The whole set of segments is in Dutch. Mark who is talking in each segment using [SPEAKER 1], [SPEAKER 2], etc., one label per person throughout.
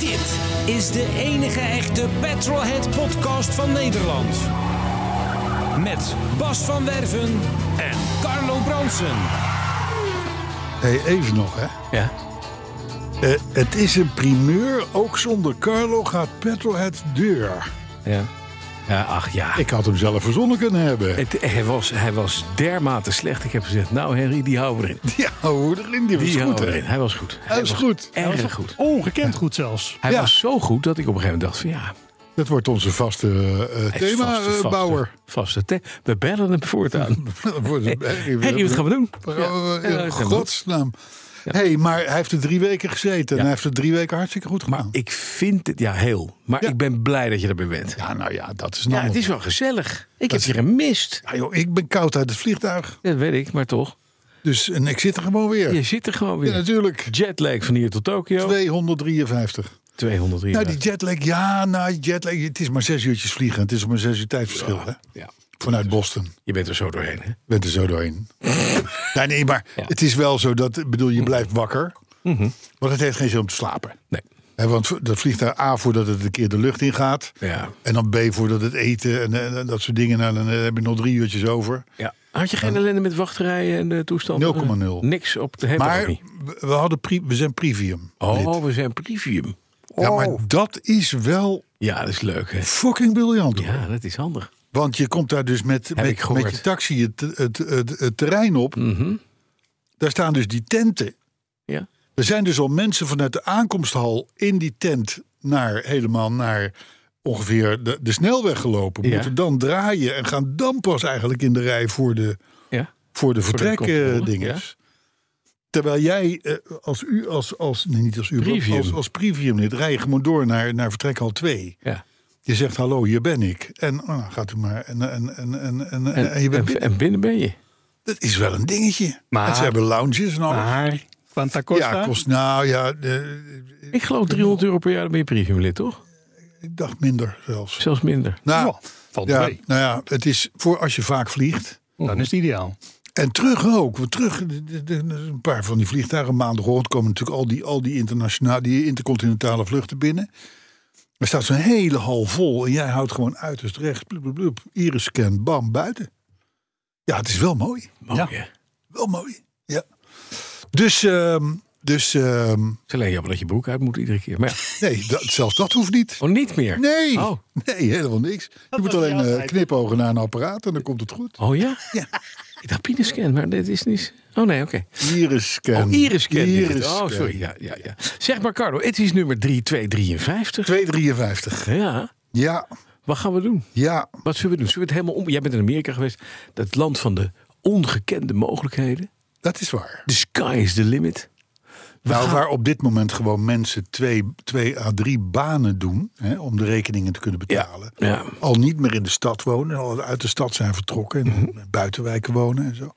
[SPEAKER 1] Dit is de enige echte Petrolhead podcast van Nederland. Met Bas van Werven en Carlo Bronsen.
[SPEAKER 2] Hey, even nog, hè.
[SPEAKER 3] Ja.
[SPEAKER 2] Eh, het is een primeur. Ook zonder Carlo gaat Petrolhead deur.
[SPEAKER 3] Ja. ja ach ja.
[SPEAKER 2] Ik had hem zelf verzonnen kunnen hebben.
[SPEAKER 3] Het, hij, was, hij was dermate slecht. Ik heb gezegd, nou Henry, die houden we erin.
[SPEAKER 2] Die oude erin, die was
[SPEAKER 3] Die
[SPEAKER 2] goed,
[SPEAKER 3] houden we
[SPEAKER 2] hè.
[SPEAKER 3] erin. Hij was goed.
[SPEAKER 2] Hij was goed.
[SPEAKER 3] Erg goed.
[SPEAKER 4] Ongekend goed zelfs.
[SPEAKER 3] Hij
[SPEAKER 2] Ja.
[SPEAKER 3] was zo goed dat ik op een gegeven moment dacht van ja...
[SPEAKER 2] Dat wordt onze vaste eh,
[SPEAKER 3] hij is vaste, vaste,
[SPEAKER 2] themabouwer.
[SPEAKER 3] Vaste the- We bellen hem voortaan. Henry,
[SPEAKER 2] Henry,
[SPEAKER 3] wat gaan we doen?
[SPEAKER 2] Waar
[SPEAKER 3] Ja.
[SPEAKER 2] gaan we-
[SPEAKER 3] Ja,
[SPEAKER 2] In
[SPEAKER 3] dat gaan we
[SPEAKER 2] godsnaam. hey, maar hij heeft er drie weken gezeten. En
[SPEAKER 3] Ja.
[SPEAKER 2] hij heeft er drie weken hartstikke goed gedaan.
[SPEAKER 3] Ik vind het... Ja, heel. Maar
[SPEAKER 2] Ja.
[SPEAKER 3] ik ben blij dat je erbij bent. Ja,
[SPEAKER 2] Ja, nou ja, dat is
[SPEAKER 3] het
[SPEAKER 2] namelijk...
[SPEAKER 3] is wel gezellig. Ik heb
[SPEAKER 2] is-
[SPEAKER 3] je gemist.
[SPEAKER 2] Ja, joh, ik ben koud uit het vliegtuig.
[SPEAKER 3] Dat weet ik, maar toch.
[SPEAKER 2] Dus, en ik zit er gewoon weer.
[SPEAKER 3] Je zit er gewoon
[SPEAKER 2] Ja,
[SPEAKER 3] weer.
[SPEAKER 2] natuurlijk.
[SPEAKER 3] Jetlag van hier tot Tokio.
[SPEAKER 2] 253.
[SPEAKER 3] 203.
[SPEAKER 2] Nou, die jetlag, ja, nou, die jetlag. Het is maar zes uurtjes vliegen. Het is maar zes uur tijdverschil, hè?
[SPEAKER 3] Ja.
[SPEAKER 2] Vanuit Boston. Je
[SPEAKER 3] Je bent er zo doorheen, hè?
[SPEAKER 2] bent er zo doorheen. nee, nee, maar het is wel zo dat, ik bedoel, je blijft wakker.
[SPEAKER 3] Mhm.
[SPEAKER 2] Want het heeft geen zin om te slapen.
[SPEAKER 3] Nee.
[SPEAKER 2] Hè, want dat vliegt daar A voordat het een keer de lucht in gaat.
[SPEAKER 3] Ja.
[SPEAKER 2] En dan B voordat het eten en, eh, dat soort dingen. Nou, dan eh, heb je nog drie uurtjes over.
[SPEAKER 3] Ja. Had je geen ellende met wachtrijen en de toestanden?
[SPEAKER 2] 0,0.
[SPEAKER 3] Niks op de helemaal
[SPEAKER 2] maar
[SPEAKER 3] niet.
[SPEAKER 2] we- we, hadden pri- we zijn premium.
[SPEAKER 3] Oh, we zijn premium.
[SPEAKER 2] Ja, maar dat is wel
[SPEAKER 3] Ja, dat is leuk, hè?
[SPEAKER 2] fucking briljant. hoor.
[SPEAKER 3] Ja, dat is handig.
[SPEAKER 2] Want je komt daar dus met,
[SPEAKER 3] ik
[SPEAKER 2] met,
[SPEAKER 3] gehoord. Mhm.
[SPEAKER 2] met je taxi het, het, het, het terrein op. Daar staan dus die tenten.
[SPEAKER 3] Ja.
[SPEAKER 2] Er zijn dus al mensen vanuit de aankomsthal in die tent naar helemaal naar ongeveer de, de snelweg gelopen.
[SPEAKER 3] Ja.
[SPEAKER 2] Moeten dan draaien en gaan dan pas eigenlijk in de rij voor de,
[SPEAKER 3] Ja.
[SPEAKER 2] voor de
[SPEAKER 3] controle,
[SPEAKER 2] vertrekdinges. Terwijl jij eh, als u, als, als nee, niet als u,
[SPEAKER 3] Privium.
[SPEAKER 2] als, als privium lid, rij je gewoon door naar, naar vertrekhal 2.
[SPEAKER 3] Ja.
[SPEAKER 2] Je zegt hallo, hier ben ik. En oh, nou, gaat u maar. En, en, en, en, en,
[SPEAKER 3] En,
[SPEAKER 2] en je bent
[SPEAKER 3] en,
[SPEAKER 2] binnen.
[SPEAKER 3] en binnen ben je.
[SPEAKER 2] Dat is wel een dingetje.
[SPEAKER 4] Maar-
[SPEAKER 2] en ze hebben lounges en alles.
[SPEAKER 4] Maar Quanta Costa.
[SPEAKER 2] Ja, kost nou ja, eh,
[SPEAKER 3] Ik geloof 300 euro per jaar dan ben je premium lid, toch?
[SPEAKER 2] ik dacht minder zelfs.
[SPEAKER 3] Zelfs minder.
[SPEAKER 2] Nou,
[SPEAKER 4] valt
[SPEAKER 2] ja,
[SPEAKER 4] mee.
[SPEAKER 2] nou ja, het is voor als je vaak vliegt.
[SPEAKER 4] Dan is het ideaal.
[SPEAKER 2] En terug ook. Want terug, de- de- de- een paar van die vliegtuigen maandagochtend komen natuurlijk al die, al die, internationale, die intercontinentale vluchten binnen. Er staat zo'n hele hal vol en jij houdt gewoon uiterst recht. Blub, blub, blub, iris scan, bam, buiten. Ja, het is wel mooi.
[SPEAKER 3] Mooi, hè? Oh, Het
[SPEAKER 2] Wel mooi. Ja. Dus, ehm, dus ehm,
[SPEAKER 3] is alleen jammer dat je broek uit moet iedere keer. Maar
[SPEAKER 2] nee, dat, zelfs dat hoeft niet.
[SPEAKER 3] ja. Oh, niet meer?
[SPEAKER 2] Nee,
[SPEAKER 3] Oh.
[SPEAKER 2] nee, helemaal niks. je moet
[SPEAKER 4] was
[SPEAKER 2] alleen
[SPEAKER 4] die
[SPEAKER 2] eh,
[SPEAKER 4] altijd.
[SPEAKER 2] knipogen naar een apparaat en dan komt het goed.
[SPEAKER 3] Oh ja?
[SPEAKER 2] Ja.
[SPEAKER 3] Ik dacht pienescan, maar dit is niet... Oh nee, oké.
[SPEAKER 2] Iris-scan.
[SPEAKER 3] Oh, iriscan. is het.
[SPEAKER 2] Iris-scan.
[SPEAKER 3] Oh, sorry. Ja, ja, ja. Zeg maar, Carlo, het is nummer 3253.
[SPEAKER 2] 253.
[SPEAKER 3] Ja.
[SPEAKER 2] Ja,
[SPEAKER 3] Wat gaan we doen?
[SPEAKER 2] ja.
[SPEAKER 3] Wat zullen we doen? Zullen we het helemaal om? Jij bent in Amerika geweest. Dat land van de ongekende mogelijkheden.
[SPEAKER 2] Dat is waar.
[SPEAKER 3] The sky is the limit.
[SPEAKER 2] nou,
[SPEAKER 3] gaan-
[SPEAKER 2] waar op dit moment gewoon mensen twee, twee à drie banen doen hè, om de rekeningen te kunnen betalen.
[SPEAKER 3] Ja.
[SPEAKER 2] Al niet meer in de stad wonen, al uit de stad zijn vertrokken
[SPEAKER 3] Mhm.
[SPEAKER 2] en in buitenwijken wonen en zo.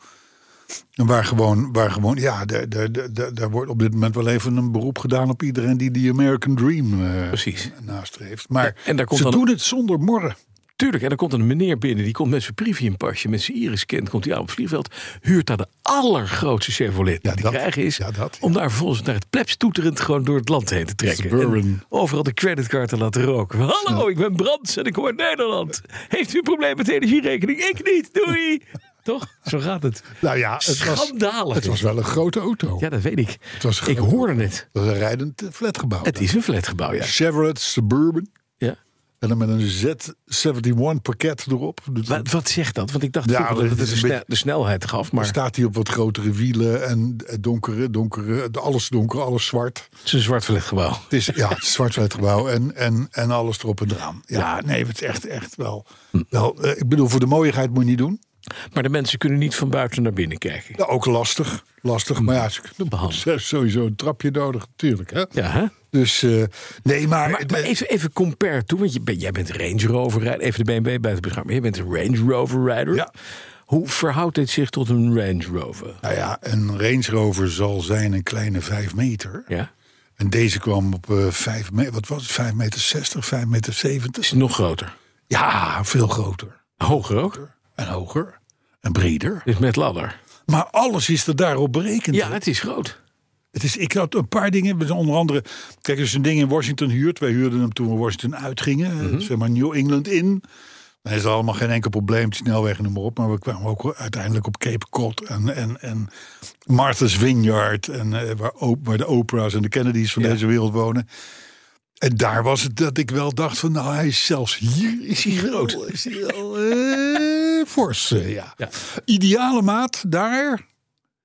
[SPEAKER 2] En waar gewoon, waar gewoon ja, daar, daar, daar, daar wordt op dit moment wel even een beroep gedaan op iedereen die de American Dream eh,
[SPEAKER 3] Precies.
[SPEAKER 2] nastreeft. Maar
[SPEAKER 3] En daar komt
[SPEAKER 2] ze
[SPEAKER 3] dan-
[SPEAKER 2] doen het zonder morren.
[SPEAKER 3] Tuurlijk, en dan komt een meneer binnen. Die komt met zijn priviumpasje, met zijn iriscan. Komt hij aan op het vliegveld. Huurt daar de allergrootste Chevrolet die
[SPEAKER 2] Ja,
[SPEAKER 3] te
[SPEAKER 2] dat-
[SPEAKER 3] krijgen is.
[SPEAKER 2] ja, dat, ja.
[SPEAKER 3] Om daar vervolgens naar het plebs toeterend gewoon door het land heen te trekken.
[SPEAKER 2] Suburban.
[SPEAKER 3] En overal de creditcard te laten roken. Hallo, ik ben Brands en ik hoor Nederland. Heeft u een probleem met de energierekening? Ik niet, doei. Toch? Zo gaat het.
[SPEAKER 2] Nou ja, het was,
[SPEAKER 3] Schandalig.
[SPEAKER 2] het was wel een grote auto.
[SPEAKER 3] Ja, dat weet ik.
[SPEAKER 2] was
[SPEAKER 3] ik
[SPEAKER 2] gewoon-
[SPEAKER 3] hoorde het.
[SPEAKER 2] Dat is een rijdend eh, flatgebouw.
[SPEAKER 3] Het is een flatgebouw, ja.
[SPEAKER 2] Chevrolet Suburban.
[SPEAKER 3] ja.
[SPEAKER 2] En dan met een Z71 pakket erop. Dus
[SPEAKER 3] Wat, wat zegt dat? Want ik dacht
[SPEAKER 2] Ja,
[SPEAKER 3] vroeger
[SPEAKER 2] dat
[SPEAKER 3] dat het de,
[SPEAKER 2] is een
[SPEAKER 3] sne-
[SPEAKER 2] beetje-
[SPEAKER 3] de snelheid gaf, maar het
[SPEAKER 2] Staat hij op wat grotere wielen en eh, donkere, donkere, alles donker, alles zwart.
[SPEAKER 3] is een zwart flatgebouw.
[SPEAKER 2] Het is ja, het zwart-wit gebouw en, en, en
[SPEAKER 3] Hm.
[SPEAKER 2] alles erop en eraan. Ja, nee, het is echt, echt wel. wel eh, ik bedoel, voor de mooiigheid moet je niet doen.
[SPEAKER 3] Maar de mensen kunnen niet van buiten naar binnen kijken.
[SPEAKER 2] Ja, ook lastig. Lastig, maar ja, ze
[SPEAKER 3] Hm. Behandelen.
[SPEAKER 2] ze hebben sowieso een trapje nodig, natuurlijk. Hè?
[SPEAKER 3] Ja, hè?
[SPEAKER 2] Dus eh, nee, maar,
[SPEAKER 3] Maar, maar even, even compare toe, want je bent- jij bent Range Rover rijder. Even de BMW buiten beschouwing. maar Jij bent een Range Rover rijder.
[SPEAKER 2] Ja.
[SPEAKER 3] Hoe verhoudt dit zich tot een Range Rover?
[SPEAKER 2] nou ja, een Range Rover zal zijn een kleine 5 meter.
[SPEAKER 3] Ja.
[SPEAKER 2] En deze kwam op eh 5 meter, wat was het, 5 meter 60, 5 meter 70?
[SPEAKER 3] Is het nog groter?
[SPEAKER 2] Ja, veel groter.
[SPEAKER 3] Hoger ook?
[SPEAKER 2] En hoger. En breder.
[SPEAKER 3] Is met ladder.
[SPEAKER 2] Maar alles is er daarop berekend.
[SPEAKER 3] Ja,
[SPEAKER 2] hè?
[SPEAKER 3] het is groot.
[SPEAKER 2] Het is, ik had een paar dingen, onder andere... Kijk, als je een ding in Washington huurt... Wij huurden hem toen we Washington uitgingen. eh, Zeg maar New England in. Dan is er allemaal geen enkel probleem. de Snelweg en noem maar op. Maar we kwamen ook uiteindelijk op Cape Cod en, en, en Martha's Vineyard. En, eh, waar, Op- waar de Oprah's en de Kennedys van deze wereld wonen. En daar was het dat ik wel dacht van... Nou, hij is zelfs hier is hij groot. Is hij wel eh, fors, eh, ja.
[SPEAKER 3] Ja.
[SPEAKER 2] Ideale maat daar...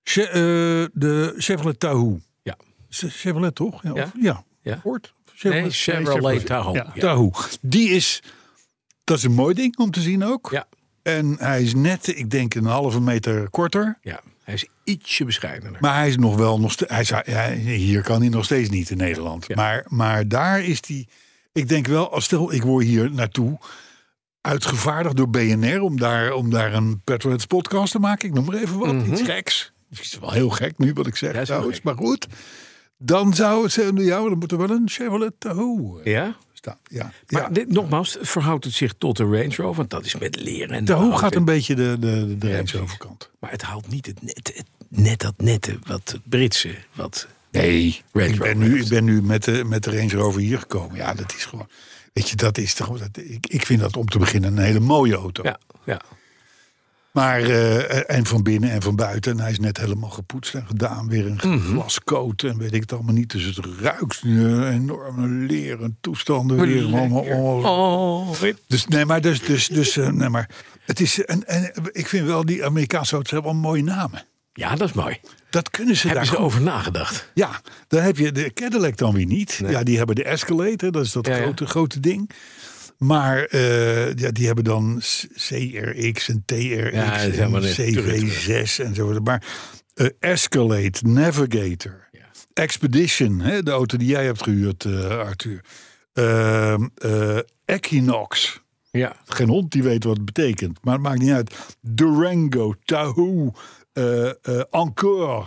[SPEAKER 2] Che- eh, de Chevrolet Tahoe.
[SPEAKER 3] Ja.
[SPEAKER 2] Che- Chevrolet toch? Ja. of- ja.
[SPEAKER 3] Ja.
[SPEAKER 2] Ford? Chevrolet.
[SPEAKER 3] Nee, Chevrolet Tahoe.
[SPEAKER 4] Ja.
[SPEAKER 3] Ja.
[SPEAKER 2] Tahoe. Die is, dat is een mooi ding om te zien ook.
[SPEAKER 3] Ja.
[SPEAKER 2] En hij is net, ik denk, een halve meter korter.
[SPEAKER 3] Ja. Hij is ietsje bescheidener.
[SPEAKER 2] Maar hij is nog wel nog steeds. Hij zou- hij- hier kan hij nog steeds niet in Nederland.
[SPEAKER 3] Ja.
[SPEAKER 2] Maar, maar daar is die. Ik denk wel, als stel ik word hier naartoe uitgevaardigd door BNR om daar, om daar een Petrolheads podcast te maken. Ik noem maar even wat. Iets geks. Het is wel heel gek nu wat ik zeg.
[SPEAKER 3] Mhm. Ja, is wel
[SPEAKER 2] trouwens,
[SPEAKER 3] gek.
[SPEAKER 2] maar goed. Dan zou het zijn, ja, maar dan moet er wel een Chevrolet Tahoe eh,
[SPEAKER 3] Ja?
[SPEAKER 2] staan. Ja.
[SPEAKER 3] Maar
[SPEAKER 2] ja.
[SPEAKER 3] dit, nogmaals, verhoudt het zich tot de Range Rover? Want dat is met leren en
[SPEAKER 2] Tahoe
[SPEAKER 3] behoud
[SPEAKER 2] gaat
[SPEAKER 3] en-
[SPEAKER 2] een beetje de, de, de
[SPEAKER 3] Ja,
[SPEAKER 2] Range
[SPEAKER 3] precies.
[SPEAKER 2] overkant.
[SPEAKER 3] Maar het haalt niet het net, het, net dat nette, wat het Britse, wat...
[SPEAKER 2] Nee,
[SPEAKER 3] Range
[SPEAKER 2] ik ben
[SPEAKER 3] Rover.
[SPEAKER 2] nu, ik ben nu met, de, met de Range Rover hier gekomen. Ja, dat is gewoon. Weet je, dat is toch. Dat, ik, ik vind dat om te beginnen een hele mooie auto.
[SPEAKER 3] Ja, ja.
[SPEAKER 2] Maar eh, en van binnen en van buiten. En hij is net helemaal gepoetst en gedaan. Weer een
[SPEAKER 3] Mhm.
[SPEAKER 2] glascoat en weet ik het allemaal niet. Dus het ruikt nu een enorme leren toestanden. Weer allemaal, allemaal-
[SPEAKER 3] Oh,
[SPEAKER 2] Dus nee, maar, dus, dus, dus, eh, nee, maar het is. En, en ik vind wel, die Amerikaanse auto's hebben allemaal mooie namen.
[SPEAKER 3] Ja, dat is mooi.
[SPEAKER 2] Dat kunnen ze daar
[SPEAKER 3] Hebben ze
[SPEAKER 2] goed
[SPEAKER 3] over nagedacht?
[SPEAKER 2] Ja, dan heb je de Cadillac dan weer niet. Ja, die hebben de Escalade, hè, dat is dat
[SPEAKER 3] Ja, ja.
[SPEAKER 2] grote, grote ding. Maar eh, ja, die hebben dan C- CRX en TRX
[SPEAKER 3] Ja, dat is
[SPEAKER 2] en
[SPEAKER 3] helemaal niet
[SPEAKER 2] CV6 enzovoort. Maar eh, Escalade, Navigator, Expedition, hè, de auto die jij hebt gehuurd, eh, Arthur. Ehm, eh, Equinox.
[SPEAKER 3] Ja.
[SPEAKER 2] Geen hond die weet wat het betekent, maar het maakt niet uit. Durango, Tahoe, eh eh, Encore.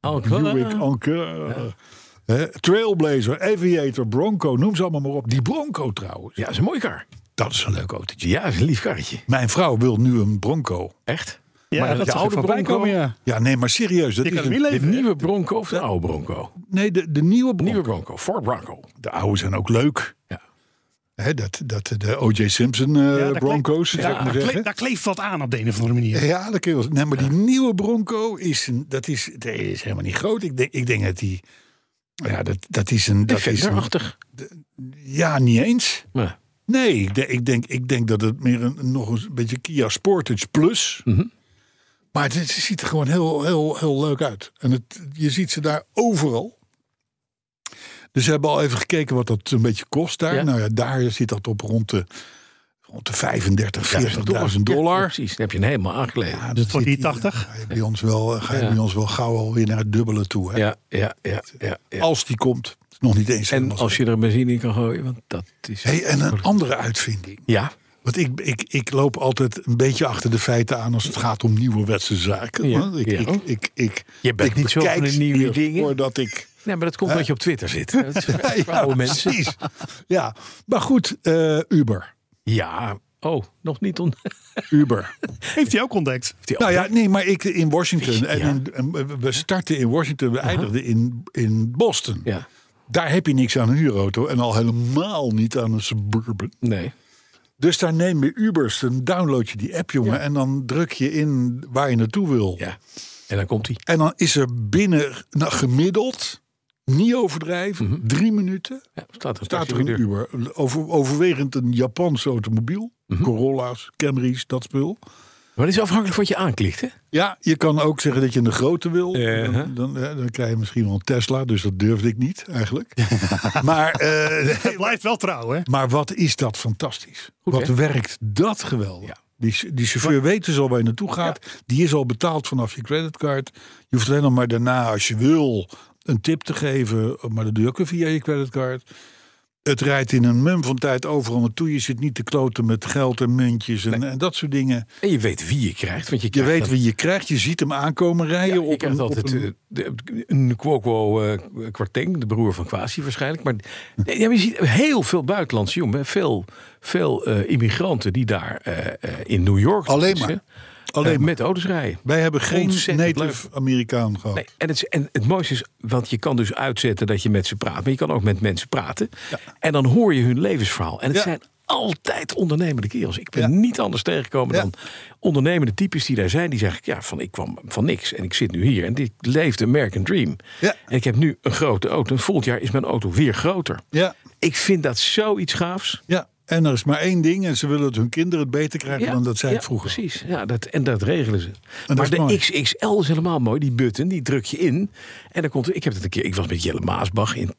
[SPEAKER 3] eh.
[SPEAKER 2] Buick, Encore, hè, Trailblazer, Aviator, Bronco, noem ze allemaal maar op. Die Bronco trouwens,
[SPEAKER 3] Ja, dat is een mooie kar.
[SPEAKER 2] dat is een leuk autootje.
[SPEAKER 3] Ja, dat is een lief karretje.
[SPEAKER 2] Mijn vrouw wil nu een Bronco.
[SPEAKER 3] Echt?
[SPEAKER 4] Ja,
[SPEAKER 3] Maar
[SPEAKER 4] dat
[SPEAKER 3] de
[SPEAKER 4] zag ik
[SPEAKER 3] oude
[SPEAKER 4] voorbij
[SPEAKER 3] Bronco-
[SPEAKER 4] komen, ja.
[SPEAKER 2] Ja, nee, maar serieus. Dat
[SPEAKER 4] Je
[SPEAKER 2] is
[SPEAKER 4] kan hem
[SPEAKER 2] een-
[SPEAKER 4] niet
[SPEAKER 3] De
[SPEAKER 4] leven.
[SPEAKER 3] nieuwe Bronco of de oude Bronco?
[SPEAKER 2] nee, de, de nieuwe Bronco.
[SPEAKER 3] Nieuwe Bronco, Ford Bronco.
[SPEAKER 2] De oude zijn ook leuk.
[SPEAKER 3] Ja.
[SPEAKER 2] Hè, dat, dat, de O.J. Simpson eh,
[SPEAKER 4] Ja, daar
[SPEAKER 2] Broncos,
[SPEAKER 4] kleeft-
[SPEAKER 2] zou
[SPEAKER 4] ja,
[SPEAKER 2] ik maar
[SPEAKER 4] daar,
[SPEAKER 2] zeggen.
[SPEAKER 4] kleeft- daar kleeft wat aan op de een of andere manier.
[SPEAKER 2] Ja, dat kun je wel- Nee, maar die nieuwe Bronco is, een, dat is, die is helemaal niet groot. Ik denk, ik denk dat die... Ja, dat, dat is een... Dat is een
[SPEAKER 3] Defenderachtig.
[SPEAKER 2] ja, niet eens.
[SPEAKER 3] Ja.
[SPEAKER 2] Nee, ik, de- ik, denk, ik denk dat het meer een, nog een beetje Kia Sportage Plus.
[SPEAKER 3] Mhm.
[SPEAKER 2] Maar het, is- ziet er gewoon heel, heel, heel leuk uit. En het, je ziet ze daar overal. Dus ze hebben al even gekeken wat dat een beetje kost daar.
[SPEAKER 3] Ja.
[SPEAKER 2] Nou ja, daar zit dat op rond de, rond de 35, 40.000
[SPEAKER 3] Ja,
[SPEAKER 2] dollar.
[SPEAKER 3] precies, dan heb je hem helemaal aangeleden. Ja,
[SPEAKER 2] Ja,
[SPEAKER 4] Dus voor
[SPEAKER 2] zit-
[SPEAKER 4] die 80?
[SPEAKER 2] Ga je bij ons wel, ga je
[SPEAKER 3] Ja.
[SPEAKER 2] bij ons wel gauw alweer naar het dubbele toe. Hè?
[SPEAKER 3] ja, ja. ja, ja.
[SPEAKER 2] Als die komt. Het is Nog niet eens.
[SPEAKER 3] En
[SPEAKER 2] helemaal
[SPEAKER 3] als
[SPEAKER 2] zo.
[SPEAKER 3] je er benzine in kan gooien, want dat is...
[SPEAKER 2] hey, en een andere uitvinding.
[SPEAKER 3] Ja,
[SPEAKER 2] Want ik, ik, ik loop altijd een beetje achter de feiten aan als het gaat om nieuwerwetse zaken.
[SPEAKER 3] Ja,
[SPEAKER 2] want Ik,
[SPEAKER 3] ja.
[SPEAKER 2] ik, ik, ik,
[SPEAKER 3] Je bent
[SPEAKER 2] ik
[SPEAKER 3] niet zo van
[SPEAKER 2] bekijk
[SPEAKER 3] de nieuwe
[SPEAKER 2] hier
[SPEAKER 3] dingen.
[SPEAKER 2] Voordat ik.
[SPEAKER 3] nee, maar dat
[SPEAKER 2] Eh.
[SPEAKER 3] komt omdat je op Twitter zit. Dat is voor
[SPEAKER 2] Ja,
[SPEAKER 3] oude mensen.
[SPEAKER 2] precies. Ja, maar goed, eh, Uber.
[SPEAKER 3] Ja, oh, nog niet on...
[SPEAKER 2] Uber.
[SPEAKER 4] Heeft hij ook ontdekt.
[SPEAKER 3] Die
[SPEAKER 2] nou
[SPEAKER 3] andere-
[SPEAKER 2] ja, nee, maar ik in Washington. En,
[SPEAKER 3] Ja.
[SPEAKER 2] in- en we starten in Washington, we eindigden in, in Boston.
[SPEAKER 3] Ja,
[SPEAKER 2] Daar heb je niks aan een huurauto en al helemaal niet aan een suburban.
[SPEAKER 3] nee.
[SPEAKER 2] Dus daar neem je Ubers, dan download je die app, jongen, en dan druk je in waar je naartoe wil.
[SPEAKER 3] Ja. En dan komt hij.
[SPEAKER 2] En dan is er binnen, nou, gemiddeld, niet overdrijven, drie minuten.
[SPEAKER 3] Ja, staat er
[SPEAKER 2] Staat
[SPEAKER 3] staat
[SPEAKER 2] er een Uber. Over, overwegend een Japanse automobiel. Corolla's, Camry's, dat spul.
[SPEAKER 3] Maar dat is afhankelijk van wat je aanklikt, hè?
[SPEAKER 2] Ja, je kan ook zeggen dat je een grote wil.
[SPEAKER 3] Ja.
[SPEAKER 2] Dan, dan, eh, dan krijg je misschien wel een Tesla. Dus dat durfde ik niet, eigenlijk. maar, eh,
[SPEAKER 4] Het blijft wel trouw, hè?
[SPEAKER 2] maar wat is dat fantastisch.
[SPEAKER 3] Goed,
[SPEAKER 2] wat
[SPEAKER 3] hè?
[SPEAKER 2] werkt dat geweldig.
[SPEAKER 3] Ja.
[SPEAKER 2] Die, die chauffeur weet dus al waar je naartoe gaat. Die is al betaald vanaf je creditcard. Je hoeft alleen nog maar daarna, als je wil, een tip te geven. Maar dat doe je ook weer via je creditcard. Het rijdt in een mum van tijd overal naartoe. Je zit niet te kloten met geld en muntjes en, en dat soort dingen.
[SPEAKER 3] En je weet wie je krijgt. Want je,
[SPEAKER 2] Je
[SPEAKER 3] krijgt
[SPEAKER 2] weet
[SPEAKER 3] dat-
[SPEAKER 2] wie je krijgt. Je ziet hem aankomen rijden.
[SPEAKER 3] Ja,
[SPEAKER 2] op
[SPEAKER 3] ik krijg
[SPEAKER 2] een- op
[SPEAKER 3] altijd
[SPEAKER 2] een-
[SPEAKER 3] eh, de- een Kwoko eh Kwarteng, de broer van Kwasi waarschijnlijk. Maar nee, ja, maar je ziet heel veel buitenlandse jongen, veel, veel eh, immigranten die daar eh, eh, in New York
[SPEAKER 2] Alleen
[SPEAKER 3] tenminste,
[SPEAKER 2] maar.
[SPEAKER 3] eh,
[SPEAKER 2] Alleen maar.
[SPEAKER 3] met auto's rijden.
[SPEAKER 2] Wij hebben geen
[SPEAKER 3] Ontzettend
[SPEAKER 2] native Amerikaan gehad.
[SPEAKER 3] Nee, en, het, is- en het mooiste is, want je kan dus uitzetten dat je met ze praat, maar je kan ook met mensen praten. En dan hoor je hun levensverhaal. En het
[SPEAKER 2] Ja.
[SPEAKER 3] zijn altijd ondernemende kerels. Ik ben
[SPEAKER 2] Ja.
[SPEAKER 3] niet anders tegengekomen
[SPEAKER 2] Ja.
[SPEAKER 3] dan ondernemende types die daar zijn. Die zeggen, ja, van ik kwam van niks en ik zit nu hier. En ik leefde American Dream.
[SPEAKER 2] Ja.
[SPEAKER 3] En ik heb nu een grote auto. En volgend jaar is mijn auto weer groter.
[SPEAKER 2] Ja,
[SPEAKER 3] Ik vind dat zoiets gaafs.
[SPEAKER 2] ja, en er is maar één ding. En ze willen dat hun kinderen het beter krijgen dan dat zij
[SPEAKER 3] ja,
[SPEAKER 2] het vroeger.
[SPEAKER 3] Precies, ja, dat, en dat regelen ze.
[SPEAKER 2] dat
[SPEAKER 3] maar
[SPEAKER 2] is
[SPEAKER 3] de
[SPEAKER 2] mooi.
[SPEAKER 3] XXL is helemaal mooi, die button, die druk je in. En dan komt, ik heb het een keer, ik was met Jelle Maasbach in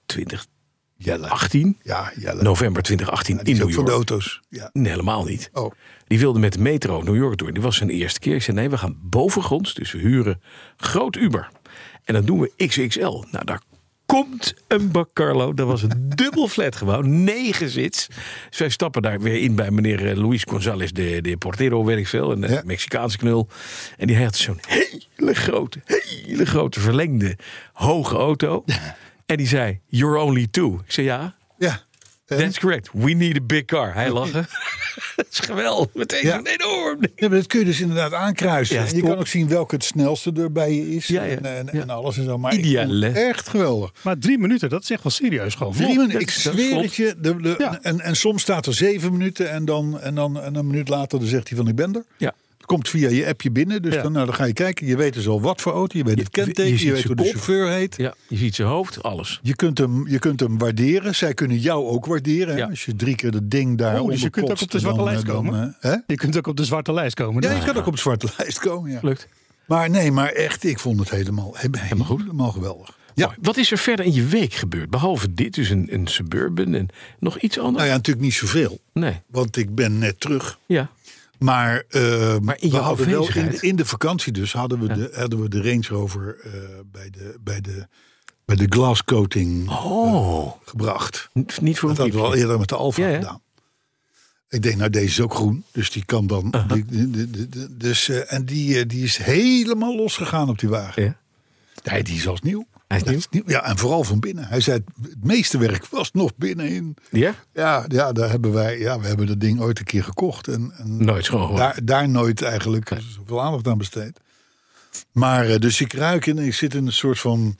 [SPEAKER 3] 2018,
[SPEAKER 2] Ja, Jelle.
[SPEAKER 3] november 2018
[SPEAKER 2] Die
[SPEAKER 3] in
[SPEAKER 2] is
[SPEAKER 3] New
[SPEAKER 2] ook van de
[SPEAKER 3] York.
[SPEAKER 2] auto's. Ja.
[SPEAKER 3] Nee, helemaal niet.
[SPEAKER 2] Oh.
[SPEAKER 3] Die wilde met de metro New York door. Die was zijn eerste keer. Ik zei, nee, we gaan bovengronds, dus we huren groot Uber. En dan doen we XXL. Nou, daar komt een bak Carlo. Dat was een dubbel flatgebouw, negen zits. Dus wij stappen daar weer in bij meneer eh, Luis González de, de Portero, weet ik veel. Een eh,
[SPEAKER 2] Ja.
[SPEAKER 3] Mexicaanse knul. En die had zo'n hele grote, hele grote verlengde, hoge auto. En die zei, you're only two. Ik zei, ja,
[SPEAKER 2] Ja. En-
[SPEAKER 3] That's correct. We need a big car. Hij lachen. Dat is geweldig. Meteen
[SPEAKER 2] Ja.
[SPEAKER 3] een enorm ding.
[SPEAKER 2] Ja, maar dat kun je dus inderdaad aankruisen.
[SPEAKER 3] Ja,
[SPEAKER 2] En je
[SPEAKER 3] stop.
[SPEAKER 2] kan ook zien welke het snelste er bij je is.
[SPEAKER 3] Ja, ja.
[SPEAKER 2] En, en,
[SPEAKER 3] Ja.
[SPEAKER 2] en alles en zo. Maar ik
[SPEAKER 3] Ideaal,
[SPEAKER 2] vond het
[SPEAKER 3] hè?
[SPEAKER 2] echt geweldig.
[SPEAKER 4] Maar drie minuten, dat is echt wel serieus gewoon.
[SPEAKER 2] Drie minuten, ik
[SPEAKER 3] dat- dat
[SPEAKER 2] zweer
[SPEAKER 3] klopt.
[SPEAKER 2] het je. De, de-
[SPEAKER 4] Ja.
[SPEAKER 2] en, en soms staat er zeven minuten en dan, en dan en een minuut later dan zegt hij van ik ben er.
[SPEAKER 3] Ja.
[SPEAKER 2] Het komt via je appje binnen, dus
[SPEAKER 4] Ja.
[SPEAKER 2] dan, nou, dan ga je kijken. Je weet dus al wat voor auto, je weet het
[SPEAKER 3] je
[SPEAKER 2] kenteken, je,
[SPEAKER 3] ziet
[SPEAKER 2] weet
[SPEAKER 3] zijn
[SPEAKER 2] hoe de
[SPEAKER 3] kop.
[SPEAKER 2] chauffeur heet.
[SPEAKER 3] ja, je ziet zijn hoofd, alles.
[SPEAKER 2] Je kunt, hem, je kunt hem waarderen, zij kunnen jou ook waarderen. hè.
[SPEAKER 3] Ja.
[SPEAKER 2] Als je drie keer dat ding daar
[SPEAKER 4] Oh, dus je kunt ook op de zwarte lijst komen?
[SPEAKER 2] eh, hè?
[SPEAKER 4] Je kunt ook op de zwarte lijst komen. dus-
[SPEAKER 2] Ja,
[SPEAKER 4] dan.
[SPEAKER 2] je kan ook op de zwarte lijst komen, ja.
[SPEAKER 3] Lukt.
[SPEAKER 2] Maar nee, maar echt, ik vond het helemaal, helemaal, helemaal geweldig. Ja.
[SPEAKER 3] Mooi. Wat is er verder in je week gebeurd? Behalve dit, dus een, een suburban en nog iets anders?
[SPEAKER 2] Nou ja, natuurlijk niet zoveel.
[SPEAKER 3] Nee.
[SPEAKER 2] Want ik ben net terug.
[SPEAKER 3] Ja.
[SPEAKER 2] Maar, eh,
[SPEAKER 3] in
[SPEAKER 2] we
[SPEAKER 3] jouw
[SPEAKER 2] hadden wel in, de,
[SPEAKER 3] afwezigheid.
[SPEAKER 2] in de vakantie dus hadden we, de, hadden we de Range Rover eh, bij, de, bij, de, bij de glascoating
[SPEAKER 3] Oh,
[SPEAKER 2] gebracht.
[SPEAKER 3] N- niet voor
[SPEAKER 2] Dat
[SPEAKER 3] een
[SPEAKER 2] hadden we al
[SPEAKER 3] piepje.
[SPEAKER 2] eerder met de Alfa
[SPEAKER 3] Ja, ja.
[SPEAKER 2] gedaan. Ik denk, nou deze is ook groen, dus die kan dan. die- die- die- die- die- dus, eh, en die, eh, die is helemaal losgegaan op die wagen.
[SPEAKER 3] Ja.
[SPEAKER 2] Nee, die is als nieuw.
[SPEAKER 3] Hij is
[SPEAKER 2] Dat Ja, en vooral van binnen. Hij zei, het meeste werk was nog binnenin.
[SPEAKER 3] Ja?
[SPEAKER 2] Ja, ja, daar hebben wij, ja, we hebben dat ding ooit een keer gekocht. En, en
[SPEAKER 3] Nooit schoon.
[SPEAKER 2] daar, daar nooit eigenlijk zoveel aandacht aan besteed. Maar eh, dus ik ruik in, ik zit in een soort van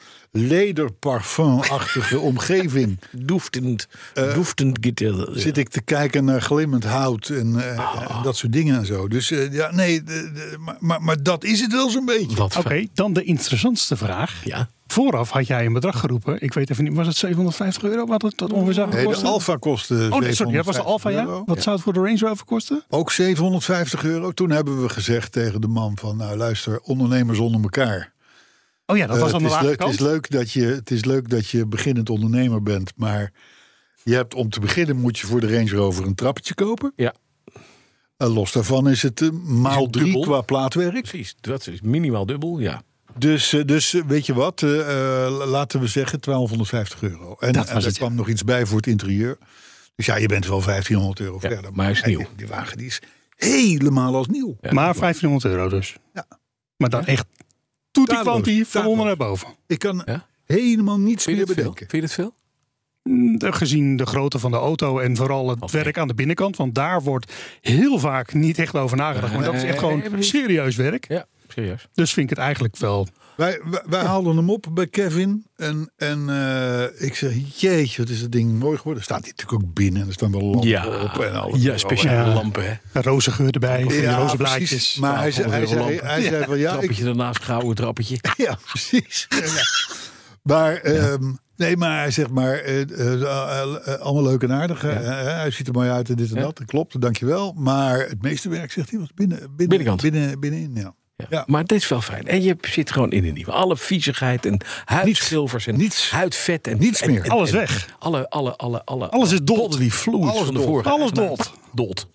[SPEAKER 2] lederparfum-achtige omgeving.
[SPEAKER 3] Doeftend, doeftend gitter.
[SPEAKER 2] Zit ik te kijken naar glimmend hout en eh,
[SPEAKER 4] Ah.
[SPEAKER 2] en dat soort dingen en zo. Dus eh, ja, nee, de- de- maar, maar, maar dat is het wel zo'n beetje.
[SPEAKER 3] Wat
[SPEAKER 4] Oké,
[SPEAKER 3] fijn.
[SPEAKER 4] dan de interessantste vraag.
[SPEAKER 3] Ja.
[SPEAKER 4] Vooraf had jij een bedrag geroepen. Ik weet even niet, was het 750 euro wat het dat ongeveer zou
[SPEAKER 2] Nee, de
[SPEAKER 4] kosten?
[SPEAKER 2] Alfa kostte
[SPEAKER 4] Oh, nee, sorry, dat was de
[SPEAKER 2] 750
[SPEAKER 4] Alfa, ja.
[SPEAKER 2] euro.
[SPEAKER 4] Wat zou het voor de Range Rover kosten?
[SPEAKER 2] Ook 750 euro. Toen hebben we gezegd tegen de man van... nou luister, ondernemers onder elkaar.
[SPEAKER 4] Oh ja, dat was
[SPEAKER 2] Eh,
[SPEAKER 4] aan de
[SPEAKER 2] het, is
[SPEAKER 4] lage
[SPEAKER 2] leuk, het, is
[SPEAKER 4] kant.
[SPEAKER 2] leuk dat je, het is leuk dat je beginnend ondernemer bent. Maar je hebt, om te beginnen moet je voor de Range Rover een trappetje kopen.
[SPEAKER 3] Ja,
[SPEAKER 2] En los daarvan is het eh, maal
[SPEAKER 3] het
[SPEAKER 2] drie
[SPEAKER 3] dubbel?
[SPEAKER 2] qua plaatwerk.
[SPEAKER 3] precies. Dat is minimaal dubbel, ja.
[SPEAKER 2] Dus, eh, dus eh, weet je wat, eh, eh, laten we zeggen 1250 euro. En,
[SPEAKER 4] Dat
[SPEAKER 2] en
[SPEAKER 4] was
[SPEAKER 2] er
[SPEAKER 4] het, ja.
[SPEAKER 2] kwam nog iets bij voor het interieur. Dus ja, je bent wel 1500 euro
[SPEAKER 3] Ja,
[SPEAKER 2] verder.
[SPEAKER 3] maar hij is
[SPEAKER 2] kijk,
[SPEAKER 3] nieuw.
[SPEAKER 2] Die wagen die is helemaal als nieuw.
[SPEAKER 3] Ja,
[SPEAKER 4] Maar 1500 euro dus.
[SPEAKER 2] Ja.
[SPEAKER 4] Maar dan echt toetie
[SPEAKER 2] Tadeloos,
[SPEAKER 4] kwantie van
[SPEAKER 2] tadeloos.
[SPEAKER 4] onder naar boven.
[SPEAKER 2] Ik kan
[SPEAKER 3] Ja?
[SPEAKER 2] helemaal niets
[SPEAKER 3] Vind je
[SPEAKER 2] meer
[SPEAKER 3] dat veel? Vind
[SPEAKER 2] bedenken.
[SPEAKER 3] je dat veel?
[SPEAKER 4] Mm, de- Gezien de grootte van de auto en vooral het
[SPEAKER 3] Oké.
[SPEAKER 4] werk aan de binnenkant. Want daar wordt heel vaak niet echt over nagedacht. Maar dat is echt
[SPEAKER 3] Nee, nee,
[SPEAKER 4] gewoon
[SPEAKER 3] precies.
[SPEAKER 4] serieus werk.
[SPEAKER 3] Ja, serieus.
[SPEAKER 4] Dus vind ik het eigenlijk wel.
[SPEAKER 2] Wij, wij, wij haalden hem op bij Kevin. En, en eh, ik zeg, jeetje, wat is dat ding mooi geworden. Staat hij natuurlijk ook binnen. En er staan wel lampen op. En alles.
[SPEAKER 3] ja speciale
[SPEAKER 4] Ja.
[SPEAKER 3] lampen, hè.
[SPEAKER 4] Een roze geur erbij. van die
[SPEAKER 2] Ja,
[SPEAKER 4] roze
[SPEAKER 2] precies.
[SPEAKER 4] blaadjes.
[SPEAKER 2] Maar hij zei, hij
[SPEAKER 3] 1200
[SPEAKER 2] zei,
[SPEAKER 3] euro
[SPEAKER 2] hij zei van ja, ik,
[SPEAKER 3] Trappetje ernaast, gouden trappetje.
[SPEAKER 2] Ja, precies. Ja, ja. Maar, ehm, nee, maar hij zegt maar, eh, eh, eh, eh, allemaal leuk en aardig. eh, eh, hij ziet er mooi uit en dit en
[SPEAKER 3] Ja.
[SPEAKER 2] dat. Dat klopt, dankjewel. Maar het meeste werk, zegt hij, was binnen, binnen,
[SPEAKER 3] Binnenkant.
[SPEAKER 2] binnen, binnenin. Ja.
[SPEAKER 3] Ja.
[SPEAKER 2] Ja.
[SPEAKER 3] Maar dit is wel fijn. En je zit gewoon in een nieuwe. Alle viezigheid en huidschilfers en
[SPEAKER 2] Niets.
[SPEAKER 3] huidvet. En,
[SPEAKER 2] Niets
[SPEAKER 3] en-
[SPEAKER 2] meer.
[SPEAKER 3] en-
[SPEAKER 4] Alles
[SPEAKER 3] en
[SPEAKER 4] weg.
[SPEAKER 3] Alle, alle, alle, alle,
[SPEAKER 4] Alles is dood.
[SPEAKER 3] bodily fluids
[SPEAKER 2] Alles
[SPEAKER 3] van de
[SPEAKER 2] dood.
[SPEAKER 3] vorige
[SPEAKER 4] Alles
[SPEAKER 3] eigenaar.
[SPEAKER 4] dood.
[SPEAKER 3] Dood.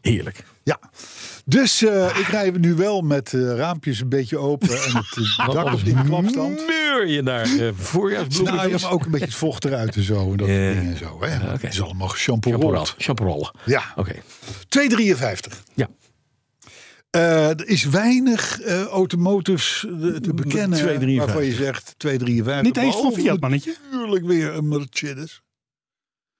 [SPEAKER 3] Heerlijk.
[SPEAKER 2] Ja, dus
[SPEAKER 3] Ah.
[SPEAKER 2] eh, ik rij nu wel met eh, raampjes een beetje open en het eh, dak op in klapstand.
[SPEAKER 3] Meur je naar eh voorjaarsbloemen.
[SPEAKER 2] Nou, ja, maar ook een beetje het vocht eruit en zo. En dat
[SPEAKER 3] Ja.
[SPEAKER 2] soort dingen en zo. Hè? Want
[SPEAKER 3] Oké.
[SPEAKER 2] Het is allemaal geshampoo.
[SPEAKER 3] Chaparral. Chaparral.
[SPEAKER 2] Ja,
[SPEAKER 3] Oké.
[SPEAKER 2] 253.
[SPEAKER 3] Ja.
[SPEAKER 2] Eh, er is weinig eh automotives eh,
[SPEAKER 3] Mm,
[SPEAKER 2] te bekennen
[SPEAKER 3] 2,53.
[SPEAKER 2] waarvan je zegt 253.
[SPEAKER 4] Niet eens van
[SPEAKER 2] Behalve
[SPEAKER 4] Fiat, mannetje.
[SPEAKER 2] Natuurlijk weer een Mercedes.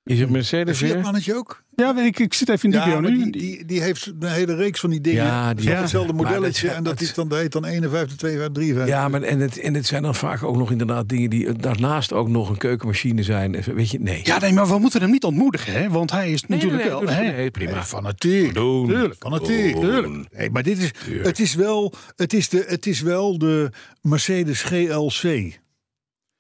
[SPEAKER 3] Is het
[SPEAKER 2] Een
[SPEAKER 3] Mercedes
[SPEAKER 2] Fiat
[SPEAKER 3] weer?
[SPEAKER 2] mannetje ook?
[SPEAKER 4] Ja, weet ik, ik zit even in de
[SPEAKER 2] Ja,
[SPEAKER 4] video
[SPEAKER 2] maar
[SPEAKER 4] nu.
[SPEAKER 2] die, die, die heeft een hele reeks van die dingen.
[SPEAKER 3] Ja, die-
[SPEAKER 2] Van
[SPEAKER 4] ja.
[SPEAKER 2] Hetzelfde
[SPEAKER 3] Maar dat
[SPEAKER 2] modelletje
[SPEAKER 3] is-
[SPEAKER 2] en dat
[SPEAKER 3] dat-
[SPEAKER 2] is dan, dat heet dan 51, 52, 53.
[SPEAKER 3] Ja, maar en het, en het zijn dan vaak ook nog inderdaad dingen die daarnaast ook nog een keukenmachine zijn. En zo, Weet je, nee.
[SPEAKER 4] Ja, nee, maar we moeten hem niet ontmoedigen, hè? Want hij is natuurlijk wel.
[SPEAKER 3] nee,
[SPEAKER 4] hè?
[SPEAKER 3] nee, prima.
[SPEAKER 2] Nee, fanatiek.
[SPEAKER 3] Doen.
[SPEAKER 2] Tuurlijk, fanatiek.
[SPEAKER 3] Doen.
[SPEAKER 2] Tuurlijk. Nee, maar dit is, het is wel, het is de, het is wel de Mercedes GLC.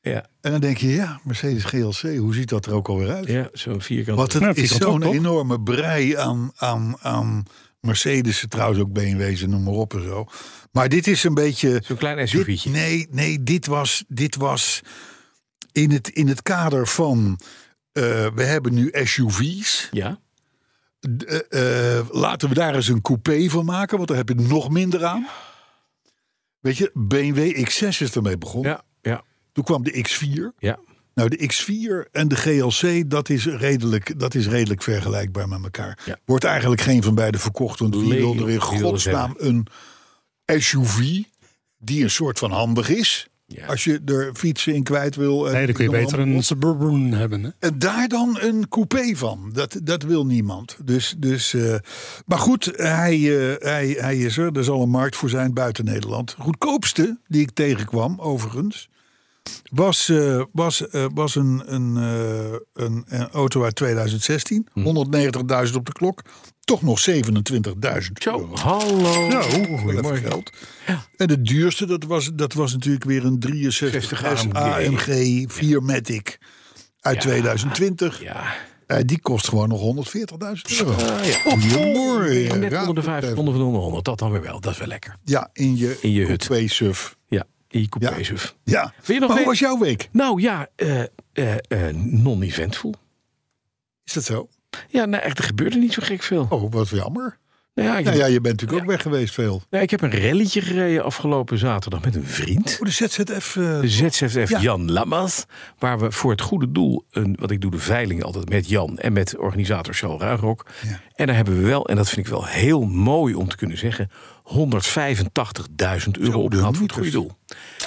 [SPEAKER 3] Ja,
[SPEAKER 2] En dan denk je, ja, Mercedes GLC, hoe ziet dat er ook alweer uit?
[SPEAKER 3] ja zo'n vierkant.
[SPEAKER 2] Want het
[SPEAKER 4] Nou, het
[SPEAKER 2] is
[SPEAKER 4] is dat ook,
[SPEAKER 2] zo'n
[SPEAKER 4] toch?
[SPEAKER 2] enorme brei aan, aan, aan Mercedes, trouwens ook BMW's en noem maar op en zo. Maar dit is een beetje...
[SPEAKER 3] Zo'n klein
[SPEAKER 2] dit-
[SPEAKER 3] SUV'tje.
[SPEAKER 2] nee, nee, dit was, dit was in, het, in het kader van... eh, we hebben nu SUV's.
[SPEAKER 3] Ja.
[SPEAKER 2] D- eh, eh, laten we daar eens een coupé van maken, want daar heb je nog minder aan. Weet je, BMW X6 is ermee begonnen.
[SPEAKER 3] Ja, ja,
[SPEAKER 2] Toen kwam de X4.
[SPEAKER 3] ja.
[SPEAKER 2] Nou, de X4 en de GLC, dat is redelijk, dat is redelijk vergelijkbaar met elkaar.
[SPEAKER 3] Ja.
[SPEAKER 2] Wordt eigenlijk geen van beide verkocht, want wie
[SPEAKER 3] Legion,
[SPEAKER 2] wil er in
[SPEAKER 3] die wil het
[SPEAKER 2] godsnaam een SUV die een soort van handig is?
[SPEAKER 3] Ja.
[SPEAKER 2] Als je er fietsen in kwijt wil. en-
[SPEAKER 4] Nee, dan kun je
[SPEAKER 2] dan-
[SPEAKER 4] beter een Suburban hebben. Hè?
[SPEAKER 2] en Eh, daar dan een coupé van. Dat, dat wil niemand. Dus, dus, eh, maar goed, hij, eh, hij, hij is er. Er zal een markt voor zijn buiten Nederland. Goedkoopste die ik tegenkwam, overigens, was, eh, was, eh, was een, een, eh, een, een auto uit 2016. 190.000 op de klok. Toch nog 27.000
[SPEAKER 3] Zo,
[SPEAKER 2] euro.
[SPEAKER 3] hallo.
[SPEAKER 2] Ja, goedemorgen. Nou, Geld. En de duurste, dat was, dat was natuurlijk weer een 63
[SPEAKER 3] 60
[SPEAKER 2] AMG 4 Matic uit 2020.
[SPEAKER 3] Ja, Ah,
[SPEAKER 2] Eh, die kost gewoon nog 140.000 euro.
[SPEAKER 3] ja.
[SPEAKER 2] Goedemorgen.
[SPEAKER 3] net
[SPEAKER 2] Raad
[SPEAKER 3] onder
[SPEAKER 2] het
[SPEAKER 3] de 5
[SPEAKER 2] even.
[SPEAKER 3] seconden van de 100. Dat dan weer wel. Dat is wel lekker.
[SPEAKER 2] Ja, in je,
[SPEAKER 3] In je hut.
[SPEAKER 2] coupé-suf.
[SPEAKER 3] Ja, in je coupé
[SPEAKER 2] Ja.
[SPEAKER 3] suf.
[SPEAKER 2] Ja.
[SPEAKER 3] Wil
[SPEAKER 2] maar
[SPEAKER 3] je nog
[SPEAKER 2] hoe
[SPEAKER 3] weten-
[SPEAKER 2] was jouw week?
[SPEAKER 3] Nou ja, eh, eh, eh, non-eventvol.
[SPEAKER 2] Is dat zo?
[SPEAKER 3] Ja, nou echt, er gebeurde niet zo gek veel.
[SPEAKER 2] Oh, wat jammer.
[SPEAKER 3] Nou ja, ik,
[SPEAKER 2] Nou ja, je bent natuurlijk ook weg geweest veel.
[SPEAKER 3] nou, ik heb een relletje gereden afgelopen zaterdag met een vriend.
[SPEAKER 2] Oh, de ZZF... eh,
[SPEAKER 3] De ZZF
[SPEAKER 2] Ja.
[SPEAKER 3] Jan Lamas, waar we voor het goede doel, een, wat ik doe de veiling altijd met Jan en met organisator Charles Ruigrok.
[SPEAKER 2] Ja.
[SPEAKER 3] En daar hebben we wel, en dat vind ik wel heel mooi om te kunnen zeggen, 185.000 euro opgehaald voor het goede
[SPEAKER 2] dus.
[SPEAKER 3] doel.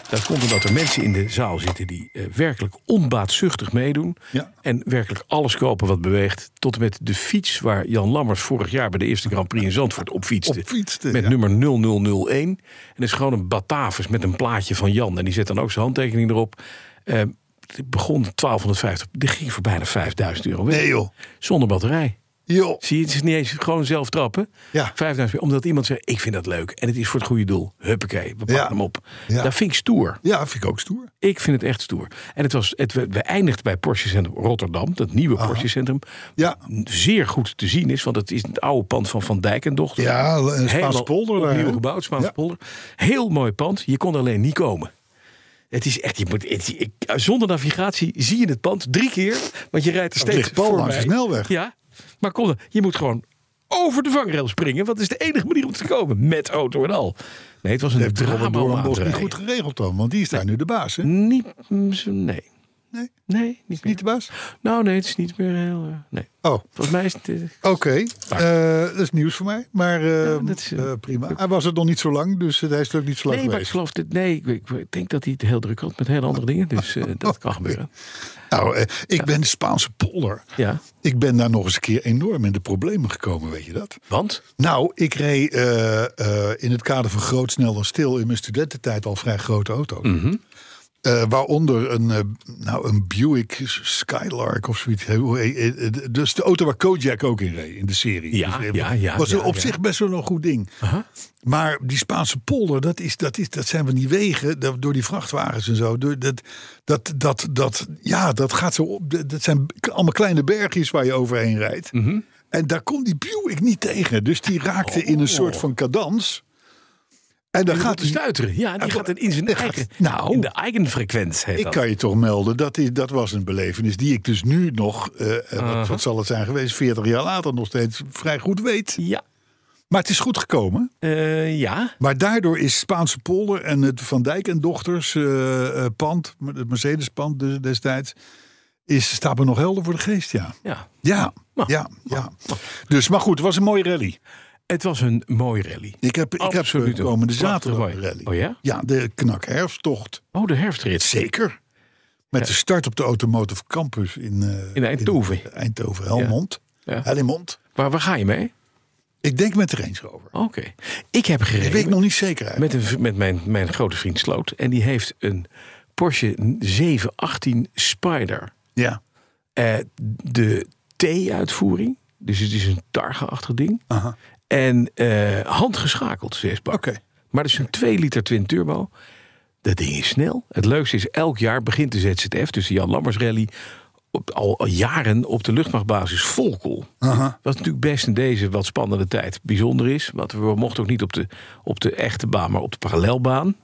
[SPEAKER 3] Dat komt omdat er mensen in de zaal zitten die eh, werkelijk onbaatzuchtig meedoen.
[SPEAKER 2] Ja.
[SPEAKER 3] En werkelijk alles kopen wat beweegt. Tot en met de fiets waar Jan Lammers vorig jaar bij de eerste Grand Prix in Zandvoort op fietste.
[SPEAKER 2] Op fietste,
[SPEAKER 3] met
[SPEAKER 2] ja.
[SPEAKER 3] nummer 0001. En dat is gewoon een Batavus met een plaatje van Jan. En die zet dan ook zijn handtekening erop. Eh, het begon 1250. Dit ging voor bijna 5000 euro weg.
[SPEAKER 2] nee joh.
[SPEAKER 3] Zonder batterij.
[SPEAKER 2] Joh.
[SPEAKER 3] Zie je, het is niet eens gewoon zelf trappen.
[SPEAKER 2] Ja.
[SPEAKER 3] 5000 Omdat iemand zegt, ik vind dat leuk. En het is voor het goede doel. Huppakee, we pakken
[SPEAKER 2] Ja.
[SPEAKER 3] hem op.
[SPEAKER 2] Ja.
[SPEAKER 3] Dat vind ik stoer.
[SPEAKER 2] Ja, vind ik ook stoer.
[SPEAKER 3] Ik vind het echt stoer. En het was, het, we we eindigden bij Porsche Centrum Rotterdam, dat nieuwe Porsche Centrum.
[SPEAKER 2] Ja.
[SPEAKER 3] Zeer goed te zien is, want het is het oude pand van Van Dijk en dochter.
[SPEAKER 2] Ja, een Spaanse
[SPEAKER 3] Helemaal
[SPEAKER 2] polder daar,
[SPEAKER 3] Opnieuw
[SPEAKER 2] hè?
[SPEAKER 3] gebouwd, Spaanse
[SPEAKER 2] Ja.
[SPEAKER 3] polder. Heel mooi pand, je kon er alleen niet komen. Het is echt, je moet, het- ik, zonder navigatie zie je het pand drie keer, want je rijdt er
[SPEAKER 2] Dat
[SPEAKER 3] steeds
[SPEAKER 2] ligt pal
[SPEAKER 3] voor
[SPEAKER 2] langs de
[SPEAKER 3] mij.
[SPEAKER 2] snelweg.
[SPEAKER 3] Ja, maar kom, dan, je moet gewoon over de vangrail springen, want dat is de enige manier om te komen, met auto en al. Nee, het was een
[SPEAKER 2] heeft
[SPEAKER 3] drama
[SPEAKER 2] Robert
[SPEAKER 3] om aan te
[SPEAKER 2] Doornbos niet
[SPEAKER 3] rijden.
[SPEAKER 2] goed geregeld dan. Want die is daar nu de baas, hè?
[SPEAKER 3] Niet, mm, zo- nee.
[SPEAKER 2] Nee?
[SPEAKER 3] Nee, niet meer.
[SPEAKER 2] Niet de baas?
[SPEAKER 3] Nou, nee, het is niet meer heel. eh, nee.
[SPEAKER 2] Oh.
[SPEAKER 3] Volgens mij is het. eh,
[SPEAKER 2] Oké, eh, dat is nieuws voor mij, maar eh,
[SPEAKER 3] Ja, dat is, eh,
[SPEAKER 2] eh, prima. Hij was het nog niet zo lang, dus hij is er ook niet zo lang
[SPEAKER 3] nee, maar ik
[SPEAKER 2] geweest.
[SPEAKER 3] geloof dit. Nee, ik, ik- ik denk dat hij het heel druk had met hele andere dingen. Dus eh, dat kan gebeuren.
[SPEAKER 2] Nou, eh, ik ben de Spaanse polder.
[SPEAKER 3] Ja.
[SPEAKER 2] Ik ben daar nog eens een keer enorm in de problemen gekomen, weet je dat?
[SPEAKER 3] Want?
[SPEAKER 2] Nou, ik reed eh, eh, in het kader van groot, snel en stil in mijn studententijd al vrij grote auto's.
[SPEAKER 3] Mm.
[SPEAKER 2] Eh, waaronder een, eh, nou, een Buick Skylark of zoiets. Hoe- hoe- eh, eh, Dus de auto waar Kojak ook in reed in de serie.
[SPEAKER 3] Ja,
[SPEAKER 2] Dus, eh,
[SPEAKER 3] ja, ja,
[SPEAKER 2] Was
[SPEAKER 3] ja,
[SPEAKER 2] op
[SPEAKER 3] ja.
[SPEAKER 2] zich best wel een goed ding. Maar die Spaanse polder, dat, is, dat, is, dat zijn van die wegen dat- door die vrachtwagens en zo. Door, dat, dat, dat, dat, ja, dat, gaat zo op, dat dat zijn allemaal kleine bergjes waar je overheen rijdt.
[SPEAKER 3] Mhm.
[SPEAKER 2] En daar kon die Buick niet tegen. Dus die raakte in
[SPEAKER 3] Oh.
[SPEAKER 2] een soort van cadans. En dan gaat
[SPEAKER 3] Gaat
[SPEAKER 2] die,
[SPEAKER 3] stuiteren. Ja, die
[SPEAKER 2] Hij
[SPEAKER 3] gaat
[SPEAKER 2] gaat-
[SPEAKER 3] in zijn
[SPEAKER 2] hij gaat-
[SPEAKER 3] eigen.
[SPEAKER 2] nou.
[SPEAKER 3] in de eigen frequentie heet
[SPEAKER 2] ik
[SPEAKER 3] dat.
[SPEAKER 2] kan je toch melden, dat, is, dat was een belevenis die ik dus nu
[SPEAKER 3] Uh-huh.
[SPEAKER 2] nog, eh, eh, wat, wat zal het zijn geweest, 40 jaar later nog steeds vrij goed weet.
[SPEAKER 3] Ja.
[SPEAKER 2] Maar het is goed gekomen.
[SPEAKER 3] Eh, ja,
[SPEAKER 2] Maar daardoor is Spaanse polder en het Van Dijk en Dochters eh, eh, pand, het Mercedes-pand dus destijds, is, staat me nog helder voor de geest, ja.
[SPEAKER 3] ja.
[SPEAKER 2] Ja,
[SPEAKER 3] Maar-
[SPEAKER 2] ja, ja.
[SPEAKER 3] ah,
[SPEAKER 2] Dus, maar goed, het was een mooie rally.
[SPEAKER 3] Het was een mooie rally.
[SPEAKER 2] Ik heb, ik heb
[SPEAKER 3] Absoluut
[SPEAKER 2] de
[SPEAKER 3] een
[SPEAKER 2] komende
[SPEAKER 3] prachtige
[SPEAKER 2] zaterdag
[SPEAKER 3] mooi.
[SPEAKER 2] een rally.
[SPEAKER 3] Oh ja?
[SPEAKER 2] Ja, de knakherfsttocht.
[SPEAKER 3] Oh, de herfstrit.
[SPEAKER 2] Zeker. Met de start op de Automotive Campus in, eh,
[SPEAKER 3] In Eindhoven.
[SPEAKER 2] Eindhoven, Helmond.
[SPEAKER 3] Ja.
[SPEAKER 2] Helmond.
[SPEAKER 3] Waar, waar ga je mee?
[SPEAKER 2] Ik denk met de Range Rover.
[SPEAKER 3] Oké. Ik heb
[SPEAKER 2] Ik weet
[SPEAKER 3] gereden
[SPEAKER 2] nog niet zeker eigenlijk.
[SPEAKER 3] met, een, v- met mijn, mijn grote vriend Sloot. En die heeft een Porsche 718 Spider.
[SPEAKER 2] Ja.
[SPEAKER 3] Eh, de T-uitvoering. Dus het is een targa-achtig ding.
[SPEAKER 2] Aha.
[SPEAKER 3] En eh, handgeschakeld zesbak.
[SPEAKER 2] Oké.
[SPEAKER 3] Maar dat is een 2 liter twin turbo. Dat ding is snel. Het leukste is, elk jaar begint de ZZF, dus de Jan Lammers Rally... Op, al, al jaren op de luchtmachtbasis Volkel.
[SPEAKER 2] Aha.
[SPEAKER 3] Wat natuurlijk best in deze wat spannende tijd bijzonder is. Want we mochten ook niet op de, op de echte baan, maar op de parallelbaan.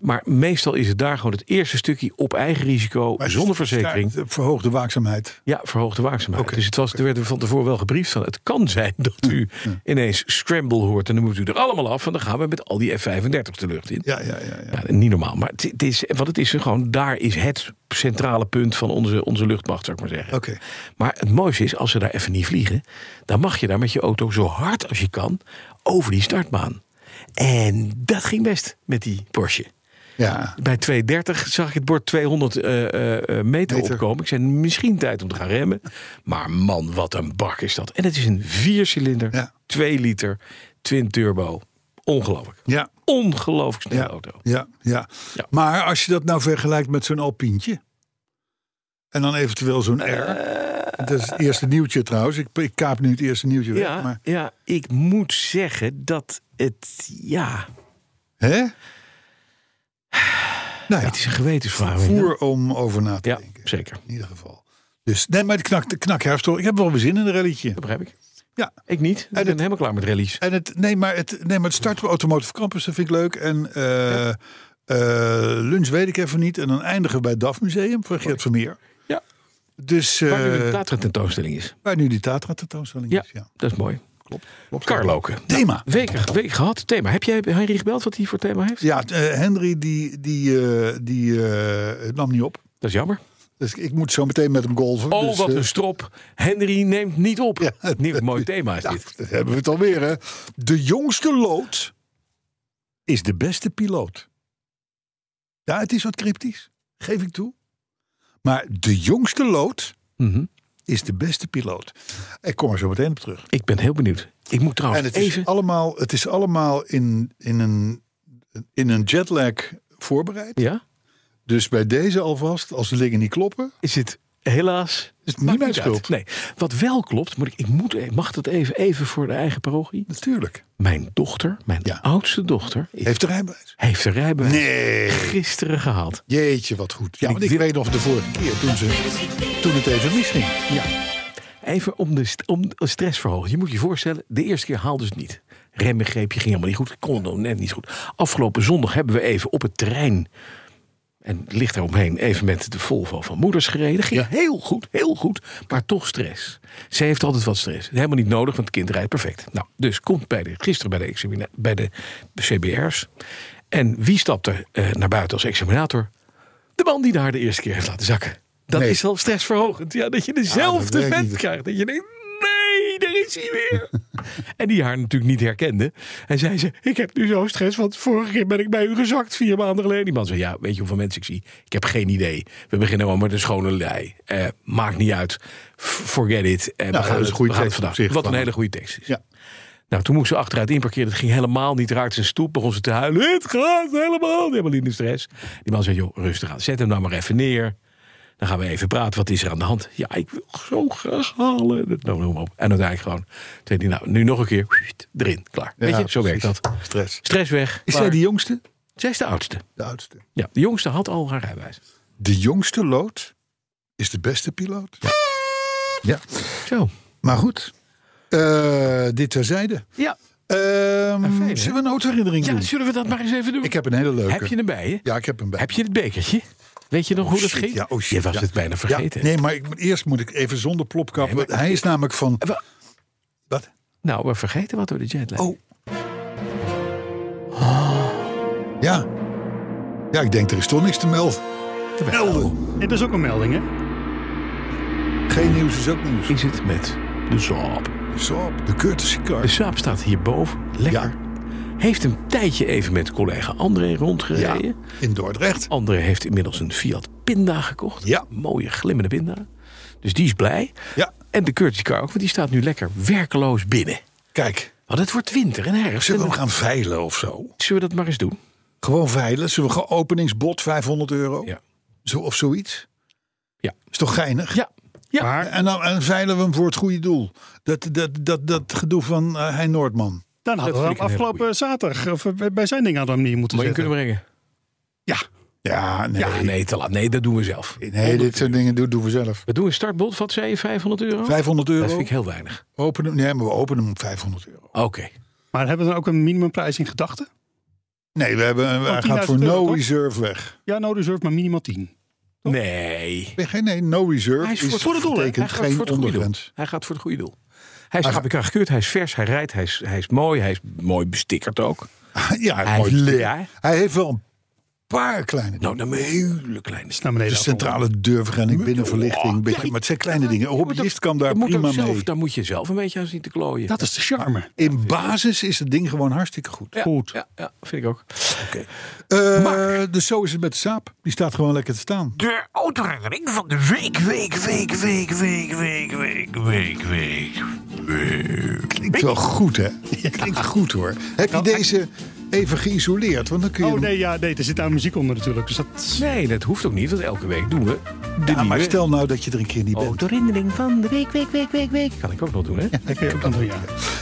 [SPEAKER 3] Maar meestal is het daar gewoon het eerste stukje op eigen risico,
[SPEAKER 2] Maar
[SPEAKER 3] zonder
[SPEAKER 2] het-
[SPEAKER 3] verzekering.
[SPEAKER 2] daar- Verhoogde waakzaamheid.
[SPEAKER 3] Ja, verhoogde waakzaamheid.
[SPEAKER 2] Oké,
[SPEAKER 3] Dus het was, er werd van tevoren wel gebriefd van... het kan zijn dat u
[SPEAKER 2] Mm.
[SPEAKER 3] ineens scramble hoort... en dan moet u er allemaal af... en dan gaan we met al die F-35's de lucht in.
[SPEAKER 2] Ja, ja, ja. ja.
[SPEAKER 3] Ja, niet normaal, maar het, het is, wat het is er gewoon... daar is het centrale punt van onze, onze luchtmacht, zou ik maar zeggen.
[SPEAKER 2] Oké.
[SPEAKER 3] Maar het mooiste is, als ze daar even niet vliegen... dan mag je daar met je auto zo hard als je kan over die startbaan. En dat ging best met die Porsche.
[SPEAKER 2] Ja.
[SPEAKER 3] Bij 230 zag ik het bord 200 eh, eh, eh, meter,
[SPEAKER 2] Meter.
[SPEAKER 3] opkomen. Ik zei misschien tijd om te gaan remmen. Maar man, wat een bak is dat. En het is een viercilinder,
[SPEAKER 2] Ja.
[SPEAKER 3] 2 liter, twin turbo. Ongelooflijk.
[SPEAKER 2] Ja.
[SPEAKER 3] Ongelooflijk snelle
[SPEAKER 2] Ja,
[SPEAKER 3] auto.
[SPEAKER 2] ja, ja.
[SPEAKER 3] Ja.
[SPEAKER 2] Maar als je dat nou vergelijkt met zo'n Alpientje. En dan eventueel zo'n R. dat is het eerste nieuwtje trouwens. Ik, ik kaap nu het eerste nieuwtje weg.
[SPEAKER 3] Eh. Ja,
[SPEAKER 2] Maar,
[SPEAKER 3] ja, ik moet zeggen dat het, ja,
[SPEAKER 2] hè? Nou ja,
[SPEAKER 3] het is een gewetensvraag.
[SPEAKER 2] voer om over na te
[SPEAKER 3] Ja,
[SPEAKER 2] denken.
[SPEAKER 3] zeker.
[SPEAKER 2] In ieder geval. Dus, nee, maar de knak, de knakherfst, hoor. Ik heb wel weer zin in een relletje.
[SPEAKER 3] Dat begrijp ik.
[SPEAKER 2] Ja.
[SPEAKER 3] Ik niet. Ik ben
[SPEAKER 2] het-
[SPEAKER 3] helemaal klaar met rallies.
[SPEAKER 2] En het, nee, maar het, nee, maar het starten op Automotive Campus, dat vind ik leuk. En eh, eh, lunch weet ik even niet. En dan eindigen we bij het DAF Museum van Geert Vermeer.
[SPEAKER 3] Ja.
[SPEAKER 2] Dus, eh,
[SPEAKER 3] Waar nu een Tatra tentoonstelling is.
[SPEAKER 2] Waar nu die Tatra tentoonstelling
[SPEAKER 3] Ja,
[SPEAKER 2] is. Ja.
[SPEAKER 3] dat is mooi.
[SPEAKER 2] Klopt.
[SPEAKER 3] Karloken.
[SPEAKER 2] Thema.
[SPEAKER 3] Week, week gehad, thema. Heb jij Henry gebeld wat hij voor thema heeft?
[SPEAKER 2] Ja, t- eh, Henry die, die, eh, die eh, het nam niet op.
[SPEAKER 3] Dat is jammer.
[SPEAKER 2] Dus ik moet zo meteen met hem golven.
[SPEAKER 3] Oh,
[SPEAKER 2] dus,
[SPEAKER 3] wat
[SPEAKER 2] eh,
[SPEAKER 3] een strop. Henry neemt niet op.
[SPEAKER 2] Ja.
[SPEAKER 3] Nieuw mooi thema is
[SPEAKER 2] nou,
[SPEAKER 3] dit.
[SPEAKER 2] dat hebben we het alweer, hè. De jongste lood is de beste piloot. Ja, het is wat cryptisch. Geef ik toe. Maar de jongste lood
[SPEAKER 3] Mhm.
[SPEAKER 2] is de beste piloot. Ik kom er zo meteen op terug.
[SPEAKER 3] Ik ben heel benieuwd. Ik moet
[SPEAKER 2] En
[SPEAKER 3] trouwens
[SPEAKER 2] het is
[SPEAKER 3] even...
[SPEAKER 2] allemaal, het is allemaal in, in, een, in een jetlag voorbereid.
[SPEAKER 3] Ja?
[SPEAKER 2] Dus bij deze alvast, als de dingen niet kloppen,
[SPEAKER 3] Is het helaas...
[SPEAKER 2] is het
[SPEAKER 3] Maakt
[SPEAKER 2] niet mijn
[SPEAKER 3] uit.
[SPEAKER 2] schuld.
[SPEAKER 3] Nee. Wat wel klopt, moet ik, ik moet, ik mag dat even, even voor de eigen parochie.
[SPEAKER 2] Natuurlijk.
[SPEAKER 3] Mijn dochter, mijn
[SPEAKER 2] Ja.
[SPEAKER 3] oudste dochter, is-
[SPEAKER 2] Heeft de rijbewijs?
[SPEAKER 3] heeft de rijbewijs
[SPEAKER 2] Nee.
[SPEAKER 3] gisteren gehaald.
[SPEAKER 2] Jeetje, wat goed. Ja, want ik
[SPEAKER 3] wil-
[SPEAKER 2] weet nog de vorige keer toen, ze, toen het even misging.
[SPEAKER 3] Even om de, st- om de stressverhoging. Je moet je voorstellen, de eerste keer haalden ze het niet. Remmengreepje ging helemaal niet goed. Kon het nog net niet goed. Afgelopen zondag hebben we even op het terrein... en het ligt eromheen even met de Volvo van moeders gereden. Ging heel goed, heel goed. Maar toch stress. Zij heeft altijd wat stress. Helemaal niet nodig, want het kind rijdt perfect. Nou, dus komt bij de, gisteren bij de, examina- bij de CBR's. En wie stapt er eh, naar buiten als examinator? De man die daar de eerste keer heeft laten zakken. Dat
[SPEAKER 2] Nee.
[SPEAKER 3] is al stressverhogend. Ja, dat je dezelfde
[SPEAKER 2] werkt
[SPEAKER 3] vent
[SPEAKER 2] niet.
[SPEAKER 3] krijgt. Dat je denkt, nee, daar is hij weer. en die haar natuurlijk niet herkende. En zei ze, ik heb nu zo stress, want vorige keer ben ik bij u gezakt vier maanden geleden. Die man zei, ja, weet je hoeveel mensen ik zie? Ik heb geen idee. We beginnen gewoon met een schone lei. Eh, maakt niet uit. F- Forget it. Eh,
[SPEAKER 2] Nou, dat
[SPEAKER 3] we gaan,
[SPEAKER 2] is
[SPEAKER 3] het,
[SPEAKER 2] een goede
[SPEAKER 3] we gaan
[SPEAKER 2] tekst
[SPEAKER 3] het
[SPEAKER 2] op
[SPEAKER 3] vandaag.
[SPEAKER 2] zich
[SPEAKER 3] Wat een
[SPEAKER 2] van
[SPEAKER 3] hele goede tekst is.
[SPEAKER 2] Ja.
[SPEAKER 3] Nou, toen moest ze achteruit inparkeren. Dat ging helemaal niet raakt zijn stoep. Begon ze te huilen. Het gaat helemaal. niet." Helemaal in de stress. Die man zei, joh, rustig aan. Zet hem nou maar even neer. Dan gaan we even praten. Wat is er aan de hand? Ja, ik wil zo graag halen. Dat- Nou, noem maar op. En uiteindelijk gewoon. Toen zei hij, nou, nu nog een keer. Erin. Klaar. Weet je, zo werkt
[SPEAKER 2] precies.
[SPEAKER 3] dat.
[SPEAKER 2] Stress.
[SPEAKER 3] Stress weg.
[SPEAKER 2] Is
[SPEAKER 3] klaar.
[SPEAKER 2] zij de jongste?
[SPEAKER 3] Zij is de oudste.
[SPEAKER 2] De oudste.
[SPEAKER 3] Ja, de jongste had al haar rijbewijs.
[SPEAKER 2] De jongste lood is de beste piloot. Ja,
[SPEAKER 3] Zo.
[SPEAKER 2] maar goed. Eh, dit terzijde.
[SPEAKER 3] Ja,
[SPEAKER 2] Ehm
[SPEAKER 3] fijn, hè?
[SPEAKER 2] zullen we een autoherinnering
[SPEAKER 3] ja,
[SPEAKER 2] doen?
[SPEAKER 3] zullen we dat maar eens even doen?
[SPEAKER 2] Ik heb een hele leuke.
[SPEAKER 3] Hmm. heb je hem bij je?
[SPEAKER 2] Ja, ik heb hem bij.
[SPEAKER 3] Heb je het bekertje? Weet je nog hoe dat
[SPEAKER 2] Shit,
[SPEAKER 3] ging?
[SPEAKER 2] Ja, oh shit,
[SPEAKER 3] je was
[SPEAKER 2] ja.
[SPEAKER 3] het bijna
[SPEAKER 2] Ja,
[SPEAKER 3] vergeten.
[SPEAKER 2] nee, maar ik, moet- eerst moet ik even zonder plopkap.
[SPEAKER 3] Nee, maar- Eh,
[SPEAKER 2] hij is namelijk van...
[SPEAKER 3] Wa-
[SPEAKER 2] Wat?
[SPEAKER 3] Nou, we vergeten wat door de jetlag.
[SPEAKER 2] Oh, Ah. Ja. Ja, ik denk er is toch niks te melden.
[SPEAKER 3] Te
[SPEAKER 2] Melden.
[SPEAKER 4] Dit is ook een melding, hè?
[SPEAKER 2] Geen nieuws is ook nieuws.
[SPEAKER 3] Is het met de Saab?
[SPEAKER 2] Saab, de courtesy
[SPEAKER 3] De
[SPEAKER 2] car.
[SPEAKER 3] Saab staat hierboven. Lekker. Heeft een tijdje even met collega André
[SPEAKER 2] Ja,
[SPEAKER 3] rondgereden.
[SPEAKER 2] in Dordrecht.
[SPEAKER 3] André heeft inmiddels een Fiat Pinda gekocht.
[SPEAKER 2] Ja.
[SPEAKER 3] Mooie glimmende Pinda. Dus die is blij.
[SPEAKER 2] Ja,
[SPEAKER 3] En de Curtis Car ook, want die staat nu lekker werkeloos binnen.
[SPEAKER 2] kijk.
[SPEAKER 3] Want het wordt winter en herfst.
[SPEAKER 2] Zullen we
[SPEAKER 3] en
[SPEAKER 2] hem gaan veilen of zo?
[SPEAKER 3] zullen we dat maar eens doen?
[SPEAKER 2] Gewoon veilen. Zullen we gewoon openingsbod 500 euro?
[SPEAKER 3] Ja.
[SPEAKER 2] Zo, of zoiets?
[SPEAKER 3] Ja.
[SPEAKER 2] Is toch geinig?
[SPEAKER 3] Ja. Ja.
[SPEAKER 2] En dan en veilen we hem voor het goede doel. Dat, dat, dat, dat gedoe van eh Hein Noordman.
[SPEAKER 4] Dan hadden we
[SPEAKER 3] vind
[SPEAKER 4] hem
[SPEAKER 3] ik een hele
[SPEAKER 4] afgelopen zaterdag of eh, bij- bij zijn ding hadden we hem niet moeten
[SPEAKER 3] Moet je
[SPEAKER 4] zetten.
[SPEAKER 3] kunnen brengen?
[SPEAKER 2] Ja, nee.
[SPEAKER 3] Ja, nee, te laat. Nee, dat doen we zelf.
[SPEAKER 2] Nee, dit soort dingen doen, doen we zelf.
[SPEAKER 3] We doen een startbod, wat zei je, 500 euro?
[SPEAKER 2] 500 euro.
[SPEAKER 3] Dat vind ik heel weinig.
[SPEAKER 2] Openen, nee, maar we openen hem op 500 euro.
[SPEAKER 3] Oké.
[SPEAKER 4] Maar hebben we dan ook een minimumprijs in gedachten?
[SPEAKER 2] Nee, we hebben, eh, hij gaat
[SPEAKER 4] 10.000
[SPEAKER 2] voor no
[SPEAKER 4] euro, toch?
[SPEAKER 2] reserve weg.
[SPEAKER 4] Ja, no reserve, maar minimaal 10.
[SPEAKER 3] Nee.
[SPEAKER 2] Nee, geen- nee, no reserve
[SPEAKER 3] Hij is voor het
[SPEAKER 2] voor
[SPEAKER 3] goede
[SPEAKER 2] de
[SPEAKER 3] doel. hè? Hij
[SPEAKER 2] betekent
[SPEAKER 3] gaat voor
[SPEAKER 2] geen
[SPEAKER 3] het goede doel.
[SPEAKER 2] ondergrens.
[SPEAKER 3] Hij gaat voor het goede doel. Hij is APK gekeurd, hij is vers, hij rijdt, hij is, hij is mooi, hij is mooi bestickerd ook.
[SPEAKER 2] Ja,
[SPEAKER 3] Hij
[SPEAKER 2] mooi.
[SPEAKER 3] heeft leer.
[SPEAKER 2] Hij heeft wel een paar kleine
[SPEAKER 3] Nou, dan een hele kleine
[SPEAKER 4] Is
[SPEAKER 3] stap.
[SPEAKER 4] naar beneden.
[SPEAKER 2] De centrale deurvergrendeling, binnenverlichting. Een beetje, maar het zijn kleine dingen. Een hobbyist kan daar
[SPEAKER 3] Je moet
[SPEAKER 2] prima
[SPEAKER 3] ook zelf,
[SPEAKER 2] mee.
[SPEAKER 3] Daar moet je zelf een beetje aan zien te klooien.
[SPEAKER 4] Dat is de charme.
[SPEAKER 2] In basis is het ding gewoon hartstikke goed.
[SPEAKER 3] ja,
[SPEAKER 4] goed.
[SPEAKER 3] Ja, ja, vind ik ook.
[SPEAKER 2] Eh, dus zo is het met de saap. Die staat gewoon lekker te staan.
[SPEAKER 5] De autoherinnering van de week, week, week, week, week, week, week, week, week, week.
[SPEAKER 2] Klinkt wel goed, hè? Klinkt goed, hoor. Heb
[SPEAKER 3] Nou,
[SPEAKER 2] je deze even geïsoleerd? Want dan kun je...
[SPEAKER 4] Oh
[SPEAKER 2] hem-
[SPEAKER 4] nee, ja, nee, er zit daar muziek onder natuurlijk. Dus dat...
[SPEAKER 3] Nee, dat hoeft ook niet, want elke week doen we de
[SPEAKER 2] Ja, maar
[SPEAKER 3] nieuwe
[SPEAKER 2] stel nou dat je er een keer niet
[SPEAKER 3] Oh.
[SPEAKER 2] bent.
[SPEAKER 3] autoherinnering van de week, week, week, week, week. Kan ik ook nog doen, hè?
[SPEAKER 4] Dat kun je ook dan doen, ja.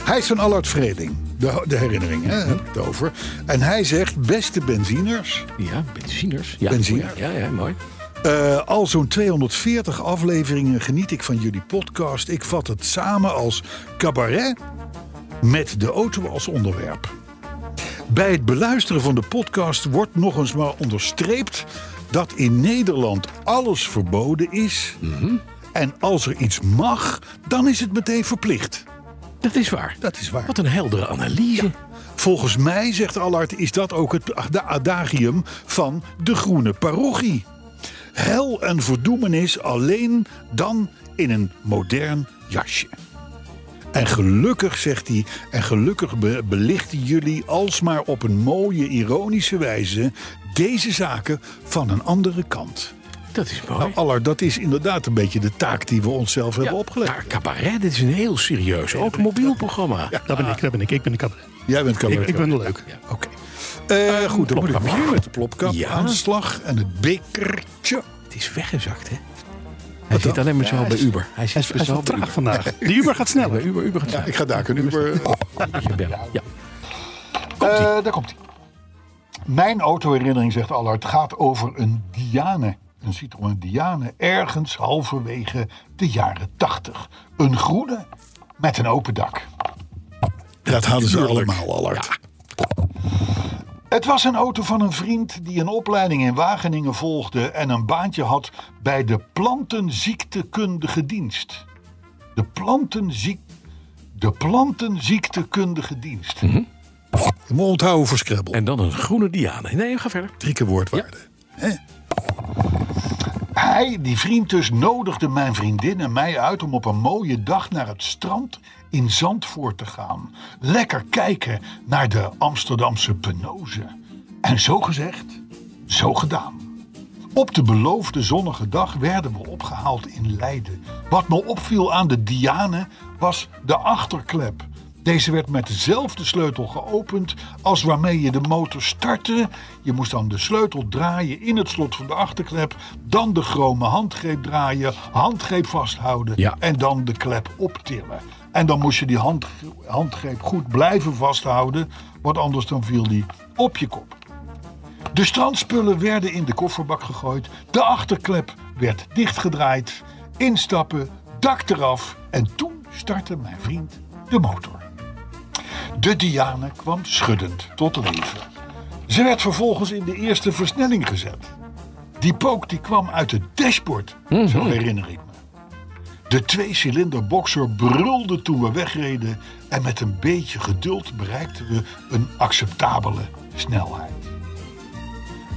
[SPEAKER 2] Hij is van Allard Vreding. De, de herinnering,
[SPEAKER 4] Mhm.
[SPEAKER 2] hè? Heb ik het over. En hij zegt, beste benziners...
[SPEAKER 3] Ja, benziners. Ja,
[SPEAKER 2] Benziner.
[SPEAKER 3] Ja, ja, mooi.
[SPEAKER 2] Eh, al zo'n 240 afleveringen geniet ik van jullie podcast. Ik vat het samen als cabaret met de auto als onderwerp. Bij het beluisteren van de podcast wordt nog eens maar onderstreept dat in Nederland alles verboden is.
[SPEAKER 4] Mhm.
[SPEAKER 2] En als er iets mag, dan is het meteen verplicht.
[SPEAKER 3] Dat is waar.
[SPEAKER 2] Dat is waar.
[SPEAKER 3] Wat een heldere analyse.
[SPEAKER 2] Volgens mij, zegt Allard, is dat ook het ad- adagium van de groene parochie. Hel en verdoemenis alleen dan in een modern jasje. En gelukkig, zegt hij, en gelukkig be- belichten jullie alsmaar op een mooie, ironische wijze deze zaken van een andere kant.
[SPEAKER 3] Dat is mooi.
[SPEAKER 2] Nou, Allard, dat is inderdaad een beetje de taak die we onszelf
[SPEAKER 3] Ja,
[SPEAKER 2] hebben opgelegd.
[SPEAKER 3] Maar cabaret, dit is een heel serieus automobielprogramma.
[SPEAKER 4] Dat ben ik, dat ben ik. Ik ben de cabaret.
[SPEAKER 2] Jij bent cabaretier.
[SPEAKER 4] Ik, ik ben de leuk.
[SPEAKER 2] Oké. Eh, goed, dan moet ik
[SPEAKER 3] plopkap.
[SPEAKER 2] weer met de plopkap
[SPEAKER 3] Ja.
[SPEAKER 2] aan de slag en het bekertje.
[SPEAKER 3] Het is weggezakt, hè? Hij
[SPEAKER 2] Wat
[SPEAKER 3] zit
[SPEAKER 2] dan?
[SPEAKER 3] alleen maar zo bij Uber. Hij
[SPEAKER 4] Hij
[SPEAKER 3] zit
[SPEAKER 4] is, hij is
[SPEAKER 3] zo
[SPEAKER 4] wel
[SPEAKER 3] bij
[SPEAKER 4] traag
[SPEAKER 3] Uber.
[SPEAKER 4] vandaag. De Uber gaat
[SPEAKER 3] Bij
[SPEAKER 4] sneller.
[SPEAKER 3] Uber, Uber gaat
[SPEAKER 2] Ja,
[SPEAKER 3] traag.
[SPEAKER 2] ik ga daar een Uber.
[SPEAKER 3] Je bellen. Ja.
[SPEAKER 2] Eh, daar komt hij. Mijn autoherinnering, zegt Allard, gaat over een Diane. Een Citroën Diane, ergens halverwege de jaren tachtig. Een groene met een open dak. Dat hadden ze allemaal, Allard. Het was een auto van een vriend die een opleiding in Wageningen volgde en een baantje had bij de plantenziektekundige dienst. De, plantenziek... de plantenziektekundige dienst. Je moet onthouden voor Scrabble.
[SPEAKER 3] En dan een groene Diane. Nee, ga verder.
[SPEAKER 2] drie keer woordwaarde. Hè? Hij, die vriend dus, nodigde mijn vriendin en mij uit om op een mooie dag naar het strand in Zandvoort te gaan. Lekker kijken naar de Amsterdamse penozen. En zo gezegd, zo gedaan. Op de beloofde zonnige dag werden we opgehaald in Leiden. Wat me opviel aan de Diane was de achterklep. Deze werd met dezelfde sleutel geopend als waarmee je de motor startte. Je moest dan de sleutel draaien in het slot van de achterklep, dan de chrome handgreep draaien, handgreep vasthouden
[SPEAKER 3] Ja.
[SPEAKER 2] en dan de klep optillen. En dan moest je die hand, handgreep goed blijven vasthouden, want anders dan viel die op je kop. De strandspullen werden in de kofferbak gegooid. De achterklep werd dichtgedraaid. Instappen, dak eraf. En toen startte mijn vriend de motor. De Diane kwam schuddend tot leven. Ze werd vervolgens in de eerste versnelling gezet. Die pook die kwam uit het dashboard, zo herinner ik me. De twee-cilinder boxer brulde toen we wegreden en met een beetje geduld bereikten we een acceptabele snelheid.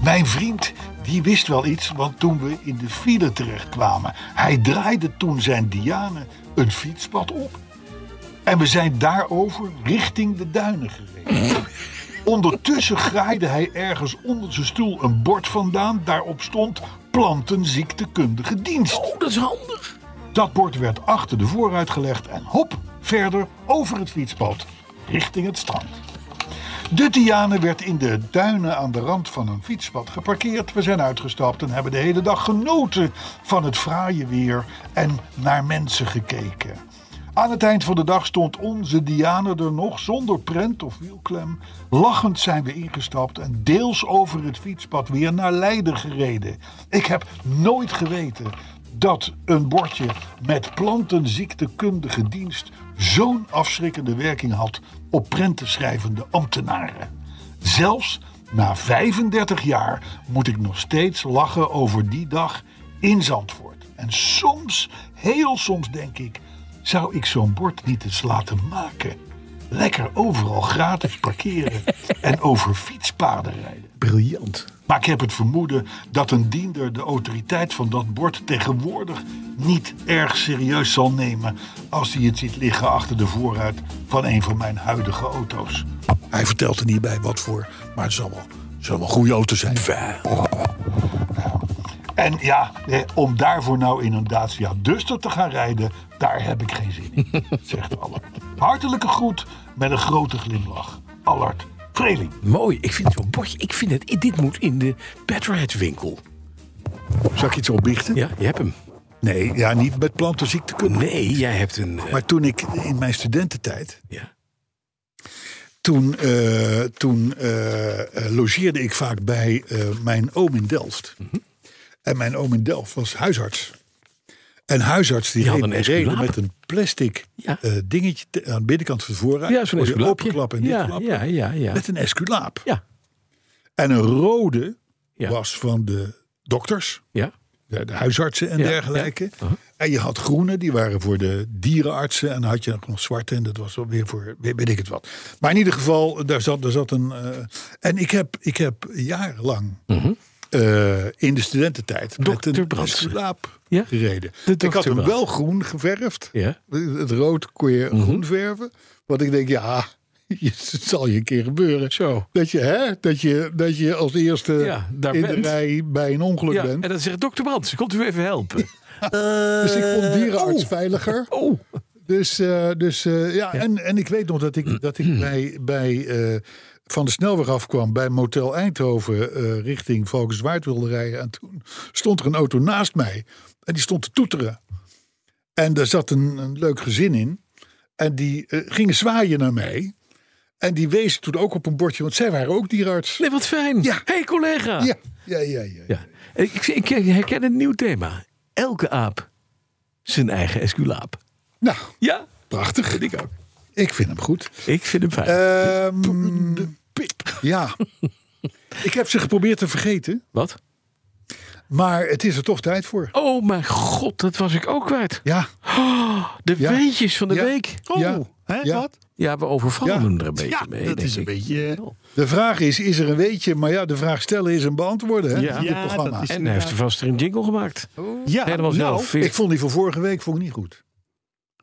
[SPEAKER 2] Mijn vriend die wist wel iets, want toen we in de file terechtkwamen, hij draaide toen zijn Diane een fietspad op. En we zijn daarover richting de duinen gereden. Ondertussen graaide hij ergens onder zijn stoel een bord vandaan. Daarop stond plantenziektekundige dienst.
[SPEAKER 3] Oh, dat is handig.
[SPEAKER 2] Dat bord werd achter de voorruit gelegd en hop, verder over het fietspad, richting het strand. De Diane werd in de duinen aan de rand van een fietspad geparkeerd. We zijn uitgestapt en hebben de hele dag genoten van het fraaie weer en naar mensen gekeken. Aan het eind van de dag stond onze Diane er nog zonder prent of wielklem. Lachend zijn we ingestapt en deels over het fietspad weer naar Leiden gereden. Ik heb nooit geweten dat een bordje met plantenziektekundige dienst zo'n afschrikkende werking had op prentenschrijvende ambtenaren. Zelfs na 35 jaar moet ik nog steeds lachen over die dag in Zandvoort. En soms, heel soms denk ik, zou ik zo'n bord niet eens laten maken. Lekker overal gratis parkeren en over fietspaden rijden.
[SPEAKER 3] Briljant.
[SPEAKER 2] Maar ik heb het vermoeden dat een diender de autoriteit van dat bord tegenwoordig niet erg serieus zal nemen als hij het ziet liggen achter de voorruit van een van mijn huidige auto's. Hij vertelt er niet bij wat voor, maar het zal wel, het zal wel een goede auto zijn. En ja, eh, om daarvoor nou in een Dacia Duster te gaan rijden, daar heb ik geen zin in, zegt Allard. Hartelijke groet met een grote glimlach. Allard Vreeling.
[SPEAKER 3] Mooi. Ik vind zo'n bordje. Ik vind het. Dit moet in de Petrohead winkel.
[SPEAKER 2] Zal ik iets opbiechten?
[SPEAKER 3] Ja, je hebt hem.
[SPEAKER 2] Nee, ja, niet met plantenziektekunde.
[SPEAKER 3] Nee, jij hebt een. eh,
[SPEAKER 2] Maar toen ik in mijn studententijd,
[SPEAKER 3] ja.
[SPEAKER 2] toen, eh, toen eh, eh, logeerde ik vaak bij eh, mijn oom in Delft.
[SPEAKER 3] Mhm.
[SPEAKER 2] En mijn oom in Delft was huisarts. En huisarts die,
[SPEAKER 3] Die had
[SPEAKER 2] reed-
[SPEAKER 3] een
[SPEAKER 2] reden
[SPEAKER 3] esculaap.
[SPEAKER 2] met een plastic
[SPEAKER 3] Ja.
[SPEAKER 2] eh, dingetje te- aan de binnenkant van de voorruit.
[SPEAKER 3] Ja, zo'n
[SPEAKER 2] Kon je
[SPEAKER 3] esculaapje.
[SPEAKER 2] openklappen en
[SPEAKER 3] Ja,
[SPEAKER 2] dichtklappen.
[SPEAKER 3] ja, ja, ja.
[SPEAKER 2] Met een esculaap.
[SPEAKER 3] Ja,
[SPEAKER 2] En een rode
[SPEAKER 3] Ja.
[SPEAKER 2] was van de dokters.
[SPEAKER 3] ja.
[SPEAKER 2] de, de huisartsen en
[SPEAKER 3] Ja, Uh-huh.
[SPEAKER 2] dergelijke.
[SPEAKER 3] ja. Aha.
[SPEAKER 2] En je had groene, die waren voor de dierenartsen. En dan had je ook nog zwarte, en dat was wel weer voor, weet weet ik het wat. Maar in ieder geval, daar zat, daar zat een... eh, en ik heb, ik heb jarenlang eh, in de studententijd met
[SPEAKER 3] Dr.
[SPEAKER 2] een
[SPEAKER 3] Uh-huh. Brandsen.
[SPEAKER 2] esculaap
[SPEAKER 3] Ja,
[SPEAKER 2] gereden.
[SPEAKER 3] de
[SPEAKER 2] Ik had
[SPEAKER 3] Dr.
[SPEAKER 2] hem wel
[SPEAKER 3] Brandsen. Uh-huh.
[SPEAKER 2] groen geverfd.
[SPEAKER 3] Ja.
[SPEAKER 2] Het rood kon je groen verven. Want ik denk, ja, het zal je een keer gebeuren.
[SPEAKER 3] Zo.
[SPEAKER 2] Dat je, hè, dat je, dat je als eerste
[SPEAKER 3] Ja, daar
[SPEAKER 2] in
[SPEAKER 3] bent.
[SPEAKER 2] de rij bij een ongeluk
[SPEAKER 3] ja.
[SPEAKER 2] bent.
[SPEAKER 3] En dan zegt dokter Brands, komt u even helpen?
[SPEAKER 2] Dus ik vond dierenarts
[SPEAKER 3] oh.
[SPEAKER 2] veiliger.
[SPEAKER 3] Oh,
[SPEAKER 2] Dus, eh, dus eh, ja, En, en ik weet nog dat ik, dat ik bij, bij eh, van de snelweg afkwam bij Motel Eindhoven eh, richting Valkenswaard wilde rijden. En toen stond er een auto naast mij en die stond te toeteren. En daar zat een, een leuk gezin in. En die eh, gingen zwaaien naar mij. En die wezen toen ook op een bordje, want zij waren ook dierenarts.
[SPEAKER 3] nee, wat fijn.
[SPEAKER 2] Ja.
[SPEAKER 3] hey, collega.
[SPEAKER 2] Ja, ja, ja, ja.
[SPEAKER 3] Ja. Ik, ik herken een nieuw thema. Elke aap zijn eigen esculaap.
[SPEAKER 2] Nou,
[SPEAKER 3] Ja,
[SPEAKER 2] prachtig.
[SPEAKER 3] vind ik ook.
[SPEAKER 2] Ik vind hem goed.
[SPEAKER 3] Ik vind hem fijn.
[SPEAKER 2] Ehm, Ja. ik heb ze geprobeerd te vergeten,
[SPEAKER 3] wat?
[SPEAKER 2] maar het is er toch tijd voor.
[SPEAKER 3] Oh mijn god, dat was ik ook kwijt.
[SPEAKER 2] Ja,
[SPEAKER 3] De
[SPEAKER 2] Ja.
[SPEAKER 3] weetjes van de
[SPEAKER 2] Ja.
[SPEAKER 3] week.
[SPEAKER 4] Oh,
[SPEAKER 2] Ja.
[SPEAKER 4] hè,
[SPEAKER 2] Ja.
[SPEAKER 4] wat?
[SPEAKER 3] Ja, we overvallen
[SPEAKER 2] Ja.
[SPEAKER 3] hem er een beetje
[SPEAKER 4] Ja,
[SPEAKER 3] mee.
[SPEAKER 4] dat
[SPEAKER 3] denk
[SPEAKER 4] is een
[SPEAKER 3] ik.
[SPEAKER 4] beetje... eh,
[SPEAKER 2] de vraag is, is er een weetje? Maar ja, de vraag stellen is een beantwoorden hè,
[SPEAKER 3] Ja.
[SPEAKER 2] in dit
[SPEAKER 4] Ja,
[SPEAKER 2] programma.
[SPEAKER 4] dat is-
[SPEAKER 3] En eh, hij heeft er vast een jingle gemaakt.
[SPEAKER 4] Ja,
[SPEAKER 3] Helemaal
[SPEAKER 4] nou,
[SPEAKER 3] zelf.
[SPEAKER 2] Ik vond die van vorige week vond ik niet goed.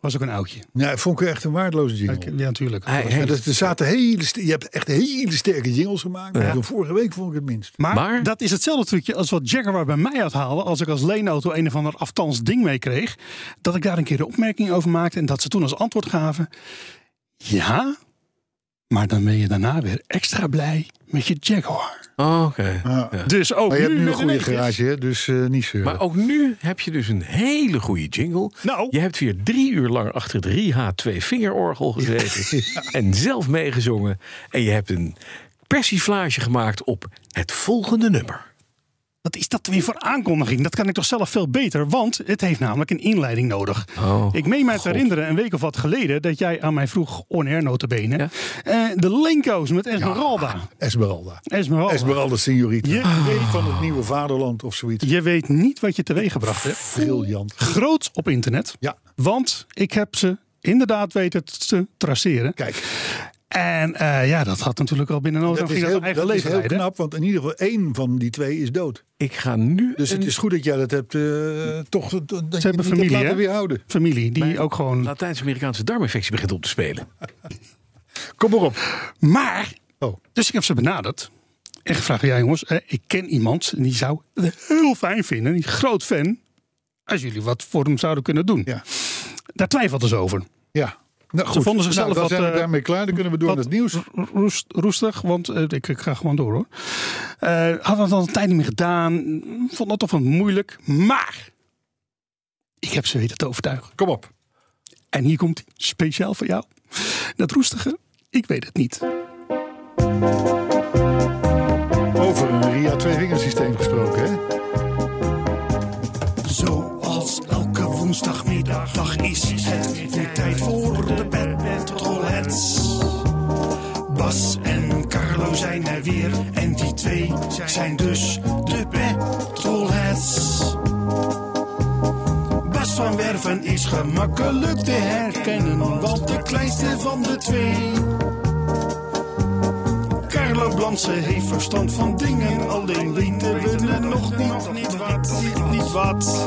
[SPEAKER 4] was ook een oudje.
[SPEAKER 2] Nee, vond ik echt een waardeloze jingle.
[SPEAKER 4] Ja, natuurlijk.
[SPEAKER 3] Hij-
[SPEAKER 2] Ja,
[SPEAKER 3] hij-
[SPEAKER 2] dat, er zaten hele, st- je hebt echt hele sterke jingles gemaakt. maar van vorige week vond ik het minst.
[SPEAKER 4] Maar,
[SPEAKER 3] Maar-
[SPEAKER 4] dat is hetzelfde trucje als wat Jaguar bij mij uithaalde. Als ik als leenauto een of ander aftans ding mee kreeg. Dat ik daar een keer de opmerking over maakte. En dat ze toen als antwoord gaven. Ja, maar dan ben je daarna weer extra blij met je Jaguar.
[SPEAKER 3] Oh, Oké.
[SPEAKER 2] Ja.
[SPEAKER 4] Dus ook
[SPEAKER 2] Maar je hebt
[SPEAKER 4] nu
[SPEAKER 2] nu een
[SPEAKER 4] met
[SPEAKER 2] goede
[SPEAKER 4] weetjes.
[SPEAKER 2] garage, hè, dus eh, niet zeuren.
[SPEAKER 3] Maar ook nu heb je dus een hele goede jingle.
[SPEAKER 4] Nou.
[SPEAKER 3] Je hebt weer drie uur lang achter het RIH2 vingerorgel gezeten. En zelf meegezongen. En je hebt een persiflage gemaakt op het volgende nummer.
[SPEAKER 4] Wat is dat weer voor aankondiging? Dat kan ik toch zelf veel beter, want het heeft namelijk een inleiding nodig.
[SPEAKER 3] Oh,
[SPEAKER 4] ik meen mij te herinneren, een week of wat geleden, dat jij aan mij vroeg, on-air notabene,
[SPEAKER 3] Ja.
[SPEAKER 4] eh, de Lenko's met Esmeralda.
[SPEAKER 2] Esmeralda.
[SPEAKER 4] Esmeralda.
[SPEAKER 2] Esmeralda Signorita.
[SPEAKER 4] Je-
[SPEAKER 2] Je weet van het nieuwe vaderland of zoiets.
[SPEAKER 4] Je weet niet wat je teweeggebracht hebt.
[SPEAKER 2] Briljant.
[SPEAKER 4] Groot op internet,
[SPEAKER 2] Ja,
[SPEAKER 4] want ik heb ze inderdaad weten te traceren.
[SPEAKER 2] kijk.
[SPEAKER 4] En eh, ja, dat had natuurlijk al binnen nood.
[SPEAKER 2] Dat is
[SPEAKER 4] ging dat
[SPEAKER 2] heel,
[SPEAKER 4] eigen
[SPEAKER 2] dat is
[SPEAKER 4] leven
[SPEAKER 2] heel
[SPEAKER 4] leiden.
[SPEAKER 2] knap, want in ieder geval één van die twee is dood.
[SPEAKER 3] ik ga nu.
[SPEAKER 2] Dus het
[SPEAKER 3] een
[SPEAKER 2] is goed dat jij dat hebt eh, toch. Dat je het
[SPEAKER 4] hebben
[SPEAKER 2] niet
[SPEAKER 4] familie,
[SPEAKER 2] hebt laten
[SPEAKER 4] hè?
[SPEAKER 2] weerhouden.
[SPEAKER 4] Familie, die ook gewoon...
[SPEAKER 3] Latijns-Amerikaanse darminfectie begint op te spelen.
[SPEAKER 2] Kom maar op.
[SPEAKER 4] Maar,
[SPEAKER 2] Oh.
[SPEAKER 4] dus ik heb ze benaderd. En gevraagd, ja jongens, eh, ik ken iemand en die zou het heel fijn vinden. Die is groot fan. Als jullie wat voor hem zouden kunnen doen.
[SPEAKER 2] Ja.
[SPEAKER 4] Daar twijfelden ze over.
[SPEAKER 2] Ja. Nou, goed.
[SPEAKER 4] vonden zichzelf
[SPEAKER 2] nou, dan
[SPEAKER 4] wat,
[SPEAKER 2] zijn we
[SPEAKER 4] eh,
[SPEAKER 2] daarmee klaar. Dan kunnen we door
[SPEAKER 4] wat-
[SPEAKER 2] naar het nieuws.
[SPEAKER 4] roest, roestig, want eh, ik, ik ga gewoon door hoor. Eh had dat al een tijd niet meer gedaan. Vond dat toch wat moeilijk. Maar ik heb ze weten te overtuigen.
[SPEAKER 2] Kom op.
[SPEAKER 4] En hier komt speciaal voor jou. Dat roestige, ik weet het niet.
[SPEAKER 2] Over een Ria twee vingers systeem gesproken. Hè?
[SPEAKER 6] Zoals elke woensdagmiddag dag is het weer tijd voor de Bad Petrolheads. Bas en Carlo zijn er weer en die twee zijn dus de Petrolheads. Bas van Werven is gemakkelijk te herkennen, want de kleinste van de twee. Carlo Blansen heeft verstand van dingen, alleen weten we het nog niet. Niet wat, niet wat.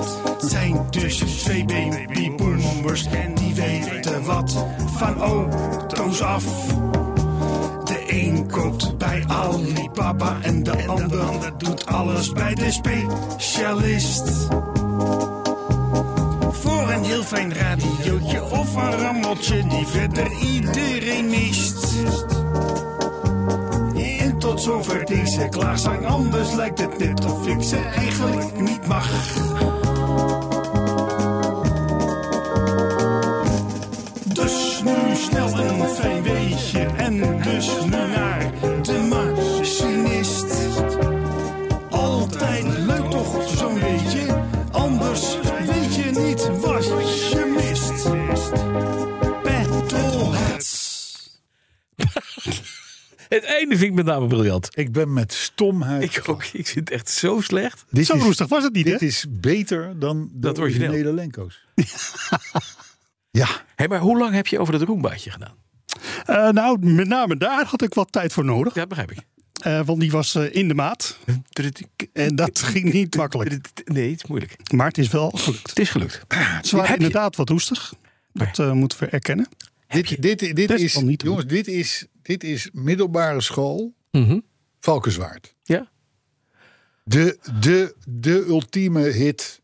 [SPEAKER 6] Zijn dus twee babyboomers en die weten wat van auto's af. De een koopt bij Alibaba en de ander doet alles bij de specialist. Voor een heel fijn radiootje of een rammeltje die verder iedereen mist. En tot zover deze klaagzang, anders lijkt het net of ik ze eigenlijk niet mag. Dus nu snel een fijn weetje en dus nu naar de machinist. Altijd leuk toch zo'n beetje, anders weet je niet wat je mist. Petrolheads.
[SPEAKER 3] Het einde vind ik met name briljant.
[SPEAKER 2] Ik ben met stomheid.
[SPEAKER 3] Ik ook. Ik zit echt zo slecht.
[SPEAKER 2] dit
[SPEAKER 4] Zo
[SPEAKER 2] is,
[SPEAKER 4] roestig was het niet,
[SPEAKER 2] Dit
[SPEAKER 4] hè?
[SPEAKER 2] is beter dan de
[SPEAKER 3] Dat origineel.
[SPEAKER 2] originele Lenko's. ja.
[SPEAKER 3] Hé, maar hoe lang heb je over dat roombaatje gedaan?
[SPEAKER 4] Eh, nou, met name daar had ik wat tijd voor nodig.
[SPEAKER 3] Ja, begrijp ik.
[SPEAKER 4] eh, want die was eh, in de maat. En dat ging niet makkelijk.
[SPEAKER 3] Nee, het is moeilijk.
[SPEAKER 4] Maar het is wel gelukt.
[SPEAKER 3] Het is gelukt.
[SPEAKER 4] Ze waren
[SPEAKER 3] Heb je-
[SPEAKER 4] inderdaad wat roestig. Dat eh, moeten we erkennen.
[SPEAKER 2] Dit, dit, dit,
[SPEAKER 4] Best
[SPEAKER 2] is,
[SPEAKER 4] wel niet, hoor.
[SPEAKER 2] jongens, dit, is, dit is middelbare school
[SPEAKER 3] Mhm.
[SPEAKER 2] Valkenswaard.
[SPEAKER 3] Ja.
[SPEAKER 2] De, de, de ultieme hit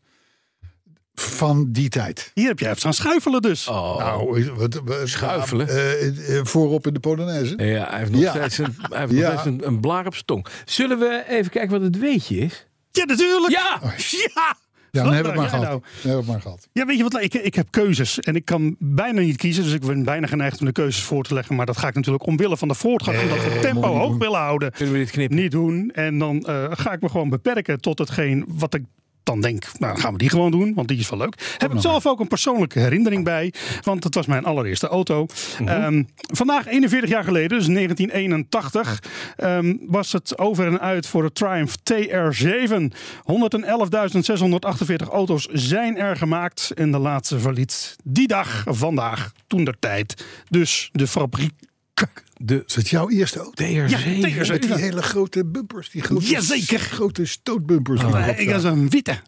[SPEAKER 2] van die tijd.
[SPEAKER 4] Hier heb jij even staan schuifelen dus.
[SPEAKER 3] Oh.
[SPEAKER 2] Nou, wat, wat-
[SPEAKER 3] Schuifelen.
[SPEAKER 2] eh, eh, voorop in de Polonaise.
[SPEAKER 3] Ja, hij heeft nog
[SPEAKER 2] Ja.
[SPEAKER 3] steeds, een, hij heeft nog
[SPEAKER 2] Ja.
[SPEAKER 3] steeds een, een blaar op zijn tong. Zullen we even kijken wat het weetje is?
[SPEAKER 4] Ja, natuurlijk. Oh,
[SPEAKER 3] Ja!
[SPEAKER 4] Ja.
[SPEAKER 2] Ja, dan
[SPEAKER 4] Wat
[SPEAKER 2] hebben we
[SPEAKER 4] nou,
[SPEAKER 2] het maar
[SPEAKER 4] jij
[SPEAKER 2] gehad. Dan hebben we het maar gehad.
[SPEAKER 4] Ja, weet je wat? Ik, ik heb keuzes en ik kan bijna niet kiezen. Dus ik ben bijna geneigd om de keuzes voor te leggen. Maar dat ga ik natuurlijk omwille van de voortgang. omdat we het tempo hoog willen houden.
[SPEAKER 3] Kunnen we dit knippen?
[SPEAKER 4] Niet doen. En dan eh, ga ik me gewoon beperken tot hetgeen wat ik dan denk. Nou, dan gaan we die gewoon doen, want die is wel leuk. Heb ik zelf ook een persoonlijke herinnering bij. Want dat was mijn allereerste auto. Ehm, vandaag, 41 jaar geleden, dus 1981... ehm, was het over en uit voor de Triumph TR7. 111.648 auto's zijn er gemaakt. En de laatste verliet die dag, vandaag, toen der tijd. Dus de fabriek.
[SPEAKER 3] De
[SPEAKER 2] Is het jouw eerste auto?
[SPEAKER 3] TR7.
[SPEAKER 4] Ja, TR7.
[SPEAKER 2] Met die hele grote bumpers. Die grote,
[SPEAKER 4] Jazeker. Oh,
[SPEAKER 2] grote stootbumpers. die erop
[SPEAKER 4] Ik Oh, was
[SPEAKER 2] zaten.
[SPEAKER 4] een witte.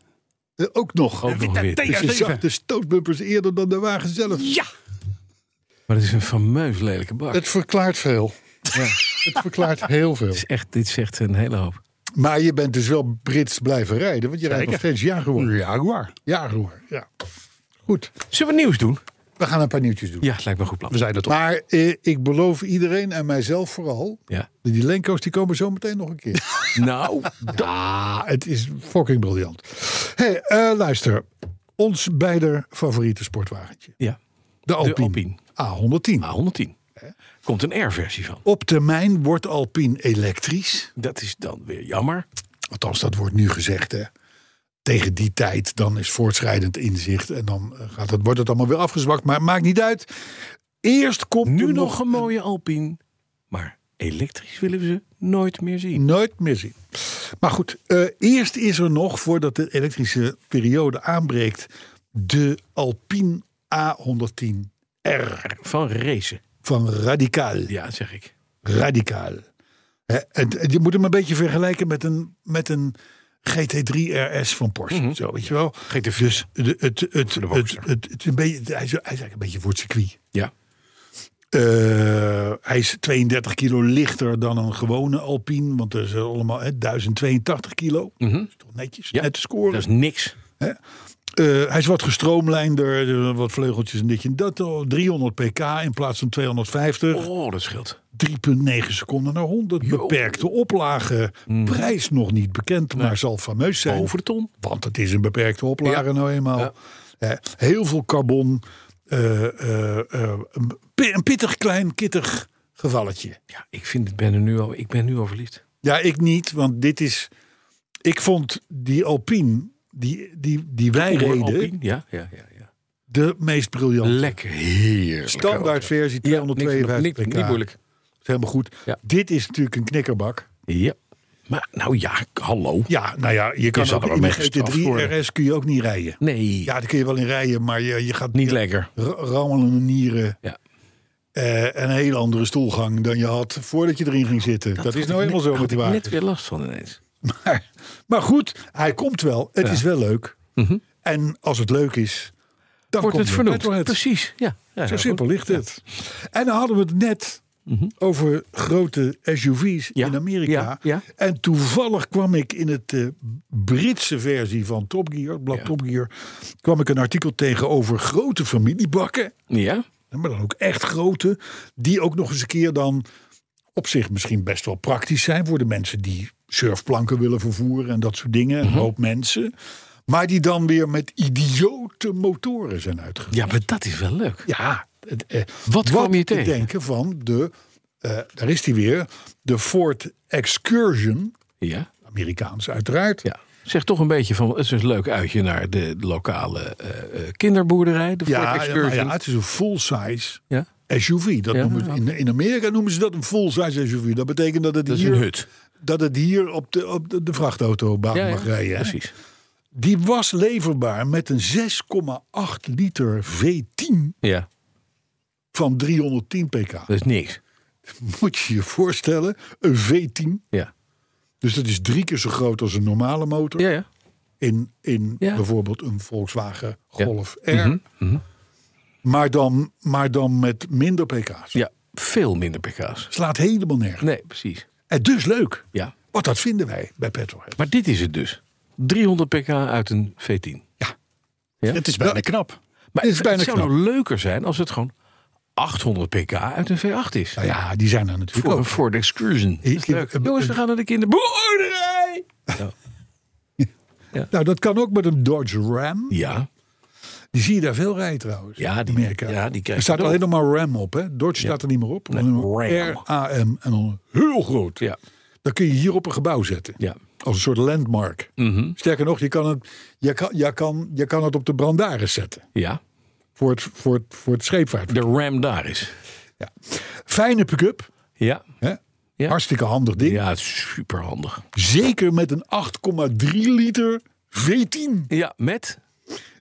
[SPEAKER 2] Eh, Ook nog.
[SPEAKER 3] Ook nog weer.
[SPEAKER 4] TR7.
[SPEAKER 2] Dus je zag de stootbumpers eerder dan de wagen zelf.
[SPEAKER 4] Ja!
[SPEAKER 3] Maar het is een fameus lelijke bak.
[SPEAKER 2] Het verklaart veel. Het verklaart heel veel.
[SPEAKER 3] is echt, dit zegt een hele hoop.
[SPEAKER 2] Maar je bent dus wel Brits blijven rijden, want je rijdt nog
[SPEAKER 4] Zeker.
[SPEAKER 2] steeds Jaguar.
[SPEAKER 4] Jaguar.
[SPEAKER 2] Jaguar, ja. Goed,
[SPEAKER 3] Zullen we nieuws doen?
[SPEAKER 2] we gaan een paar nieuwtjes doen.
[SPEAKER 3] Ja, het lijkt me een goed plan.
[SPEAKER 4] We zijn er toch.
[SPEAKER 2] Maar eh, ik beloof iedereen en mijzelf vooral,
[SPEAKER 3] Ja.
[SPEAKER 2] die Lenko's die komen zo meteen nog een keer.
[SPEAKER 3] Nou,
[SPEAKER 2] ja, het is fucking briljant. hey, eh, luister. Ons beider favoriete sportwagentje.
[SPEAKER 3] ja.
[SPEAKER 2] De
[SPEAKER 3] De
[SPEAKER 2] Alpine.
[SPEAKER 3] Alpine. Ah.
[SPEAKER 2] A110.
[SPEAKER 3] A110. Komt een R-versie van.
[SPEAKER 2] Op termijn wordt Alpine elektrisch.
[SPEAKER 3] Dat is dan weer jammer.
[SPEAKER 2] Althans, dat wordt nu gezegd. Hè. Tegen die tijd, dan is voortschrijdend inzicht. En dan eh, gaat het, wordt het allemaal weer afgezwakt. Maar maakt niet uit. Eerst komt
[SPEAKER 3] Nu
[SPEAKER 2] er
[SPEAKER 3] nog een mooie Alpine, maar elektrisch willen we ze nooit meer zien.
[SPEAKER 2] Nooit meer zien. Maar goed, eh, eerst is er nog, voordat de elektrische periode aanbreekt, de Alpine A110R
[SPEAKER 3] Van racen,
[SPEAKER 2] van Radicaal.
[SPEAKER 3] ja zeg ik.
[SPEAKER 2] Radicaal. Hè, en, en je moet hem een beetje vergelijken met een, met een GT3 RS van Porsche.
[SPEAKER 3] Mhm.
[SPEAKER 2] Zo, weet je wel.
[SPEAKER 3] GT4.
[SPEAKER 2] Dus de- het, het, het, het,
[SPEAKER 3] de Boxster.
[SPEAKER 2] het- het is een beetje, hij is hij is eigenlijk een beetje voor het circuit.
[SPEAKER 3] Ja,
[SPEAKER 2] Eh, hij is 32 kilo lichter dan een gewone Alpine. Want dat is allemaal hè, 1082 kilo. Dat is toch netjes,
[SPEAKER 3] Mhm.
[SPEAKER 2] net
[SPEAKER 3] Ja, Dus-
[SPEAKER 2] te
[SPEAKER 3] dat
[SPEAKER 2] scoren.
[SPEAKER 3] is niks.
[SPEAKER 2] Eh, hij is wat gestroomlijnder, eh, wat vleugeltjes en ditje en dat. Oh, 300 pk in plaats van 250.
[SPEAKER 3] Oh, dat scheelt.
[SPEAKER 2] 3,9 seconden naar 100. Beperkte oplage.
[SPEAKER 3] Mhm.
[SPEAKER 2] Prijs nog niet bekend, maar zal fameus zijn.
[SPEAKER 3] Over de ton.
[SPEAKER 2] Want het is een beperkte oplage
[SPEAKER 3] Oh. Ja.
[SPEAKER 2] nou eenmaal.
[SPEAKER 3] Ja.
[SPEAKER 2] Eh, heel veel carbon. Eh, eh, eh, een pi- een pittig, klein, kittig gevalletje.
[SPEAKER 3] Ja, ik vind het, ben er nu al, ik ben nu al verliefd.
[SPEAKER 2] Ja, ik niet, want dit is... Ik vond die Alpine, die, die, die wij
[SPEAKER 3] Voor
[SPEAKER 2] reden,
[SPEAKER 3] Alpine, Ja, ja, ja. ja.
[SPEAKER 2] de meest briljante.
[SPEAKER 3] Lekker, heerlijk.
[SPEAKER 2] Standaard versie,
[SPEAKER 3] Ja, niks-
[SPEAKER 2] 252
[SPEAKER 3] niks-
[SPEAKER 2] pk.
[SPEAKER 3] Niet moeilijk.
[SPEAKER 2] Is helemaal goed.
[SPEAKER 3] Ja.
[SPEAKER 2] Dit is natuurlijk een knikkerbak.
[SPEAKER 3] Ja. Maar nou ja, hallo.
[SPEAKER 2] Ja, nou ja, je kan
[SPEAKER 3] zal
[SPEAKER 2] ook
[SPEAKER 3] er ook
[SPEAKER 2] in de
[SPEAKER 3] mee gestraft worden.
[SPEAKER 2] GT3 RS kun je ook niet rijden.
[SPEAKER 3] Nee,
[SPEAKER 2] Ja, daar kun je wel in rijden, maar je, je gaat
[SPEAKER 3] niet
[SPEAKER 2] je-
[SPEAKER 3] lekker.
[SPEAKER 2] ra- rammelende nieren.
[SPEAKER 3] Ja.
[SPEAKER 2] eh, en een hele andere stoelgang dan je had voordat je erin ging zitten. Dat, is nou helemaal zo
[SPEAKER 3] Had
[SPEAKER 2] met die
[SPEAKER 3] ik
[SPEAKER 2] wagen.
[SPEAKER 3] net weer last van ineens.
[SPEAKER 2] Maar, maar goed, hij komt wel. Het is wel leuk.
[SPEAKER 3] Mhm.
[SPEAKER 2] En als het leuk is, dan
[SPEAKER 3] Wordt
[SPEAKER 2] komt
[SPEAKER 3] het vernoemd.
[SPEAKER 2] Petrolhead.
[SPEAKER 3] Precies, ja. ja
[SPEAKER 2] Zo
[SPEAKER 3] ja,
[SPEAKER 2] simpel
[SPEAKER 3] goed.
[SPEAKER 2] ligt het. En dan hadden we het net over grote SUV's
[SPEAKER 3] Ja,
[SPEAKER 2] in Amerika.
[SPEAKER 3] ja, ja.
[SPEAKER 2] En toevallig kwam ik in het eh, Britse versie van Top Gear, het blad
[SPEAKER 3] Ja.
[SPEAKER 2] Top Gear, kwam ik een artikel tegen over grote familiebakken.
[SPEAKER 3] Ja,
[SPEAKER 2] Maar dan ook echt grote, die ook nog eens een keer dan op zich misschien best wel praktisch zijn voor de mensen die surfplanken willen vervoeren en dat soort dingen.
[SPEAKER 3] Mhm.
[SPEAKER 2] Een hoop mensen. Maar die dan weer met idiote motoren zijn uitgegaan.
[SPEAKER 3] ja, maar dat is wel leuk.
[SPEAKER 2] Ja, het, eh,
[SPEAKER 3] Wat kwam je
[SPEAKER 2] te
[SPEAKER 3] tegen?
[SPEAKER 2] denken van de, eh, daar is hij weer, de Ford Excursion,
[SPEAKER 3] Ja.
[SPEAKER 2] Amerikaans uiteraard.
[SPEAKER 3] ja. Zeg toch een beetje van, het is een leuk uitje naar de lokale eh, eh, kinderboerderij. De Ford
[SPEAKER 2] Ja,
[SPEAKER 3] Excursion.
[SPEAKER 2] maar ja, het is een full-size
[SPEAKER 3] Ja,
[SPEAKER 2] SUV. Dat
[SPEAKER 3] Ja,
[SPEAKER 2] noemen ze- in, in Amerika noemen ze dat een full-size SUV. Dat betekent dat het
[SPEAKER 3] dat is
[SPEAKER 2] hier,
[SPEAKER 3] een hut.
[SPEAKER 2] Dat het hier op de, op de, de vrachtautobaan
[SPEAKER 3] Ja, ja,
[SPEAKER 2] mag rijden. hè.
[SPEAKER 3] precies.
[SPEAKER 2] Die was leverbaar met een 6,8 liter V10
[SPEAKER 3] Ja,
[SPEAKER 2] van 310 pk.
[SPEAKER 3] dat is niks.
[SPEAKER 2] Moet je je voorstellen, een V10
[SPEAKER 3] Ja,
[SPEAKER 2] Dus dat is drie keer zo groot als een normale motor.
[SPEAKER 3] ja, ja.
[SPEAKER 2] In, in
[SPEAKER 3] Ja.
[SPEAKER 2] bijvoorbeeld een Volkswagen
[SPEAKER 3] Ja. Mhm,
[SPEAKER 2] Golf R. maar, dan, maar dan met minder pk's.
[SPEAKER 3] ja veel minder pk's.
[SPEAKER 2] Slaat helemaal nergens.
[SPEAKER 3] Nee, precies.
[SPEAKER 2] En dus leuk.
[SPEAKER 3] Ja.
[SPEAKER 2] Want dat vinden wij bij Petrolhead.
[SPEAKER 3] Maar dit is het dus. 300 pk uit een V10.
[SPEAKER 4] Het is bijna knap.
[SPEAKER 3] Maar
[SPEAKER 2] Dit is bijna
[SPEAKER 3] het zou
[SPEAKER 2] knap.
[SPEAKER 3] nou leuker zijn als het gewoon 800 pk uit een V8 is.
[SPEAKER 2] Nou ja, die zijn er natuurlijk
[SPEAKER 3] voor een
[SPEAKER 2] ook.
[SPEAKER 3] Ford Excursion. Dat is
[SPEAKER 2] ik-
[SPEAKER 3] leuk.
[SPEAKER 2] eh,
[SPEAKER 3] Jongens, we gaan naar de kinderboerderij.
[SPEAKER 2] Nou, dat kan ook met een Dodge Ram.
[SPEAKER 3] Ja,
[SPEAKER 2] Die zie je daar veel rijden trouwens.
[SPEAKER 3] Ja, die-
[SPEAKER 2] in Amerika.
[SPEAKER 3] ja, die krijg
[SPEAKER 2] er staat
[SPEAKER 3] je
[SPEAKER 2] alleen nog maar Ram op. Hè? Dodge staat er niet meer op.
[SPEAKER 3] Nee, Ram.
[SPEAKER 2] R-A-M. En dan heel groot.
[SPEAKER 3] ja,
[SPEAKER 2] Dan kun je hier op een gebouw zetten.
[SPEAKER 3] ja.
[SPEAKER 2] Als een soort landmark.
[SPEAKER 3] Mhm.
[SPEAKER 2] Sterker nog, je kan het, je kan, je kan, je kan het op de brandaris zetten.
[SPEAKER 3] Ja,
[SPEAKER 2] Voor het, voor het, voor het scheepvaart.
[SPEAKER 3] de Ram daar is.
[SPEAKER 2] Fijne pick-up.
[SPEAKER 3] Ja,
[SPEAKER 2] Hè?
[SPEAKER 3] Ja.
[SPEAKER 2] Hartstikke handig ding.
[SPEAKER 3] ja super handig.
[SPEAKER 2] Zeker met een 8,3 liter V10.
[SPEAKER 3] Ja, met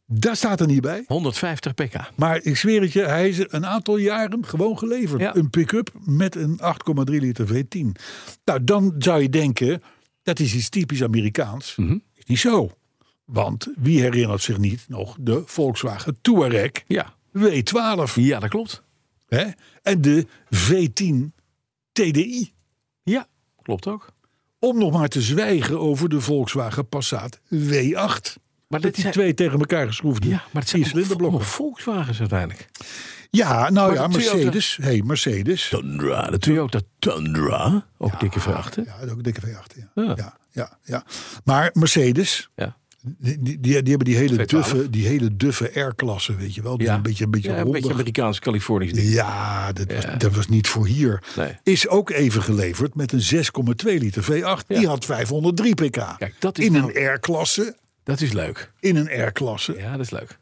[SPEAKER 2] Daar staat er niet bij.
[SPEAKER 3] 150 pk.
[SPEAKER 2] Maar ik zweer het je, hij is een aantal jaren gewoon geleverd.
[SPEAKER 3] Ja.
[SPEAKER 2] Een pick-up met een 8,3 liter V10. Nou, dan zou je denken, dat is iets typisch Amerikaans. Is niet zo. Want wie herinnert zich niet nog de Volkswagen Touareg
[SPEAKER 3] Ja.
[SPEAKER 2] W12?
[SPEAKER 3] ja, dat klopt.
[SPEAKER 2] Hè? En de V10 TDI.
[SPEAKER 3] Ja, klopt ook.
[SPEAKER 2] Om nog maar te zwijgen over de Volkswagen Passat W8.
[SPEAKER 3] Maar
[SPEAKER 2] Dat
[SPEAKER 3] dit
[SPEAKER 2] die
[SPEAKER 3] zijn,
[SPEAKER 2] twee tegen elkaar geschroefd
[SPEAKER 3] ja, maar het zijn
[SPEAKER 2] die
[SPEAKER 3] allemaal- allemaal
[SPEAKER 2] cilinderblokken.
[SPEAKER 3] Volkswagens uiteindelijk.
[SPEAKER 2] Ja, nou
[SPEAKER 3] Maar
[SPEAKER 2] ja,
[SPEAKER 3] de Toyota-
[SPEAKER 2] Mercedes. hey, Mercedes.
[SPEAKER 3] Tundra, de Toyota Tundra. Ook dikke vrachten.
[SPEAKER 2] Ja, dat is ook een dikke V8. Ja.
[SPEAKER 3] Ja.
[SPEAKER 2] Ja. Ja, ja, Maar Mercedes,
[SPEAKER 3] Ja.
[SPEAKER 2] Die, die, die hebben die hele
[SPEAKER 3] 212.
[SPEAKER 2] duffe, die hele duffe R-klasse, weet je wel. Dus
[SPEAKER 3] Ja.
[SPEAKER 2] een beetje, een beetje
[SPEAKER 3] Ja, een
[SPEAKER 2] rondig.
[SPEAKER 3] beetje Amerikaans, Californisch ding.
[SPEAKER 2] Ja, dat, Was, dat was niet voor hier.
[SPEAKER 3] Nee.
[SPEAKER 2] Is ook even geleverd met een 6,2 liter V8. Die
[SPEAKER 3] Ja.
[SPEAKER 2] had 503 pk.
[SPEAKER 3] Kijk, dat is
[SPEAKER 2] in
[SPEAKER 3] nou-
[SPEAKER 2] een R-klasse.
[SPEAKER 3] Dat is leuk.
[SPEAKER 2] In een R-klasse.
[SPEAKER 3] Ja, dat is leuk.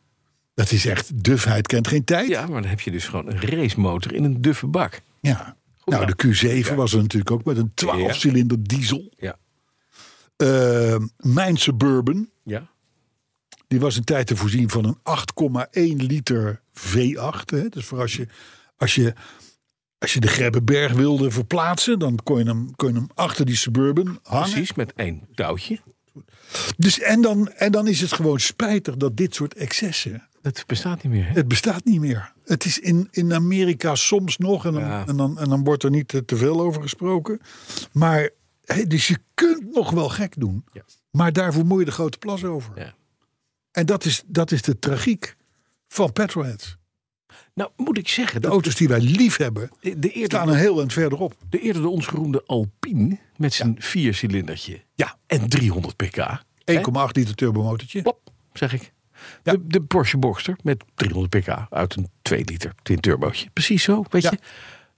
[SPEAKER 2] Dat is echt, dufheid kent geen tijd.
[SPEAKER 3] Ja, maar dan heb je dus gewoon een racemotor in een duffe bak.
[SPEAKER 2] Ja. nou, de Q7 was er natuurlijk ook met een 12-cilinder diesel.
[SPEAKER 3] Ja.
[SPEAKER 2] Eh, mijn Suburban,
[SPEAKER 3] Ja.
[SPEAKER 2] die was in tijd te voorzien van een 8,1 liter V8. Hè. Dus voor als je, als je, als je de Grebbeberg wilde verplaatsen, dan kon je hem, kon je hem achter die Suburban hangen.
[SPEAKER 3] Precies, met één touwtje.
[SPEAKER 2] Dus, en, dan, en dan is het gewoon spijtig dat dit soort excessen,
[SPEAKER 3] Dat bestaat niet meer, hè?
[SPEAKER 2] het bestaat niet meer. Het is in, in Amerika soms nog en dan,
[SPEAKER 3] Ja.
[SPEAKER 2] en, dan, en dan wordt er niet eh, te veel over gesproken. Maar, hè, dus je kunt nog wel gek doen,
[SPEAKER 3] Ja.
[SPEAKER 2] maar daarvoor moet je de grote plas over.
[SPEAKER 3] Ja.
[SPEAKER 2] En dat is, dat is de tragiek van petrolheads.
[SPEAKER 3] Nou, moet ik zeggen,
[SPEAKER 2] De
[SPEAKER 3] dat
[SPEAKER 2] auto's die wij lief hebben,
[SPEAKER 3] de, de eerder,
[SPEAKER 2] staan een heel eind verderop.
[SPEAKER 3] de eerder de ons geroemde Alpine met zijn viercilindertje.
[SPEAKER 2] Ja.
[SPEAKER 3] En 300 pk.
[SPEAKER 2] 1,8 liter turbomotortje.
[SPEAKER 3] Plop, zeg ik. De, de Porsche Boxster met 300 pk uit een 2 liter twin turbootje. Precies zo, weet
[SPEAKER 2] Ja.
[SPEAKER 3] je.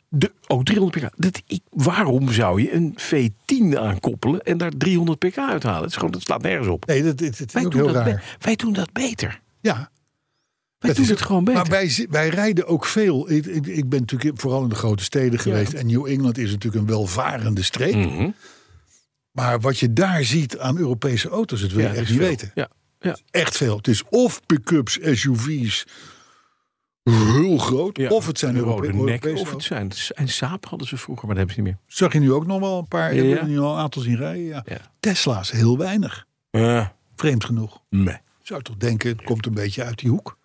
[SPEAKER 3] De, oh, 300 pk. Dat, ik, waarom zou je een V10 aankoppelen en daar 300 pk uithalen? Het, is gewoon, dat slaat nergens op.
[SPEAKER 2] Nee, dat, dat, dat is
[SPEAKER 3] Wij
[SPEAKER 2] ook
[SPEAKER 3] doen,
[SPEAKER 2] heel
[SPEAKER 3] dat
[SPEAKER 2] raar.
[SPEAKER 3] be- wij doen dat beter.
[SPEAKER 2] Ja,
[SPEAKER 3] Wij
[SPEAKER 2] Dat
[SPEAKER 3] doen
[SPEAKER 2] is-
[SPEAKER 3] het gewoon beter.
[SPEAKER 2] Maar wij, zi- wij rijden ook veel. Ik, ik, ik ben natuurlijk vooral in de grote steden geweest. En New England is natuurlijk een welvarende streek.
[SPEAKER 3] Mhm.
[SPEAKER 2] Maar wat je daar ziet aan Europese auto's, dat wil
[SPEAKER 3] Ja,
[SPEAKER 2] je
[SPEAKER 3] dat
[SPEAKER 2] echt
[SPEAKER 3] is
[SPEAKER 2] niet
[SPEAKER 3] veel.
[SPEAKER 2] weten.
[SPEAKER 3] Ja, ja.
[SPEAKER 2] Echt veel. Het is of pick-ups, SUV's, heel groot.
[SPEAKER 3] Ja,
[SPEAKER 2] Of het zijn
[SPEAKER 3] een
[SPEAKER 2] Europe-
[SPEAKER 3] rode
[SPEAKER 2] Europese
[SPEAKER 3] nek, of het
[SPEAKER 2] auto's.
[SPEAKER 3] zijn. En saap hadden ze vroeger, maar dat hebben ze niet
[SPEAKER 2] Zag je nu ook nog wel een paar.
[SPEAKER 3] Ja.
[SPEAKER 2] Heb je er nu al een aantal zien rijden? Ja.
[SPEAKER 3] Ja.
[SPEAKER 2] Tesla's, heel weinig.
[SPEAKER 3] meer.
[SPEAKER 2] Eh, Vreemd genoeg.
[SPEAKER 3] nee.
[SPEAKER 2] Zou je toch denken, het komt een beetje uit die hoek.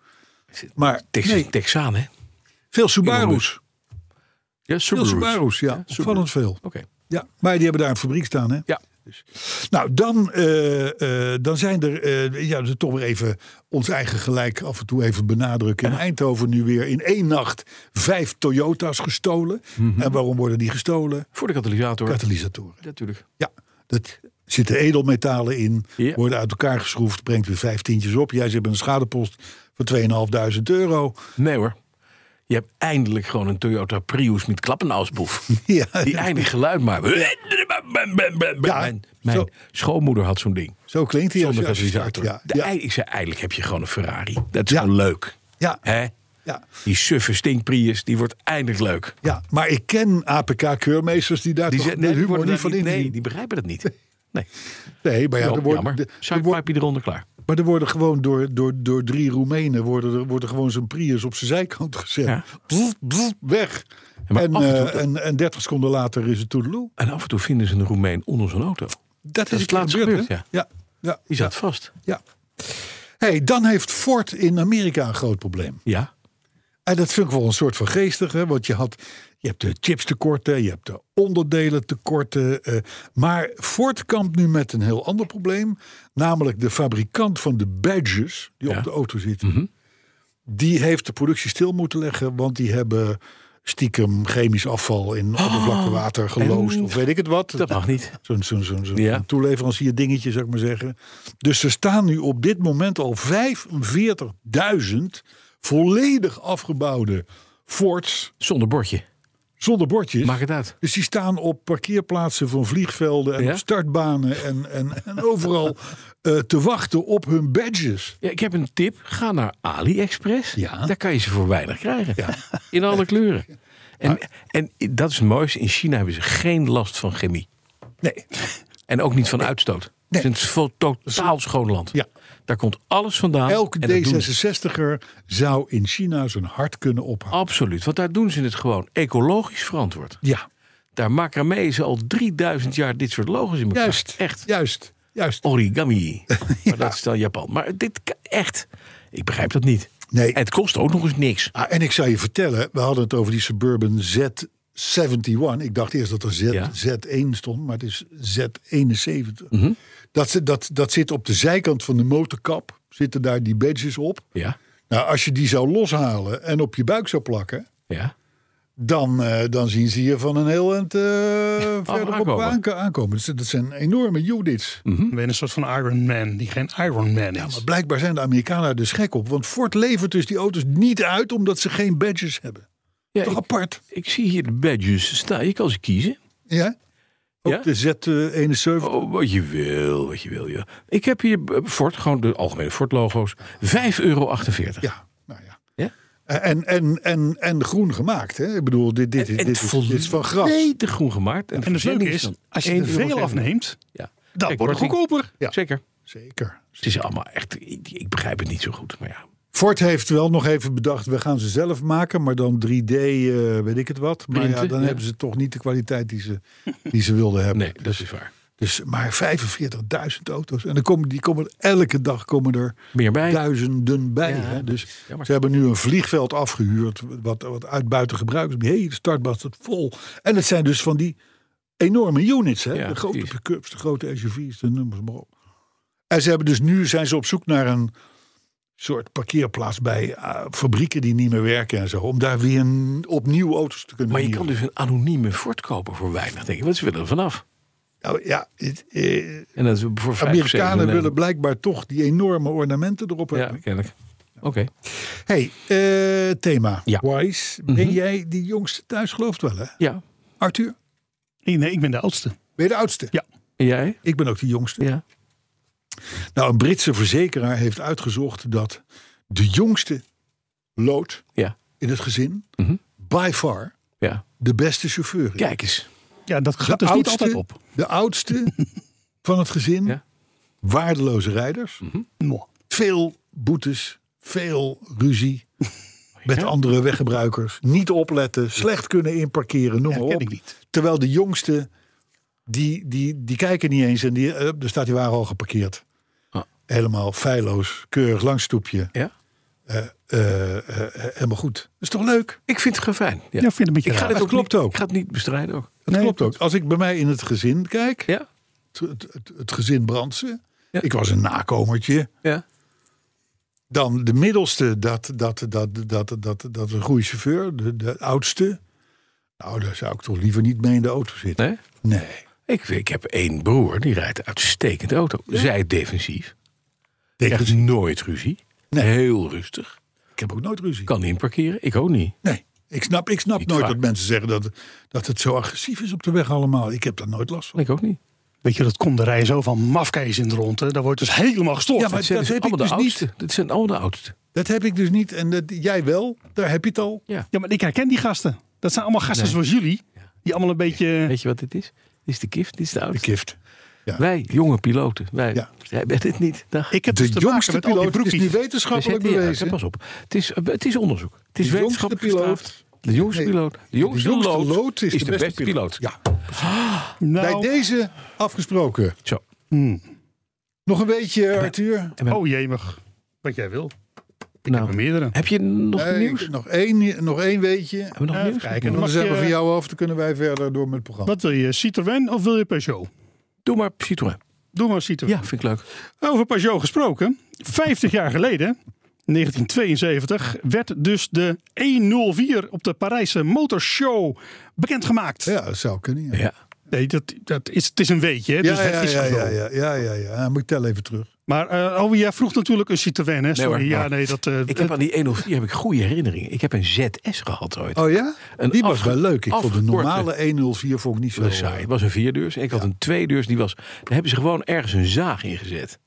[SPEAKER 2] Maar
[SPEAKER 3] Texas,
[SPEAKER 2] nee,
[SPEAKER 3] Texaan, hè?
[SPEAKER 2] veel Subaru's.
[SPEAKER 3] Ja,
[SPEAKER 2] Veel
[SPEAKER 3] Subaru's.
[SPEAKER 2] Subaru's, ja.
[SPEAKER 3] Subaru's.
[SPEAKER 2] Opvallend veel.
[SPEAKER 3] Oké.
[SPEAKER 2] Ja, maar die hebben daar een fabriek staan, hè?
[SPEAKER 3] Ja.
[SPEAKER 2] Nou, dan, eh, eh, dan zijn er, eh ja, dus toch weer even ons eigen gelijk af en toe even benadrukken. In Eindhoven nu weer in één nacht vijf Toyota's gestolen.
[SPEAKER 3] Mhm.
[SPEAKER 2] En waarom worden die gestolen?
[SPEAKER 3] Voor de katalysator.
[SPEAKER 2] Katalysatoren.
[SPEAKER 3] Natuurlijk.
[SPEAKER 2] Ja, dat zitten edelmetalen in,
[SPEAKER 3] Ja.
[SPEAKER 2] worden uit elkaar geschroefd, brengt weer vijftientjes op. Jij zit met een schadepost van 2.500 euro.
[SPEAKER 3] Nee hoor. Je hebt eindelijk gewoon een Toyota Prius met klappenaalsboef.
[SPEAKER 2] Ja,
[SPEAKER 3] Die eindelijk geluid maakt.
[SPEAKER 2] Ja,
[SPEAKER 3] mijn mijn
[SPEAKER 2] zo.
[SPEAKER 3] schoonmoeder had zo'n ding.
[SPEAKER 2] zo klinkt hij. als
[SPEAKER 3] Zonder
[SPEAKER 2] je- als je start,
[SPEAKER 3] katalysator.
[SPEAKER 2] Ja,
[SPEAKER 3] De
[SPEAKER 2] ja,
[SPEAKER 3] ei- Ik zei, eindelijk heb je gewoon een Ferrari. Dat is
[SPEAKER 2] Ja.
[SPEAKER 3] gewoon leuk.
[SPEAKER 2] ja,
[SPEAKER 3] Hè?
[SPEAKER 2] ja.
[SPEAKER 3] Die suffe stinkprius, die wordt eindelijk leuk.
[SPEAKER 2] Ja, maar ik ken APK-keurmeesters die daar
[SPEAKER 3] Die
[SPEAKER 2] toch
[SPEAKER 3] zet-
[SPEAKER 2] met
[SPEAKER 3] die
[SPEAKER 2] humor
[SPEAKER 3] worden
[SPEAKER 2] niet
[SPEAKER 3] daar
[SPEAKER 2] van in.
[SPEAKER 3] Nee, die begrijpen dat niet. Nee,
[SPEAKER 2] Nee, maar ja,
[SPEAKER 3] ja,
[SPEAKER 2] er worden,
[SPEAKER 3] jammer.
[SPEAKER 2] de- er worden-
[SPEAKER 3] Suikpijpje eronder, klaar.
[SPEAKER 2] maar er worden gewoon door, door, door drie Roemenen worden er, worden gewoon zo'n Prius op zijn zijkant gezet.
[SPEAKER 3] Ja.
[SPEAKER 2] Pff, pff, weg.
[SPEAKER 3] maar
[SPEAKER 2] en,
[SPEAKER 3] af en toe-
[SPEAKER 2] eh, en, en 30 seconden later is het toedeloe.
[SPEAKER 3] En af en toe vinden ze een Roemeen onder zijn auto.
[SPEAKER 2] Dat
[SPEAKER 3] is
[SPEAKER 2] een
[SPEAKER 3] het laatst
[SPEAKER 2] keer
[SPEAKER 3] gebeurd,
[SPEAKER 2] hè? Ja, ja,
[SPEAKER 3] Die zat vast.
[SPEAKER 2] ja. Hey, dan heeft Ford in Amerika een groot probleem.
[SPEAKER 3] Ja.
[SPEAKER 2] En dat vind ik wel een soort van geestig, hè? want je, had, je hebt de chipstekorten, je hebt de onderdelentekorten. eh, maar Ford kampt nu met een heel ander probleem. Namelijk de fabrikant van de badges die
[SPEAKER 3] Ja. Mhm.
[SPEAKER 2] op de auto zitten. Die heeft de productie stil moeten leggen, want die hebben stiekem chemisch afval in oppervlaktewater geloosd.
[SPEAKER 3] Oh, en-
[SPEAKER 2] Of weet ik het wat.
[SPEAKER 3] Dat mag niet.
[SPEAKER 2] Zo'n zo'n zo'n zo'n
[SPEAKER 3] Ja.
[SPEAKER 2] toeleverancier dingetje, zou ik maar zeggen. Dus ze staan nu op dit moment al 45.000 volledig afgebouwde Fords
[SPEAKER 3] Zonder bordje.
[SPEAKER 2] Dus- zonder bordjes.
[SPEAKER 3] Maak het uit.
[SPEAKER 2] Dus die staan op parkeerplaatsen van vliegvelden en
[SPEAKER 3] Ja?
[SPEAKER 2] op startbanen en, en, en overal eh, te wachten op hun badges.
[SPEAKER 3] Ja, ik heb een tip. Ga naar AliExpress.
[SPEAKER 2] Ja.
[SPEAKER 3] Daar kan je ze voor weinig krijgen. In alle kleuren. En, en dat is het mooiste. In China hebben ze geen last van chemie.
[SPEAKER 2] Nee.
[SPEAKER 3] En ook niet van uitstoot.
[SPEAKER 2] Nee.
[SPEAKER 3] Het is een vo- totaal schoon land.
[SPEAKER 2] Ja.
[SPEAKER 3] Daar komt alles vandaan.
[SPEAKER 2] Elke
[SPEAKER 3] Ah, en dat doen ze.
[SPEAKER 2] D66er zou in China zijn hart kunnen ophouden.
[SPEAKER 3] Absoluut. Want daar doen ze het gewoon ecologisch verantwoord.
[SPEAKER 2] Ja,
[SPEAKER 3] Daar macramee ze al 3000 jaar dit soort logos in elkaar.
[SPEAKER 2] juist.
[SPEAKER 3] Echt.
[SPEAKER 2] Juist. Juist.
[SPEAKER 3] Origami. Maar dat is dan Japan. Maar dit kan- echt. Ik begrijp dat niet.
[SPEAKER 2] Nee.
[SPEAKER 3] En het kost ook nog eens niks.
[SPEAKER 2] Ah, en ik zou je vertellen, we hadden het over die Suburban Z71. Ik dacht eerst dat er Z,
[SPEAKER 3] Ja.
[SPEAKER 2] Z1 stond, maar het is Z71.
[SPEAKER 3] Mhm.
[SPEAKER 2] dat, zit- dat, dat zit op de zijkant van de motorkap, zitten daar die badges op.
[SPEAKER 3] Ja.
[SPEAKER 2] Nou, als je die zou loshalen en op je buik zou plakken,
[SPEAKER 3] Ja.
[SPEAKER 2] dan, eh, dan zien ze je van een heel eind eh verder op
[SPEAKER 3] aankomen. Mm.
[SPEAKER 2] aanko- aankomen. Dus dat zijn enorme units.
[SPEAKER 4] Dan ben je een soort van Iron Man die geen Iron Man is.
[SPEAKER 2] Maar blijkbaar zijn de Amerikanen er dus gek op. Want Ford levert dus die auto's niet uit omdat ze geen badges hebben.
[SPEAKER 3] Ja,
[SPEAKER 2] Toch
[SPEAKER 3] ik,
[SPEAKER 2] apart?
[SPEAKER 3] ik zie hier de badges staan. Je kan ze kiezen.
[SPEAKER 2] Ja? Ook de
[SPEAKER 3] Ja?
[SPEAKER 2] eh, Z71.
[SPEAKER 3] Oh, wat je wil, wat je wil. Ja. Ik heb hier eh, Ford, gewoon de algemene Ford-logo's. 5,48 euro.
[SPEAKER 2] Ja, nou ja.
[SPEAKER 3] Ja?
[SPEAKER 2] En, en, en, en groen gemaakt, hè? Ik bedoel, dit, dit, is- dit, is, dit is van gras.
[SPEAKER 3] Volledig groen gemaakt.
[SPEAKER 4] En het leuke is, als je er veel afneemt,
[SPEAKER 3] Ja.
[SPEAKER 4] dan
[SPEAKER 3] Kijk,
[SPEAKER 4] wordt het
[SPEAKER 3] korting.
[SPEAKER 4] goedkoper.
[SPEAKER 2] Ja.
[SPEAKER 3] Zeker.
[SPEAKER 2] Zeker.
[SPEAKER 3] Het is allemaal echt, ik, ik begrijp het niet zo goed. Maar ja,
[SPEAKER 2] Ford heeft wel nog even bedacht, we gaan ze zelf maken, maar dan 3D, eh, weet ik het wat. Maar ja,
[SPEAKER 3] Printen,
[SPEAKER 2] dan
[SPEAKER 3] ja.
[SPEAKER 2] hebben ze toch niet de kwaliteit die ze, die ze wilden hebben.
[SPEAKER 3] nee, dat is waar.
[SPEAKER 2] Dus, maar 45.000 auto's. En dan komen, die komen, er- elke dag komen er
[SPEAKER 3] Meer bij.
[SPEAKER 2] duizenden bij.
[SPEAKER 3] Ja,
[SPEAKER 2] hè? Dus
[SPEAKER 3] jammer.
[SPEAKER 2] ze hebben nu een vliegveld afgehuurd, wat, wat uit buiten gebruik is. Die hele startbak staat vol. En het zijn dus van die enorme units. Hè?
[SPEAKER 3] Ja,
[SPEAKER 2] de grote
[SPEAKER 3] precies.
[SPEAKER 2] pick-ups, de grote SUV's, de nummers maar op. En ze hebben dus nu zijn ze op zoek naar een soort parkeerplaats bij eh, fabrieken die niet meer werken en zo. Om daar weer een- opnieuw auto's te kunnen
[SPEAKER 3] Maar je
[SPEAKER 2] huren.
[SPEAKER 3] kan dus een anonieme Ford kopen voor weinig, denk ik. Want ze willen er vanaf.
[SPEAKER 2] Nou, ja, het, eh,
[SPEAKER 3] En dat is voor 5
[SPEAKER 2] Amerikanen willen blijkbaar toch die enorme ornamenten erop
[SPEAKER 3] Ja,
[SPEAKER 2] hebben.
[SPEAKER 3] kennelijk. Oké.
[SPEAKER 2] Hey, eh, thema.
[SPEAKER 3] Ja.
[SPEAKER 2] Wise, ben
[SPEAKER 4] Mhm.
[SPEAKER 2] jij die jongste thuis? Gelooft wel, hè?
[SPEAKER 3] Ja.
[SPEAKER 2] Arthur,
[SPEAKER 4] Nee, ik ben de oudste.
[SPEAKER 2] ben je de oudste?
[SPEAKER 4] Ja.
[SPEAKER 3] En jij?
[SPEAKER 2] Ik ben ook de jongste.
[SPEAKER 3] Ja.
[SPEAKER 2] Nou, een Britse verzekeraar heeft uitgezocht dat de jongste lood
[SPEAKER 3] Ja.
[SPEAKER 2] in het gezin
[SPEAKER 3] Mhm.
[SPEAKER 2] by far
[SPEAKER 3] Ja.
[SPEAKER 2] de beste chauffeur is.
[SPEAKER 3] Kijk eens.
[SPEAKER 4] Ja, dat gaat
[SPEAKER 2] de
[SPEAKER 4] dus niet altijd op.
[SPEAKER 2] De oudste van het gezin,
[SPEAKER 3] Ja.
[SPEAKER 2] waardeloze rijders.
[SPEAKER 4] Mwah.
[SPEAKER 2] veel boetes, veel ruzie met
[SPEAKER 3] Ja.
[SPEAKER 2] andere weggebruikers. Niet opletten, slecht kunnen inparkeren, noem
[SPEAKER 4] Ja,
[SPEAKER 2] maar
[SPEAKER 4] ken
[SPEAKER 2] op.
[SPEAKER 4] ik niet.
[SPEAKER 2] Terwijl de jongste, die, die, die kijken niet eens en die, eh, daar staat die wagen al geparkeerd.
[SPEAKER 3] Ah.
[SPEAKER 2] Helemaal feilloos, keurig langs stoepje.
[SPEAKER 3] Ja.
[SPEAKER 2] Eh, eh, eh, helemaal goed. Dat is toch leuk?
[SPEAKER 3] Ik vind het gewoon fijn. Ja.
[SPEAKER 4] Ja, vind het een beetje
[SPEAKER 3] ik ga
[SPEAKER 4] raar.
[SPEAKER 3] dit
[SPEAKER 2] Dat
[SPEAKER 3] ook
[SPEAKER 2] klopt
[SPEAKER 3] niet,
[SPEAKER 2] ook.
[SPEAKER 3] Ik ga het niet bestrijden ook.
[SPEAKER 2] Dat
[SPEAKER 4] Nee,
[SPEAKER 2] klopt ook. Als ik bij mij in het gezin kijk,
[SPEAKER 3] Ja.
[SPEAKER 2] het, het, het, het gezin Brandsen.
[SPEAKER 3] Ja.
[SPEAKER 2] Ik was een nakomertje.
[SPEAKER 3] Ja.
[SPEAKER 2] Dan de middelste, dat, dat, dat, dat, dat, dat, dat is een goede chauffeur. De, de oudste. Nou, daar zou ik toch liever niet mee in de auto zitten.
[SPEAKER 3] Nee?
[SPEAKER 2] Nee.
[SPEAKER 3] Ik, ik heb één broer, die rijdt een uitstekende auto. Zij defensief.
[SPEAKER 2] Tegen-
[SPEAKER 3] Echt nooit ruzie.
[SPEAKER 2] Nee.
[SPEAKER 3] Heel rustig.
[SPEAKER 2] Ik heb ook nooit ruzie.
[SPEAKER 3] Kan niet parkeren. Ik ook niet.
[SPEAKER 2] Nee. Ik snap, ik snap
[SPEAKER 3] Niet
[SPEAKER 2] nooit
[SPEAKER 3] vaak.
[SPEAKER 2] dat mensen zeggen dat, dat het zo agressief is op de weg allemaal. Ik heb daar nooit last van.
[SPEAKER 3] Ik ook niet.
[SPEAKER 4] Weet je, dat komt de rij zo van mafkees in de ronde. Daar wordt dus helemaal gestoord.
[SPEAKER 2] Ja, maar
[SPEAKER 3] Maar zijn
[SPEAKER 2] dat
[SPEAKER 3] dus
[SPEAKER 2] heb ik
[SPEAKER 3] allemaal de
[SPEAKER 2] dus niet.
[SPEAKER 3] oudste. Dit zijn allemaal de oudste.
[SPEAKER 2] Dat heb ik dus niet. En dat, jij wel, daar heb je het al.
[SPEAKER 4] Ja, maar ik herken die gasten. Dat zijn allemaal gasten zoals jullie. Die allemaal een beetje...
[SPEAKER 3] Weet je wat dit is? Dit is de kift. Dit is de oudste.
[SPEAKER 2] Kift.
[SPEAKER 3] Wij, jonge piloten. Wij
[SPEAKER 2] Ja.
[SPEAKER 3] hebben dit niet. Dag.
[SPEAKER 4] Ik heb
[SPEAKER 2] De
[SPEAKER 4] dus te maken
[SPEAKER 2] jongste
[SPEAKER 4] met al die
[SPEAKER 2] piloot is nu
[SPEAKER 4] broekies.
[SPEAKER 3] We
[SPEAKER 2] wetenschappelijk
[SPEAKER 3] zetten- ja,
[SPEAKER 2] bewezen.
[SPEAKER 3] pas op. Het is, eh, het is onderzoek. Het is
[SPEAKER 2] De jongste
[SPEAKER 3] wetenschappelijk
[SPEAKER 2] piloot.
[SPEAKER 3] gestaafd. De jongste
[SPEAKER 2] Nee,
[SPEAKER 3] piloot. De jongste,
[SPEAKER 2] jongste
[SPEAKER 3] lood,
[SPEAKER 2] lood is de beste piloot.
[SPEAKER 3] Ja.
[SPEAKER 2] Bij
[SPEAKER 4] Nou,
[SPEAKER 2] deze afgesproken.
[SPEAKER 3] Zo.
[SPEAKER 2] Nog een beetje, Arthur.
[SPEAKER 4] oh jemig. Wat jij wil. Ik
[SPEAKER 3] Nou,
[SPEAKER 4] heb er meerdere.
[SPEAKER 3] heb je nog
[SPEAKER 2] Nee,
[SPEAKER 3] nieuws?
[SPEAKER 2] ik- nog, één, nog één weetje.
[SPEAKER 3] Hebben we nog
[SPEAKER 4] Even
[SPEAKER 3] nieuws?
[SPEAKER 4] kijken.
[SPEAKER 2] En dan
[SPEAKER 4] mag
[SPEAKER 2] zijn we
[SPEAKER 4] je-
[SPEAKER 2] van jou af, dan kunnen wij verder door met het programma.
[SPEAKER 4] Wat wil je, Citroën of wil je Peugeot?
[SPEAKER 3] Doe maar Citroën.
[SPEAKER 4] Doe maar Citroën.
[SPEAKER 3] Ja, vind ik leuk.
[SPEAKER 4] Over Peugeot gesproken. 50 jaar geleden, 1972, werd dus de 104 op de Parijse Motorshow bekendgemaakt.
[SPEAKER 2] Ja, dat zou kunnen. Ja,
[SPEAKER 3] Ja.
[SPEAKER 4] Nee, dat, dat is, het is een weetje, hè, dus
[SPEAKER 2] ja, ja,
[SPEAKER 4] het is
[SPEAKER 2] ja,
[SPEAKER 4] gewoon.
[SPEAKER 2] ja, ja, ja, ja, ja. Dan moet ik tel even terug.
[SPEAKER 4] Maar eh oh, jij vroeg natuurlijk een Citroën, hè? Sorry,
[SPEAKER 3] hoor,
[SPEAKER 4] ja,
[SPEAKER 3] maar-
[SPEAKER 4] nee, dat... eh,
[SPEAKER 3] Ik heb aan die 104 heb ik goede herinneringen. Ik heb een ZS gehad ooit.
[SPEAKER 2] Oh ja?
[SPEAKER 3] Een
[SPEAKER 2] die was
[SPEAKER 3] afge-
[SPEAKER 2] wel leuk. Ik vond de
[SPEAKER 3] afgekorte-
[SPEAKER 2] normale 104 vond ik niet
[SPEAKER 3] Dat
[SPEAKER 2] zo
[SPEAKER 3] was saai. Het was een vierdeurs. Ik had een tweedeurs. Die was, daar hebben ze gewoon ergens een zaag in gezet.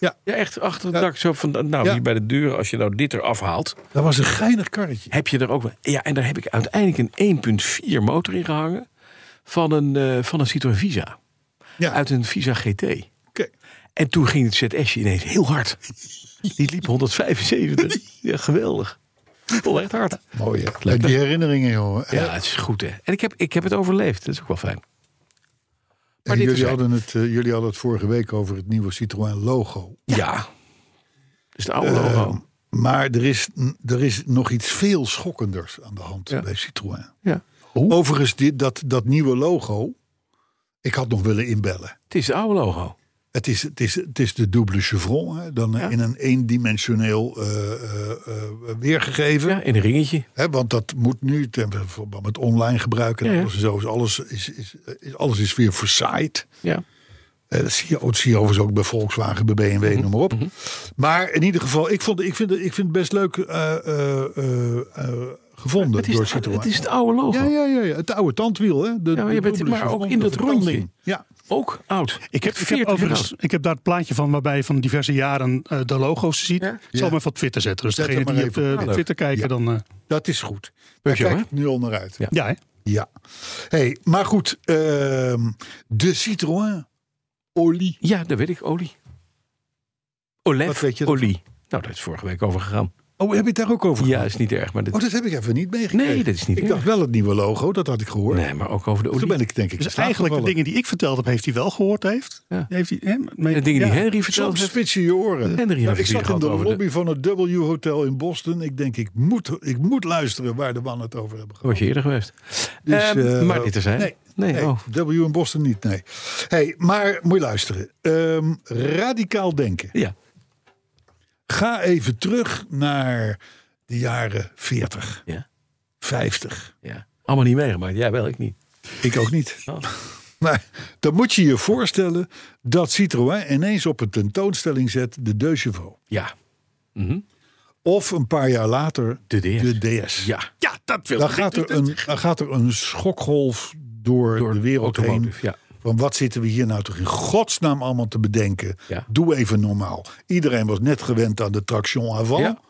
[SPEAKER 2] Ja.
[SPEAKER 3] ja echt achter het
[SPEAKER 2] Ja.
[SPEAKER 3] dak. Zo van, nou,
[SPEAKER 2] Ja.
[SPEAKER 3] hier bij de deuren, als je nou dit eraf haalt,
[SPEAKER 2] Dat was een geinig karretje.
[SPEAKER 3] heb je er ook... wel- Ja, en daar heb ik uiteindelijk een 1.4 motor in gehangen van een, eh, van een Citroën Visa.
[SPEAKER 2] Ja.
[SPEAKER 3] Uit een Visa GT.
[SPEAKER 2] Oké.
[SPEAKER 3] En toen ging het ZSje ineens heel hard. Die liep 175. Ja, geweldig. Vol echt hard.
[SPEAKER 2] Mooi, hè? Die herinneringen, jongen. En-
[SPEAKER 3] Ja, het is goed, hè. En ik heb, ik heb het overleefd. Dat is ook wel fijn.
[SPEAKER 2] en
[SPEAKER 3] dit
[SPEAKER 2] jullie,
[SPEAKER 3] is-
[SPEAKER 2] hadden het, eh, jullie hadden het vorige week over het nieuwe Citroën logo.
[SPEAKER 3] Ja. Dus de oude
[SPEAKER 2] Ehm.
[SPEAKER 3] logo.
[SPEAKER 2] Maar er is, er is nog iets veel schokkenders aan de hand
[SPEAKER 3] Ja.
[SPEAKER 2] bij Citroën.
[SPEAKER 3] Ja.
[SPEAKER 2] Overigens, dit, dat, dat nieuwe logo. Ik had nog willen inbellen.
[SPEAKER 3] Het is het oude logo.
[SPEAKER 2] Het is, het, is, het is de dubbele chevron, hè? dan eh, in een eendimensioneel eh, eh, eh, weergegeven.
[SPEAKER 3] Ja, in een ringetje.
[SPEAKER 2] Hè, want dat moet nu, ten verband met online gebruik en
[SPEAKER 3] Ja, ja.
[SPEAKER 2] alles en zo, is alles, is, is, is, alles is weer verzaaid.
[SPEAKER 3] Ja.
[SPEAKER 2] Eh, dat, zie je, dat zie je overigens ook bij Volkswagen, bij BMW, noem maar op. Maar in ieder geval, ik, vond, ik, vind, ik vind het best leuk eh, eh, eh, eh, gevonden
[SPEAKER 3] Het is
[SPEAKER 2] door
[SPEAKER 3] het,
[SPEAKER 2] Citroën.
[SPEAKER 3] het is het oude logo.
[SPEAKER 2] ja, ja, ja, ja, eh, het oude tandwiel. Hè? De,
[SPEAKER 3] Ja, maar je
[SPEAKER 2] de
[SPEAKER 3] bent-
[SPEAKER 2] dubbele
[SPEAKER 3] maar ook
[SPEAKER 2] chevron,
[SPEAKER 3] in dat
[SPEAKER 2] vertanding.
[SPEAKER 3] rondje.
[SPEAKER 2] Ja,
[SPEAKER 3] Ook oud.
[SPEAKER 4] Ik heb, ik, heb
[SPEAKER 3] 40
[SPEAKER 4] overigens,
[SPEAKER 3] jaar.
[SPEAKER 4] ik heb daar het plaatje van waarbij je van diverse jaren eh, de logo's ziet.
[SPEAKER 3] Ja. Nou,
[SPEAKER 4] Ik zal hem even op Twitter zetten. Dus
[SPEAKER 2] Zet
[SPEAKER 4] degene
[SPEAKER 2] hem
[SPEAKER 4] die
[SPEAKER 2] maar
[SPEAKER 4] op
[SPEAKER 2] even
[SPEAKER 4] eh,
[SPEAKER 2] op.
[SPEAKER 4] op Twitter kijken,
[SPEAKER 2] Ja.
[SPEAKER 4] dan... eh,
[SPEAKER 2] dat is goed. Daar
[SPEAKER 3] Dankjewel,
[SPEAKER 2] kijk ik nu al naar uit. Ja,
[SPEAKER 4] ja, hè?
[SPEAKER 2] Hey, maar goed, ehm, de Citroën Olie.
[SPEAKER 3] Ja, dat weet ik. Olie. Olef.
[SPEAKER 2] Wat weet je ervan?
[SPEAKER 3] Olie. Nou, daar is vorige week over gegaan.
[SPEAKER 2] Oh, heb je het daar ook over
[SPEAKER 3] Ja,
[SPEAKER 2] gehad?
[SPEAKER 3] is niet erg. Maar dit...
[SPEAKER 2] Oh, dat heb ik even niet meegekregen.
[SPEAKER 3] Nee, dat is niet
[SPEAKER 2] Ik dacht wel het nieuwe logo, dat had ik gehoord.
[SPEAKER 3] Nee, maar ook over de olie.
[SPEAKER 2] Toen ben ik denk ik in
[SPEAKER 4] Dus
[SPEAKER 2] slaap
[SPEAKER 4] eigenlijk de
[SPEAKER 2] gevallen.
[SPEAKER 4] dingen die ik verteld heb, heeft hij wel gehoord. Heeft,
[SPEAKER 3] Ja.
[SPEAKER 4] heeft hij, hè, maar-
[SPEAKER 3] De dingen die
[SPEAKER 4] ja.
[SPEAKER 3] Henry vertelde.
[SPEAKER 2] Soms spits je je oren.
[SPEAKER 3] Henry heeft
[SPEAKER 2] Nou,
[SPEAKER 3] het
[SPEAKER 2] ik
[SPEAKER 3] hier
[SPEAKER 2] zat in
[SPEAKER 3] gehad
[SPEAKER 2] de
[SPEAKER 3] over
[SPEAKER 2] lobby van het W Hotel in Boston. Ik denk, ik moet, ik moet luisteren waar de mannen het over hebben gehad.
[SPEAKER 3] Was je eerder geweest.
[SPEAKER 2] Dus,
[SPEAKER 3] Oh, Ehm,
[SPEAKER 2] eh,
[SPEAKER 3] maar dit er zijn.
[SPEAKER 2] Nee,
[SPEAKER 3] Nee,
[SPEAKER 2] nee,
[SPEAKER 3] oh.
[SPEAKER 2] W in Boston niet, nee. Hey, maar moet je luisteren. Ehm, radicaal denken.
[SPEAKER 3] Ja.
[SPEAKER 2] Ga even terug naar de jaren 40,
[SPEAKER 3] Ja.
[SPEAKER 2] 50.
[SPEAKER 3] ja. Allemaal niet meegemaakt. Jij wel, ik niet.
[SPEAKER 2] Ik ook niet.
[SPEAKER 3] Oh.
[SPEAKER 2] Maar dan moet je je voorstellen dat Citroën ineens op een tentoonstelling zet de Deux Chevaux.
[SPEAKER 3] Ja. Mhm.
[SPEAKER 2] Of een paar jaar later
[SPEAKER 3] De DS.
[SPEAKER 2] de DS.
[SPEAKER 3] Ja. Ja, dat wil
[SPEAKER 2] Dan gaat, er een, dan gaat er een schokgolf door,
[SPEAKER 3] Door
[SPEAKER 2] de wereld heen.
[SPEAKER 3] automotive, ja.
[SPEAKER 2] Van wat zitten we hier nou toch in godsnaam allemaal te bedenken?
[SPEAKER 3] Ja.
[SPEAKER 2] Doe even normaal. Iedereen was net gewend aan de traction avant.
[SPEAKER 3] Ja.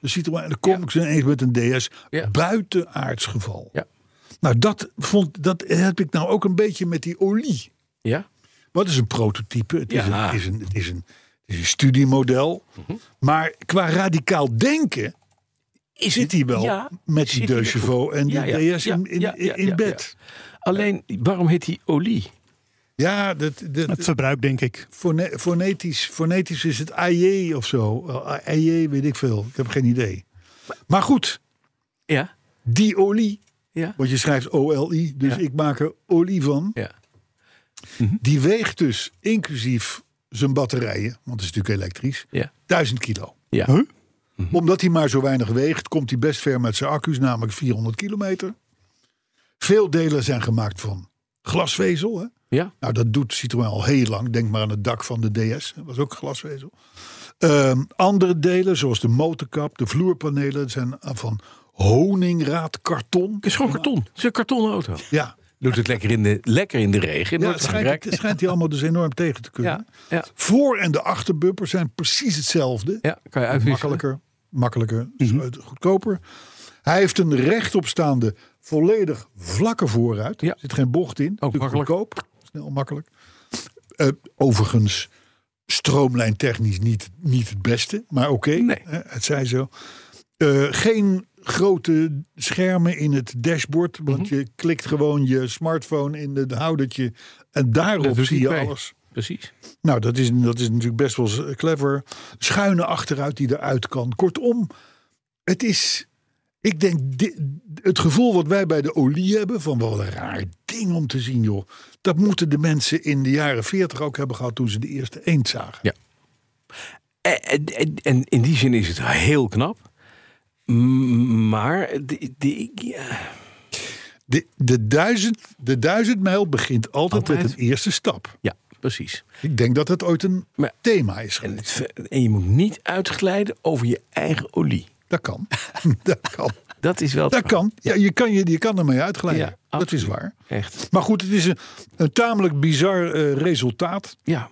[SPEAKER 2] Dus ziet er maar, dan kom ik ze ineens met een DS.
[SPEAKER 3] Ja.
[SPEAKER 2] Buitenaards geval.
[SPEAKER 3] Ja.
[SPEAKER 2] Nou, dat, vond, dat heb ik nou ook een beetje met die olie.
[SPEAKER 3] Ja.
[SPEAKER 2] Wat is een prototype? Het, is,
[SPEAKER 3] Ja.
[SPEAKER 2] een, het,
[SPEAKER 3] Mhm.
[SPEAKER 2] is, een, het, is, een, het is een studiemodel. Maar qua radicaal denken
[SPEAKER 3] Is
[SPEAKER 2] zit hij wel
[SPEAKER 3] Ja,
[SPEAKER 2] met
[SPEAKER 3] zit
[SPEAKER 2] die
[SPEAKER 3] hij
[SPEAKER 2] De
[SPEAKER 3] er
[SPEAKER 2] Chauveau en die
[SPEAKER 3] Ja, ja,
[SPEAKER 2] DS
[SPEAKER 3] ja,
[SPEAKER 2] in, in,
[SPEAKER 3] ja, ja,
[SPEAKER 2] in
[SPEAKER 3] ja,
[SPEAKER 2] bed.
[SPEAKER 3] Alleen, waarom heet hij olie?
[SPEAKER 2] Ja, dat, dat,
[SPEAKER 4] Het verbruik, denk ik.
[SPEAKER 2] fone- fonetisch, fonetisch is het AJ of zo. Eh, AJ weet ik veel. Ik heb geen idee. Maar goed,
[SPEAKER 3] Ja.
[SPEAKER 2] die olie,
[SPEAKER 3] Ja.
[SPEAKER 2] want je schrijft OLI, dus
[SPEAKER 3] Ja.
[SPEAKER 2] ik maak er olie van.
[SPEAKER 3] Ja.
[SPEAKER 2] Die weegt dus inclusief zijn batterijen, want het is natuurlijk elektrisch,
[SPEAKER 3] Ja.
[SPEAKER 2] 1000 kilo.
[SPEAKER 3] Ja.
[SPEAKER 2] Omdat hij maar zo weinig weegt, komt hij best ver met zijn accu's, namelijk 400 kilometer. Veel delen zijn gemaakt van glasvezel. Hè?
[SPEAKER 3] Ja.
[SPEAKER 2] Nou, dat doet Citroën al heel lang. Denk maar aan het dak van de DS, dat was ook glasvezel. Ehm, andere delen, zoals de motorkap, de vloerpanelen, zijn van honingraadkarton.
[SPEAKER 3] Het is gewoon karton. Het is een kartonnen auto.
[SPEAKER 2] Ja,
[SPEAKER 3] Doet het lekker in de, lekker in de regen.
[SPEAKER 2] ja het, schijnt, het schijnt hij allemaal dus enorm tegen te kunnen.
[SPEAKER 3] ja. Ja.
[SPEAKER 2] Voor- en de achterbumper zijn precies hetzelfde.
[SPEAKER 3] ja, kan je uitwisselen.
[SPEAKER 2] Makkelijker, makkelijker, goedkoper. Hij heeft een rechtopstaande, volledig vlakke voorruit.
[SPEAKER 3] Ja.
[SPEAKER 2] Er zit geen bocht in. Natuurlijk
[SPEAKER 3] makkelijk.
[SPEAKER 2] Goedkoop, snel, makkelijk. Eh, overigens, stroomlijntechnisch niet, niet het beste, maar oké.
[SPEAKER 3] Nee.
[SPEAKER 2] Eh, het zij zo. Eh, geen grote schermen in het dashboard, want
[SPEAKER 3] Mhm.
[SPEAKER 2] je klikt gewoon je smartphone in het houdertje en
[SPEAKER 3] Dat
[SPEAKER 2] daarop zie
[SPEAKER 3] doet hij
[SPEAKER 2] je
[SPEAKER 3] bij.
[SPEAKER 2] alles.
[SPEAKER 3] Precies.
[SPEAKER 2] Nou, dat is, dat is natuurlijk best wel eh, clever. Schuine achteruit die eruit kan. Kortom, het is. Ik denk, di- het gevoel wat wij bij de olie hebben, van wel een raar ding om te zien, joh. Dat moeten de mensen in de jaren 40 ook hebben gehad toen ze de eerste eend zagen.
[SPEAKER 3] Ja. En, en- en in die zin is het heel knap. M- Maar die, die, ja,
[SPEAKER 2] De, de, duizend, de duizend mijl begint altijd,
[SPEAKER 3] Altijd.
[SPEAKER 2] met een eerste stap.
[SPEAKER 3] ja, precies.
[SPEAKER 2] Ik denk dat het ooit een
[SPEAKER 3] Maar-
[SPEAKER 2] thema is
[SPEAKER 3] En,
[SPEAKER 2] geweest.
[SPEAKER 3] het ver- en je moet niet uitglijden over je eigen olie.
[SPEAKER 2] Dat kan. dat kan.
[SPEAKER 3] Dat is wel. het
[SPEAKER 2] Dat
[SPEAKER 3] verhaal.
[SPEAKER 2] kan. Ja, je, kan je, je kan ermee uitglijden.
[SPEAKER 3] Ja,
[SPEAKER 2] dat is
[SPEAKER 3] absoluut.
[SPEAKER 2] waar.
[SPEAKER 3] Echt.
[SPEAKER 2] Maar goed, het is een, een tamelijk bizar eh, resultaat.
[SPEAKER 3] Ja,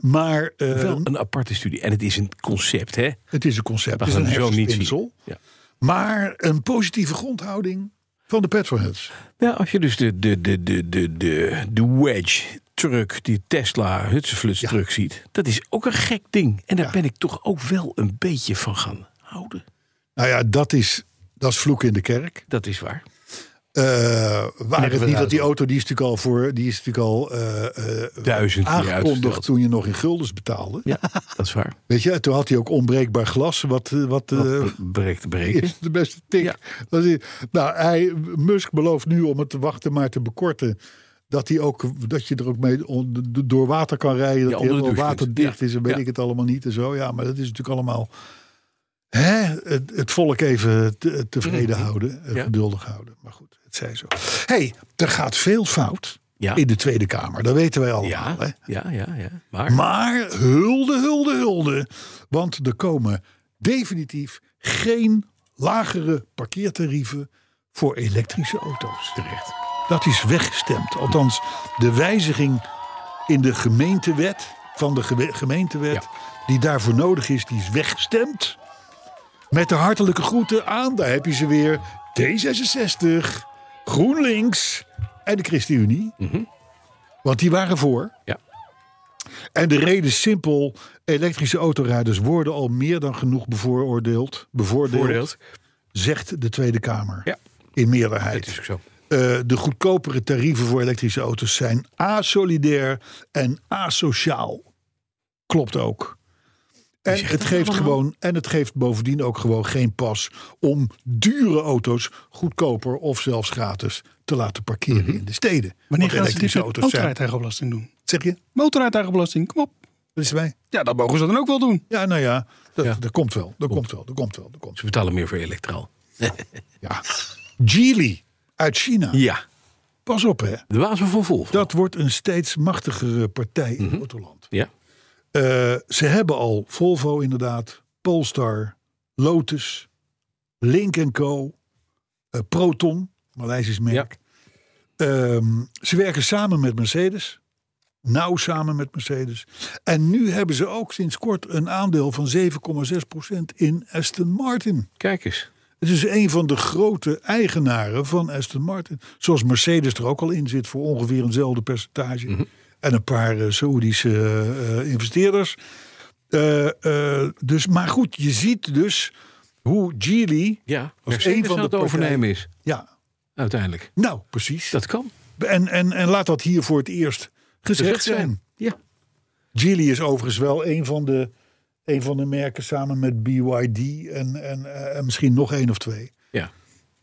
[SPEAKER 2] Maar eh,
[SPEAKER 3] wel een aparte studie. En het is een concept, hè?
[SPEAKER 2] het is een concept.
[SPEAKER 3] Dat
[SPEAKER 2] Het is een
[SPEAKER 3] gaan we zo niet
[SPEAKER 2] hersenspinsel.
[SPEAKER 3] zien.
[SPEAKER 2] Maar een positieve grondhouding van de petrolheads.
[SPEAKER 3] Nou, als je dus de, de, de, de, de, de, de wedge truck, die Tesla Hutsenfluts truck ziet, dat is ook een gek ding. En daar
[SPEAKER 2] Ja.
[SPEAKER 3] ben ik toch ook wel een beetje van gaan houden.
[SPEAKER 2] Nou ja, dat is, dat is vloek in de kerk.
[SPEAKER 3] Dat is waar.
[SPEAKER 2] Eh waar het niet
[SPEAKER 4] eruit
[SPEAKER 2] dat die auto, die is natuurlijk al, voor, die is natuurlijk al eh, eh,
[SPEAKER 3] Duizend keer
[SPEAKER 2] aangekondigd
[SPEAKER 3] uitgesteld.
[SPEAKER 2] toen je nog in guldens betaalde.
[SPEAKER 3] Ja, dat is waar.
[SPEAKER 2] Weet je, toen had hij ook onbreekbaar glas, wat, eh, wat, eh,
[SPEAKER 3] Be- Breek te breken.
[SPEAKER 2] is de beste tik.
[SPEAKER 3] Ja.
[SPEAKER 2] Dat is- nou, hij, Musk belooft nu om het te wachten maar te bekorten Dat, die ook, dat je er ook mee on- d- door water kan rijden. Dat
[SPEAKER 3] Ja,
[SPEAKER 2] die
[SPEAKER 3] onder de
[SPEAKER 2] helemaal
[SPEAKER 3] douche kunt.
[SPEAKER 2] waterdicht
[SPEAKER 3] Ja,
[SPEAKER 2] is en weet
[SPEAKER 3] ja.
[SPEAKER 2] ik het allemaal niet en zo. Ja, maar dat is natuurlijk allemaal hè, het, het volk even te- tevreden houden. eh,
[SPEAKER 3] Mm-hmm. Ja.
[SPEAKER 2] Geduldig houden. Maar goed, het zij zo. hey, er gaat veel fout
[SPEAKER 3] Ja.
[SPEAKER 2] in de Tweede Kamer. Dat weten wij allemaal.
[SPEAKER 3] Ja,
[SPEAKER 2] Hè?
[SPEAKER 3] ja, ja, ja. Maar,
[SPEAKER 2] Maar hulde, hulde, hulde. Want er komen definitief geen lagere parkeertarieven voor elektrische auto's.
[SPEAKER 3] terecht.
[SPEAKER 2] Dat is weggestemd. Althans, de wijziging in de gemeentewet, van de gewe- gemeentewet,
[SPEAKER 3] Ja.
[SPEAKER 2] die daarvoor nodig is, die is weggestemd. Met de hartelijke groeten aan, daar heb je ze weer. D66, GroenLinks en de ChristenUnie. Want die waren voor.
[SPEAKER 3] Mhm. Ja.
[SPEAKER 2] En de reden is simpel. Elektrische autorijders worden al meer dan genoeg bevooroordeeld. Bevoordeeld,
[SPEAKER 3] Voordeeld.
[SPEAKER 2] zegt de Tweede Kamer.
[SPEAKER 3] Ja.
[SPEAKER 2] In meerderheid.
[SPEAKER 3] Dat is ook zo.
[SPEAKER 2] Eh, de goedkopere tarieven voor elektrische auto's zijn asolidair en asociaal. Klopt ook. En het, geeft gewoon, en het geeft bovendien ook gewoon geen pas om dure auto's goedkoper of zelfs gratis te laten parkeren in de steden.
[SPEAKER 4] Mhm. Wanneer
[SPEAKER 2] Want
[SPEAKER 4] gaan ze dit Oh,
[SPEAKER 2] elektrische
[SPEAKER 4] met
[SPEAKER 2] auto's zijn.
[SPEAKER 4] motorrijtuigenbelasting doen?
[SPEAKER 2] Zeg je?
[SPEAKER 4] Motorrijtuigenbelasting, kom op.
[SPEAKER 2] Dat is erbij.
[SPEAKER 4] Ja, dat mogen ze dan ook wel doen.
[SPEAKER 2] Ja, nou ja, dat, dat komt wel. Dat komt wel. Dat komt wel. Dat komt
[SPEAKER 3] Ze betalen meer voor elektraal.
[SPEAKER 2] wel. Ja. Geely uit China.
[SPEAKER 3] Ja.
[SPEAKER 2] Pas op, hè.
[SPEAKER 3] De wazen van Volvo.
[SPEAKER 2] Dat wordt een steeds machtigere partij
[SPEAKER 4] Mhm.
[SPEAKER 2] in Autoland.
[SPEAKER 3] Ja.
[SPEAKER 2] Eh, ze hebben al Volvo inderdaad, Polestar, Lotus, Link Co, eh, Proton, Maleisisch merk. Ehm, ze werken samen met Mercedes. Nauw samen met Mercedes. En nu hebben ze ook sinds kort een aandeel van 7,6% in Aston Martin.
[SPEAKER 3] Kijk eens.
[SPEAKER 2] Het is een van de grote eigenaren van Aston Martin. Zoals Mercedes er ook al in zit voor ongeveer eenzelfde percentage. En een paar eh, Saoedische eh, eh, investeerders. Eh, eh, dus, maar goed, je ziet dus hoe Geely...
[SPEAKER 3] Ja.
[SPEAKER 2] Als
[SPEAKER 3] Mercedes
[SPEAKER 2] een van
[SPEAKER 3] aan
[SPEAKER 2] de
[SPEAKER 3] het overnemen is.
[SPEAKER 2] Ja,
[SPEAKER 3] Uiteindelijk.
[SPEAKER 2] nou, precies.
[SPEAKER 3] Dat kan.
[SPEAKER 2] En, en, en laat dat hier voor het eerst gezegd zijn.
[SPEAKER 3] Ja.
[SPEAKER 2] Geely is overigens wel een van de, een van de merken samen met BYD en, en, eh, en misschien nog één of twee.
[SPEAKER 3] Ja.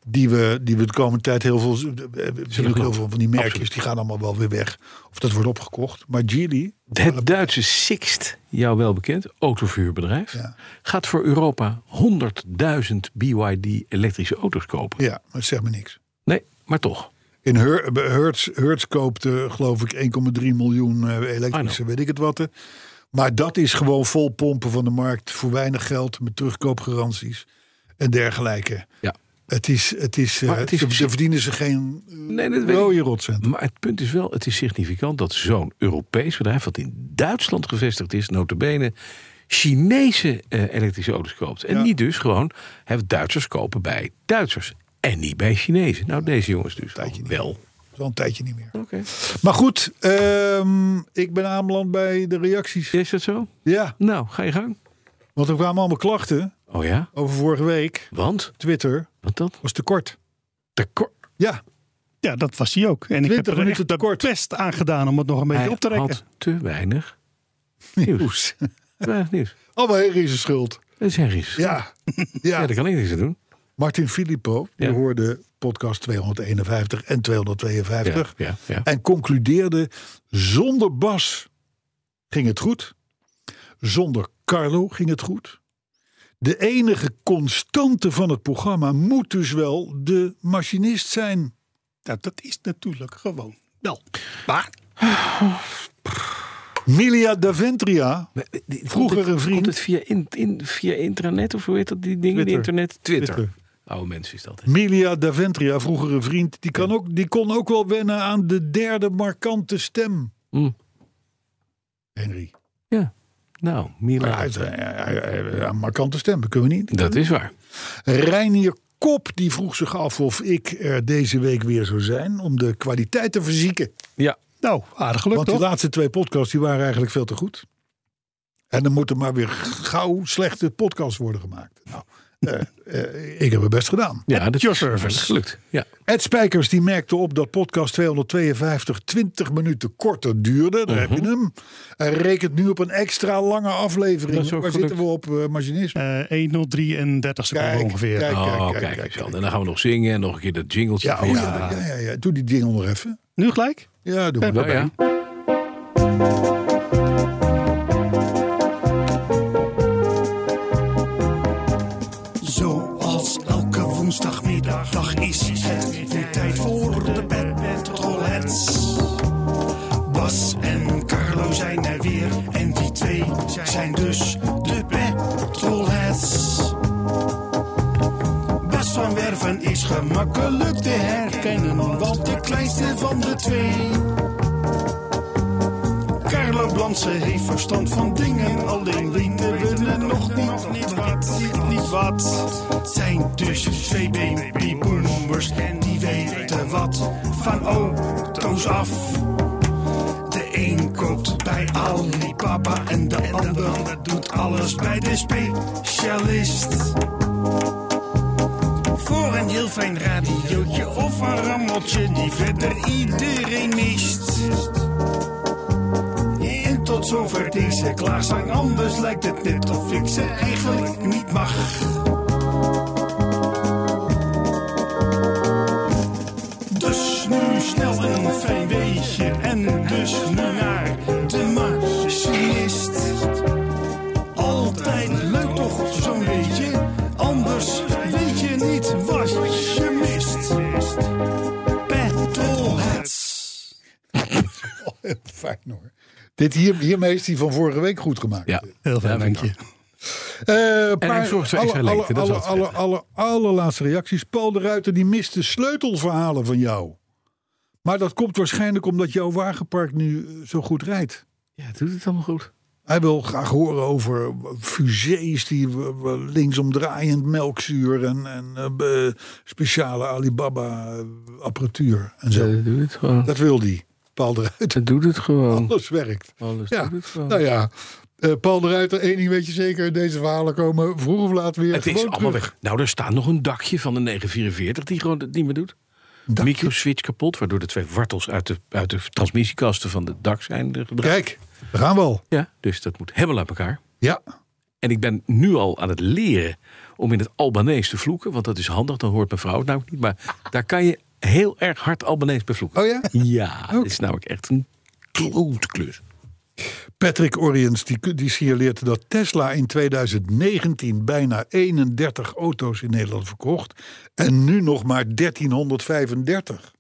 [SPEAKER 2] Die we, die we de komende tijd heel veel. eh, eh, zien ook heel
[SPEAKER 3] lopen.
[SPEAKER 2] veel van die merkjes
[SPEAKER 3] Absoluut.
[SPEAKER 2] die gaan allemaal wel weer weg. Of dat wordt opgekocht. Maar Geely.
[SPEAKER 3] Het Duitse Sixt, jou wel bekend, autoverhuurbedrijf,
[SPEAKER 2] Ja.
[SPEAKER 3] gaat voor Europa 100.000 BYD elektrische auto's kopen.
[SPEAKER 2] Ja, maar zeg me niks.
[SPEAKER 3] Nee, maar toch.
[SPEAKER 2] In eh, Her- bij Hertz, Hertz koopt, eh, geloof ik, 1,3 miljoen eh,
[SPEAKER 3] Ah, nou.
[SPEAKER 2] elektrische, weet ik het wat. eh. Maar dat is gewoon vol pompen van de markt voor weinig geld met terugkoopgaranties en dergelijke.
[SPEAKER 3] Ja.
[SPEAKER 2] Het is, het is, eh,
[SPEAKER 3] Maar het is-
[SPEAKER 2] ze, ze verdienen ze geen eh,
[SPEAKER 3] Nee, dat weet
[SPEAKER 2] rode
[SPEAKER 3] ik.
[SPEAKER 2] rotcent.
[SPEAKER 3] Maar het punt is wel, het is significant dat zo'n Europees bedrijf... wat in Duitsland gevestigd is, notabene Chinese eh, elektrische auto's koopt. En niet dus gewoon, hè, Duitsers kopen bij Duitsers. En niet bij Chinezen. Nou, deze jongens dus
[SPEAKER 2] Tijdje niet.
[SPEAKER 3] wel. Oké.
[SPEAKER 2] Al een tijdje niet meer. Maar goed, ehm, ik ben aanbeland bij de reacties.
[SPEAKER 3] Is dat zo?
[SPEAKER 2] Ja,
[SPEAKER 3] Nou, ga je gang.
[SPEAKER 2] want er kwamen allemaal klachten
[SPEAKER 3] Oh ja?
[SPEAKER 2] over vorige week.
[SPEAKER 3] Want?
[SPEAKER 2] Twitter
[SPEAKER 3] Wat dat?
[SPEAKER 2] was te kort.
[SPEAKER 3] Tekort.
[SPEAKER 2] Ja,
[SPEAKER 4] Ja, dat was hij ook. En ik heb
[SPEAKER 2] 20
[SPEAKER 4] er
[SPEAKER 2] minuten
[SPEAKER 4] echt de
[SPEAKER 2] tekort.
[SPEAKER 4] best aan gedaan om het nog een beetje
[SPEAKER 3] Hij
[SPEAKER 4] op te rekken.
[SPEAKER 3] had te weinig
[SPEAKER 2] Oes.
[SPEAKER 3] nieuws. Te weinig nieuws.
[SPEAKER 2] Allemaal Henry's schuld.
[SPEAKER 3] Dat is ergens. Ja,
[SPEAKER 2] Ja, ja.
[SPEAKER 3] daar kan ik niks aan doen.
[SPEAKER 2] Martin Filippo, die
[SPEAKER 3] Ja.
[SPEAKER 2] hoorde podcast 251 en 252.
[SPEAKER 3] Ja, ja, ja.
[SPEAKER 2] En concludeerde, zonder Bas ging het goed. Zonder Carlo ging het goed. De enige constante van het programma moet dus wel de machinist zijn.
[SPEAKER 4] Nou, dat is natuurlijk gewoon wel. Maar
[SPEAKER 2] Milia Daventria,
[SPEAKER 3] Maar, eh, die-
[SPEAKER 2] Vroeger
[SPEAKER 3] komt het-
[SPEAKER 2] een vriend.
[SPEAKER 3] Komt het via, in, in, via intranet of hoe heet dat die ding?
[SPEAKER 2] Twitter.
[SPEAKER 3] Internet? Twitter.
[SPEAKER 2] Twitter.
[SPEAKER 3] Oude mensen is dat. hè?
[SPEAKER 2] Milia Daventria, vroegere vriend, die, kan ook, die kon ook wel wennen aan de derde markante stem.
[SPEAKER 3] Hm.
[SPEAKER 2] Henry.
[SPEAKER 3] Ja. Nou,
[SPEAKER 2] Ja,
[SPEAKER 3] Mila.
[SPEAKER 2] het- eh, ja, ja, ja, ja, markante stem, dat kunnen we niet.
[SPEAKER 3] Dat is waar.
[SPEAKER 2] Reinier Kop die vroeg zich af of ik er deze week weer zou zijn om de kwaliteit te verzieken.
[SPEAKER 3] Ja.
[SPEAKER 4] nou, aardig gelukt
[SPEAKER 2] Want die
[SPEAKER 4] toch?
[SPEAKER 2] laatste twee podcasts die waren eigenlijk veel te goed. En dan moeten maar weer gauw slechte podcasts worden gemaakt. Nou, eh, eh, ik heb mijn best gedaan.
[SPEAKER 3] Ja, dat
[SPEAKER 4] your
[SPEAKER 3] is
[SPEAKER 4] service.
[SPEAKER 3] gelukt. Ja.
[SPEAKER 2] Ed Spijkers die merkte op dat podcast 252 20 minuten korter duurde. Daar
[SPEAKER 3] Mhm.
[SPEAKER 2] heb je hem. Hij rekent nu op een extra lange aflevering.
[SPEAKER 3] Dat is ook
[SPEAKER 2] Waar
[SPEAKER 3] gelukt.
[SPEAKER 2] zitten we op, eh machinisme?
[SPEAKER 4] Eh 1.033 seconden
[SPEAKER 2] Kijk,
[SPEAKER 4] ongeveer.
[SPEAKER 2] kijk.
[SPEAKER 3] Oh, kijk,
[SPEAKER 2] kijk,
[SPEAKER 3] eens
[SPEAKER 2] kijk,
[SPEAKER 3] wel. En dan gaan we nog zingen en nog een keer dat jingletje.
[SPEAKER 2] Ja,
[SPEAKER 3] van
[SPEAKER 2] oh
[SPEAKER 3] je.
[SPEAKER 2] ja, ja, ja, ja. Doe die ding nog even.
[SPEAKER 7] Nu gelijk?
[SPEAKER 2] Ja, doe maar.
[SPEAKER 3] Nou ja.
[SPEAKER 4] Zoals elke woensdagmiddag dag is het weer tijd voor de Bad Petrolheads. Bas en Carlo zijn er weer en die twee zijn dus de Petrolheads. Bas van Werven is gemakkelijk te herkennen, want de kleinste van de twee. Carlo Blansen heeft verstand van dingen, alleen weten we het nog niet, niet wat, niet, niet wat. Het Zijn dus twee babyboomers en die weten wat van auto's af. De een koopt bij Alibaba en de ander doet alles bij de specialist. Voor een heel fijn radiootje of een rammeltje die verder iedereen mist. En tot zover deze klaarzang, anders lijkt het net of ik ze eigenlijk niet mag. Dus nu snel een fijn weetje en dus nu naar de machinist. Altijd leuk toch zo'n beetje, anders weet je niet wat je mist. Petrolheads.
[SPEAKER 2] Fijn hoor. Dit hier, hiermee is die van vorige week goed gemaakt.
[SPEAKER 3] Ja.
[SPEAKER 7] Heel fijn,
[SPEAKER 3] Ja,
[SPEAKER 7] dank je.
[SPEAKER 2] Eh, een
[SPEAKER 3] hij zorgt voor extra
[SPEAKER 2] alle,
[SPEAKER 3] lengte, dat is
[SPEAKER 2] alle,
[SPEAKER 3] altijd
[SPEAKER 2] alle, alle, allerlaatste reacties. Paul de Ruiter die mist de sleutelverhalen van jou. Maar dat komt waarschijnlijk omdat jouw wagenpark nu eh, zo goed rijdt.
[SPEAKER 3] Ja, doet het allemaal goed.
[SPEAKER 2] Hij wil graag horen over eh, fusées die w- w- linksomdraaiend melkzuur en, en eh, be- speciale Alibaba-apparatuur en zo.
[SPEAKER 3] Ze doet het gewoon.
[SPEAKER 2] Dat wil hij, Paul de Ruiter.
[SPEAKER 3] Ze doet het gewoon.
[SPEAKER 2] Alles werkt.
[SPEAKER 3] Alles
[SPEAKER 2] Ja,
[SPEAKER 3] doet het gewoon.
[SPEAKER 2] nou ja. Eh, Paul de Ruiter, één ding weet je zeker. Deze verhalen komen vroeg of laat weer
[SPEAKER 3] Het is
[SPEAKER 2] gewoon
[SPEAKER 3] allemaal
[SPEAKER 2] terug.
[SPEAKER 3] weg. Nou, er staat nog een dakje van de 944 die gewoon het niet meer doet.
[SPEAKER 2] Dakje?
[SPEAKER 3] Microswitch kapot, waardoor de twee wartels uit de, uit de transmissiekasten van het dak zijn eh, gedraaid.
[SPEAKER 2] Kijk, we gaan wel.
[SPEAKER 3] Ja, dus dat moet helemaal uit elkaar.
[SPEAKER 2] Ja,
[SPEAKER 3] En ik ben nu al aan het leren om in het Albanees te vloeken. Want dat is handig, dan hoort mijn vrouw het namelijk niet. Maar daar kan je heel erg hard Albanees bij vloeken.
[SPEAKER 2] Oh ja?
[SPEAKER 3] Ja, dat is namelijk echt een klootklus.
[SPEAKER 2] Patrick Oriens die, die signaleert dat Tesla in 2019 bijna 31 auto's in Nederland verkocht. En nu nog maar 1335.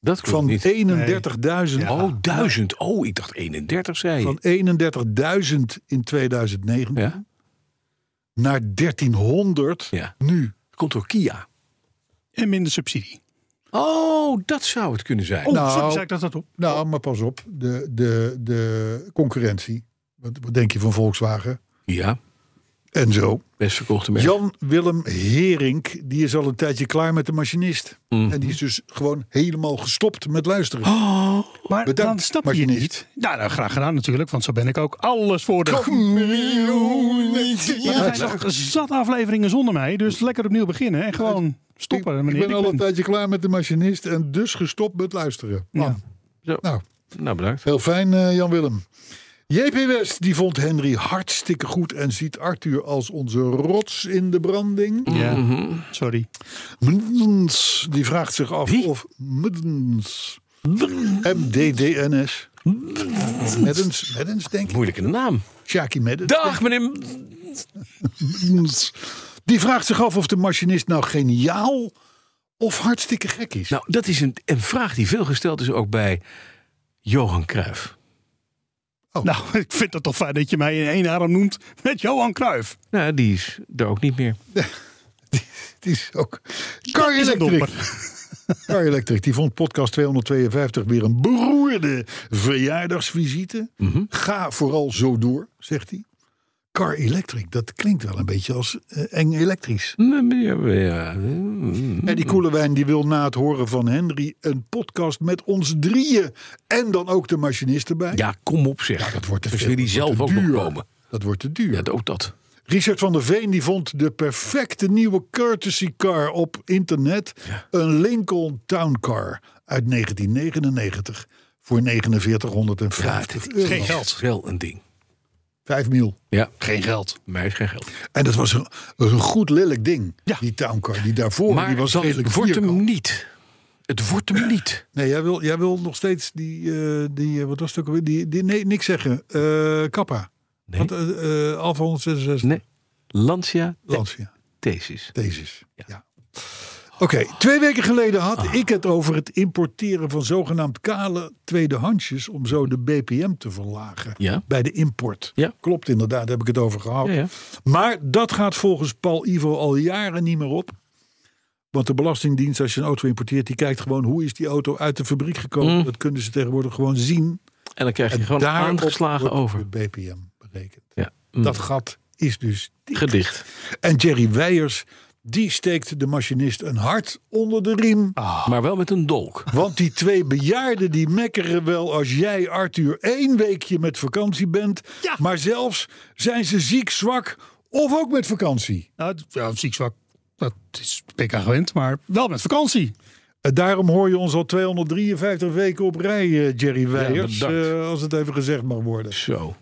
[SPEAKER 3] Dat klopt
[SPEAKER 2] Van 31.000.
[SPEAKER 3] niet. Oh, duizend. Oh, ik dacht 31, zei je.
[SPEAKER 2] Van 31.000 in 2019
[SPEAKER 3] Ja,
[SPEAKER 2] naar 1300
[SPEAKER 3] ja.
[SPEAKER 2] nu.
[SPEAKER 3] Komt door Kia.
[SPEAKER 7] En minder subsidie.
[SPEAKER 3] Oh, dat zou het kunnen zijn.
[SPEAKER 7] Oh,
[SPEAKER 2] Nou.
[SPEAKER 7] sorry, zei ik dat dat op?
[SPEAKER 2] Nou, maar pas op. De, de, de concurrentie. Wat, wat denk je van Volkswagen?
[SPEAKER 3] Ja,
[SPEAKER 2] En zo.
[SPEAKER 3] best verkochte merk.
[SPEAKER 2] Jan Willem Herink, die is al een tijdje klaar met de machinist. En die is dus gewoon helemaal gestopt met luisteren.
[SPEAKER 7] Maar
[SPEAKER 2] Bedankt,
[SPEAKER 7] dan snap je
[SPEAKER 2] machinist.
[SPEAKER 7] niet. Nou, nou, graag gedaan natuurlijk, want zo ben ik ook. Alles voor de Maar er zijn nog zat afleveringen zonder mij, dus lekker opnieuw beginnen en gewoon stoppen.
[SPEAKER 2] ik,
[SPEAKER 7] wanneer
[SPEAKER 2] ik ben al
[SPEAKER 7] ben.
[SPEAKER 2] een tijdje klaar met de machinist en dus gestopt met luisteren. Man,
[SPEAKER 3] Nou, bedankt.
[SPEAKER 2] Heel fijn, eh, Jan-Willem. JP West, die vond Henry hartstikke goed en ziet Arthur als onze rots in de branding.
[SPEAKER 7] Ja, sorry.
[SPEAKER 2] Mdens, die vraagt zich af of Mdens, MDDNS, Meddens, Meddens denk ik,
[SPEAKER 3] Moeilijke naam.
[SPEAKER 2] Shaki Meddens.
[SPEAKER 3] Dag, meneer.
[SPEAKER 2] Mdens. Die vraagt zich af of de machinist nou geniaal of hartstikke gek is.
[SPEAKER 3] Nou, dat is een, een vraag die veel gesteld is ook bij Johan Cruijff.
[SPEAKER 2] Oh.
[SPEAKER 7] Nou, ik vind het toch fijn dat je mij in één adem noemt met Johan Cruijff.
[SPEAKER 3] Nou, die is er ook niet meer.
[SPEAKER 2] Het is ook... Car
[SPEAKER 7] is een
[SPEAKER 2] Electric.
[SPEAKER 7] domper.
[SPEAKER 2] Car Electric, die vond podcast 252 weer een beroerde verjaardagsvisite.
[SPEAKER 7] Mhm.
[SPEAKER 2] Ga vooral zo door, zegt hij. Car Electric, dat klinkt wel een beetje als eh, eng elektrisch. En die Koelewijn die wil na het horen van Henry een podcast met ons drieën. En dan ook de machinist erbij.
[SPEAKER 3] Ja, kom op zeg.
[SPEAKER 2] Ja, dat wordt te
[SPEAKER 3] Dus
[SPEAKER 2] veel.
[SPEAKER 3] wil die
[SPEAKER 2] dat wordt
[SPEAKER 3] zelf ook
[SPEAKER 2] te
[SPEAKER 3] nog
[SPEAKER 2] duur.
[SPEAKER 3] komen.
[SPEAKER 2] Dat wordt te duur.
[SPEAKER 3] Ja, ook dat.
[SPEAKER 2] Richard van der Veen die vond de perfecte nieuwe courtesy car op internet. Een Lincoln Town Car uit 1999 voor 4950
[SPEAKER 3] Ja,
[SPEAKER 2] euro.
[SPEAKER 3] Geen geld. Wel een ding.
[SPEAKER 2] Vijf mil.
[SPEAKER 3] Ja,
[SPEAKER 7] Geen geld.
[SPEAKER 3] mij is geen geld.
[SPEAKER 2] En dat was een, dat was een goed lelijk ding,
[SPEAKER 7] Ja.
[SPEAKER 2] die Town Car. Die daarvoor
[SPEAKER 3] Maar
[SPEAKER 2] die was
[SPEAKER 3] dat
[SPEAKER 2] redelijk
[SPEAKER 3] wordt hem
[SPEAKER 2] vierkant.
[SPEAKER 3] niet. Het wordt hem niet.
[SPEAKER 2] Nee, jij wil, jij wil nog steeds die, eh, die eh, wat was het ook alweer? Die, die, nee, niks zeggen. Eh, Kappa.
[SPEAKER 3] Nee.
[SPEAKER 2] Want, eh, eh, Alfa 166
[SPEAKER 3] Nee. Lancia
[SPEAKER 2] Lancia.
[SPEAKER 3] Thesis.
[SPEAKER 2] Thesis. Ja. Oké, twee weken geleden had
[SPEAKER 3] Ah.
[SPEAKER 2] ik het over het importeren van zogenaamd kale tweedehandsjes om zo de BPM te verlagen
[SPEAKER 3] Ja.
[SPEAKER 2] bij de import.
[SPEAKER 3] Ja.
[SPEAKER 2] Klopt inderdaad, daar heb ik het over gehad.
[SPEAKER 3] Ja, ja.
[SPEAKER 2] Maar dat gaat volgens Paul Ivo al jaren niet meer op. Want de Belastingdienst, als je een auto importeert, die kijkt gewoon hoe is die auto uit de fabriek gekomen. Dat kunnen ze tegenwoordig gewoon zien.
[SPEAKER 3] En dan krijg je
[SPEAKER 2] En
[SPEAKER 3] Mm. gewoon
[SPEAKER 2] daarop
[SPEAKER 3] aangeslagen
[SPEAKER 2] wordt
[SPEAKER 3] over.
[SPEAKER 2] De BPM berekend.
[SPEAKER 3] Ja.
[SPEAKER 2] Dat gat is dus dicht.
[SPEAKER 3] Gedicht.
[SPEAKER 2] En Jerry Weijers, die steekt de machinist een hart onder de riem.
[SPEAKER 3] Maar wel met een dolk.
[SPEAKER 2] Want die twee bejaarden die mekkeren wel als jij, Arthur, één weekje met vakantie bent.
[SPEAKER 4] Ja.
[SPEAKER 2] Maar zelfs zijn ze ziek, zwak of ook met vakantie.
[SPEAKER 4] Nou, d- ja, ziek zwak. Dat is PK gewend, maar wel met vakantie.
[SPEAKER 2] En Eh, daarom hoor je ons al 253 weken op rij, eh, Jerry Weijers.
[SPEAKER 3] bedankt.
[SPEAKER 2] eh, als het even gezegd mag worden.
[SPEAKER 3] Zo.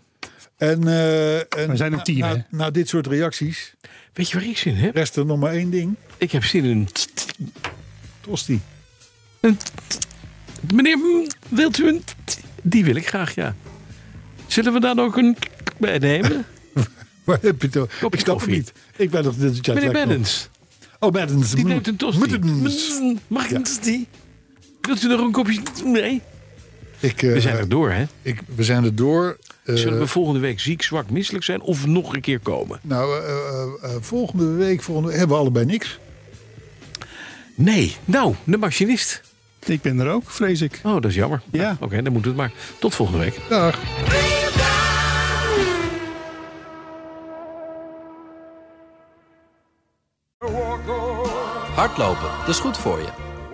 [SPEAKER 2] En, eh, en
[SPEAKER 4] We zijn een team,
[SPEAKER 2] na,
[SPEAKER 4] hè?
[SPEAKER 2] na, na dit soort reacties
[SPEAKER 3] Weet je waar ik zin in heb?
[SPEAKER 2] rest er nog maar één ding.
[SPEAKER 3] Ik heb zin in...
[SPEAKER 2] Tosti.
[SPEAKER 3] Meneer, mm, wilt u een... Die wil ik graag, ja. Zullen we dan ook een... bij nemen?
[SPEAKER 2] Waar heb je het over?
[SPEAKER 3] Kopje
[SPEAKER 2] Ik snap het
[SPEAKER 3] koffie.
[SPEAKER 2] niet. Ik ben nog... Ja,
[SPEAKER 3] Meneer
[SPEAKER 2] lijkt me-
[SPEAKER 3] Beddens.
[SPEAKER 2] Oh, Maddens.
[SPEAKER 3] Die neemt een tosti.
[SPEAKER 2] Maddens.
[SPEAKER 3] Mm, Mag ik een tosti? Wilt u nog een kopje... Nee.
[SPEAKER 2] Ik, eh,
[SPEAKER 3] We zijn er door, hè?
[SPEAKER 2] ik- we zijn er door. Eh,
[SPEAKER 3] Zullen we volgende week ziek, zwak, misselijk zijn of nog een keer komen?
[SPEAKER 2] Nou, eh, eh, eh, volgende week volgende, hebben we allebei niks.
[SPEAKER 3] Nee. Nou, de machinist.
[SPEAKER 4] Ik ben er ook, vrees ik.
[SPEAKER 3] Oh, dat is jammer.
[SPEAKER 4] Ja.
[SPEAKER 3] Nou, Oké, dan moeten we het maar. Tot volgende week.
[SPEAKER 2] Dag.
[SPEAKER 8] Hardlopen, dat is goed voor je.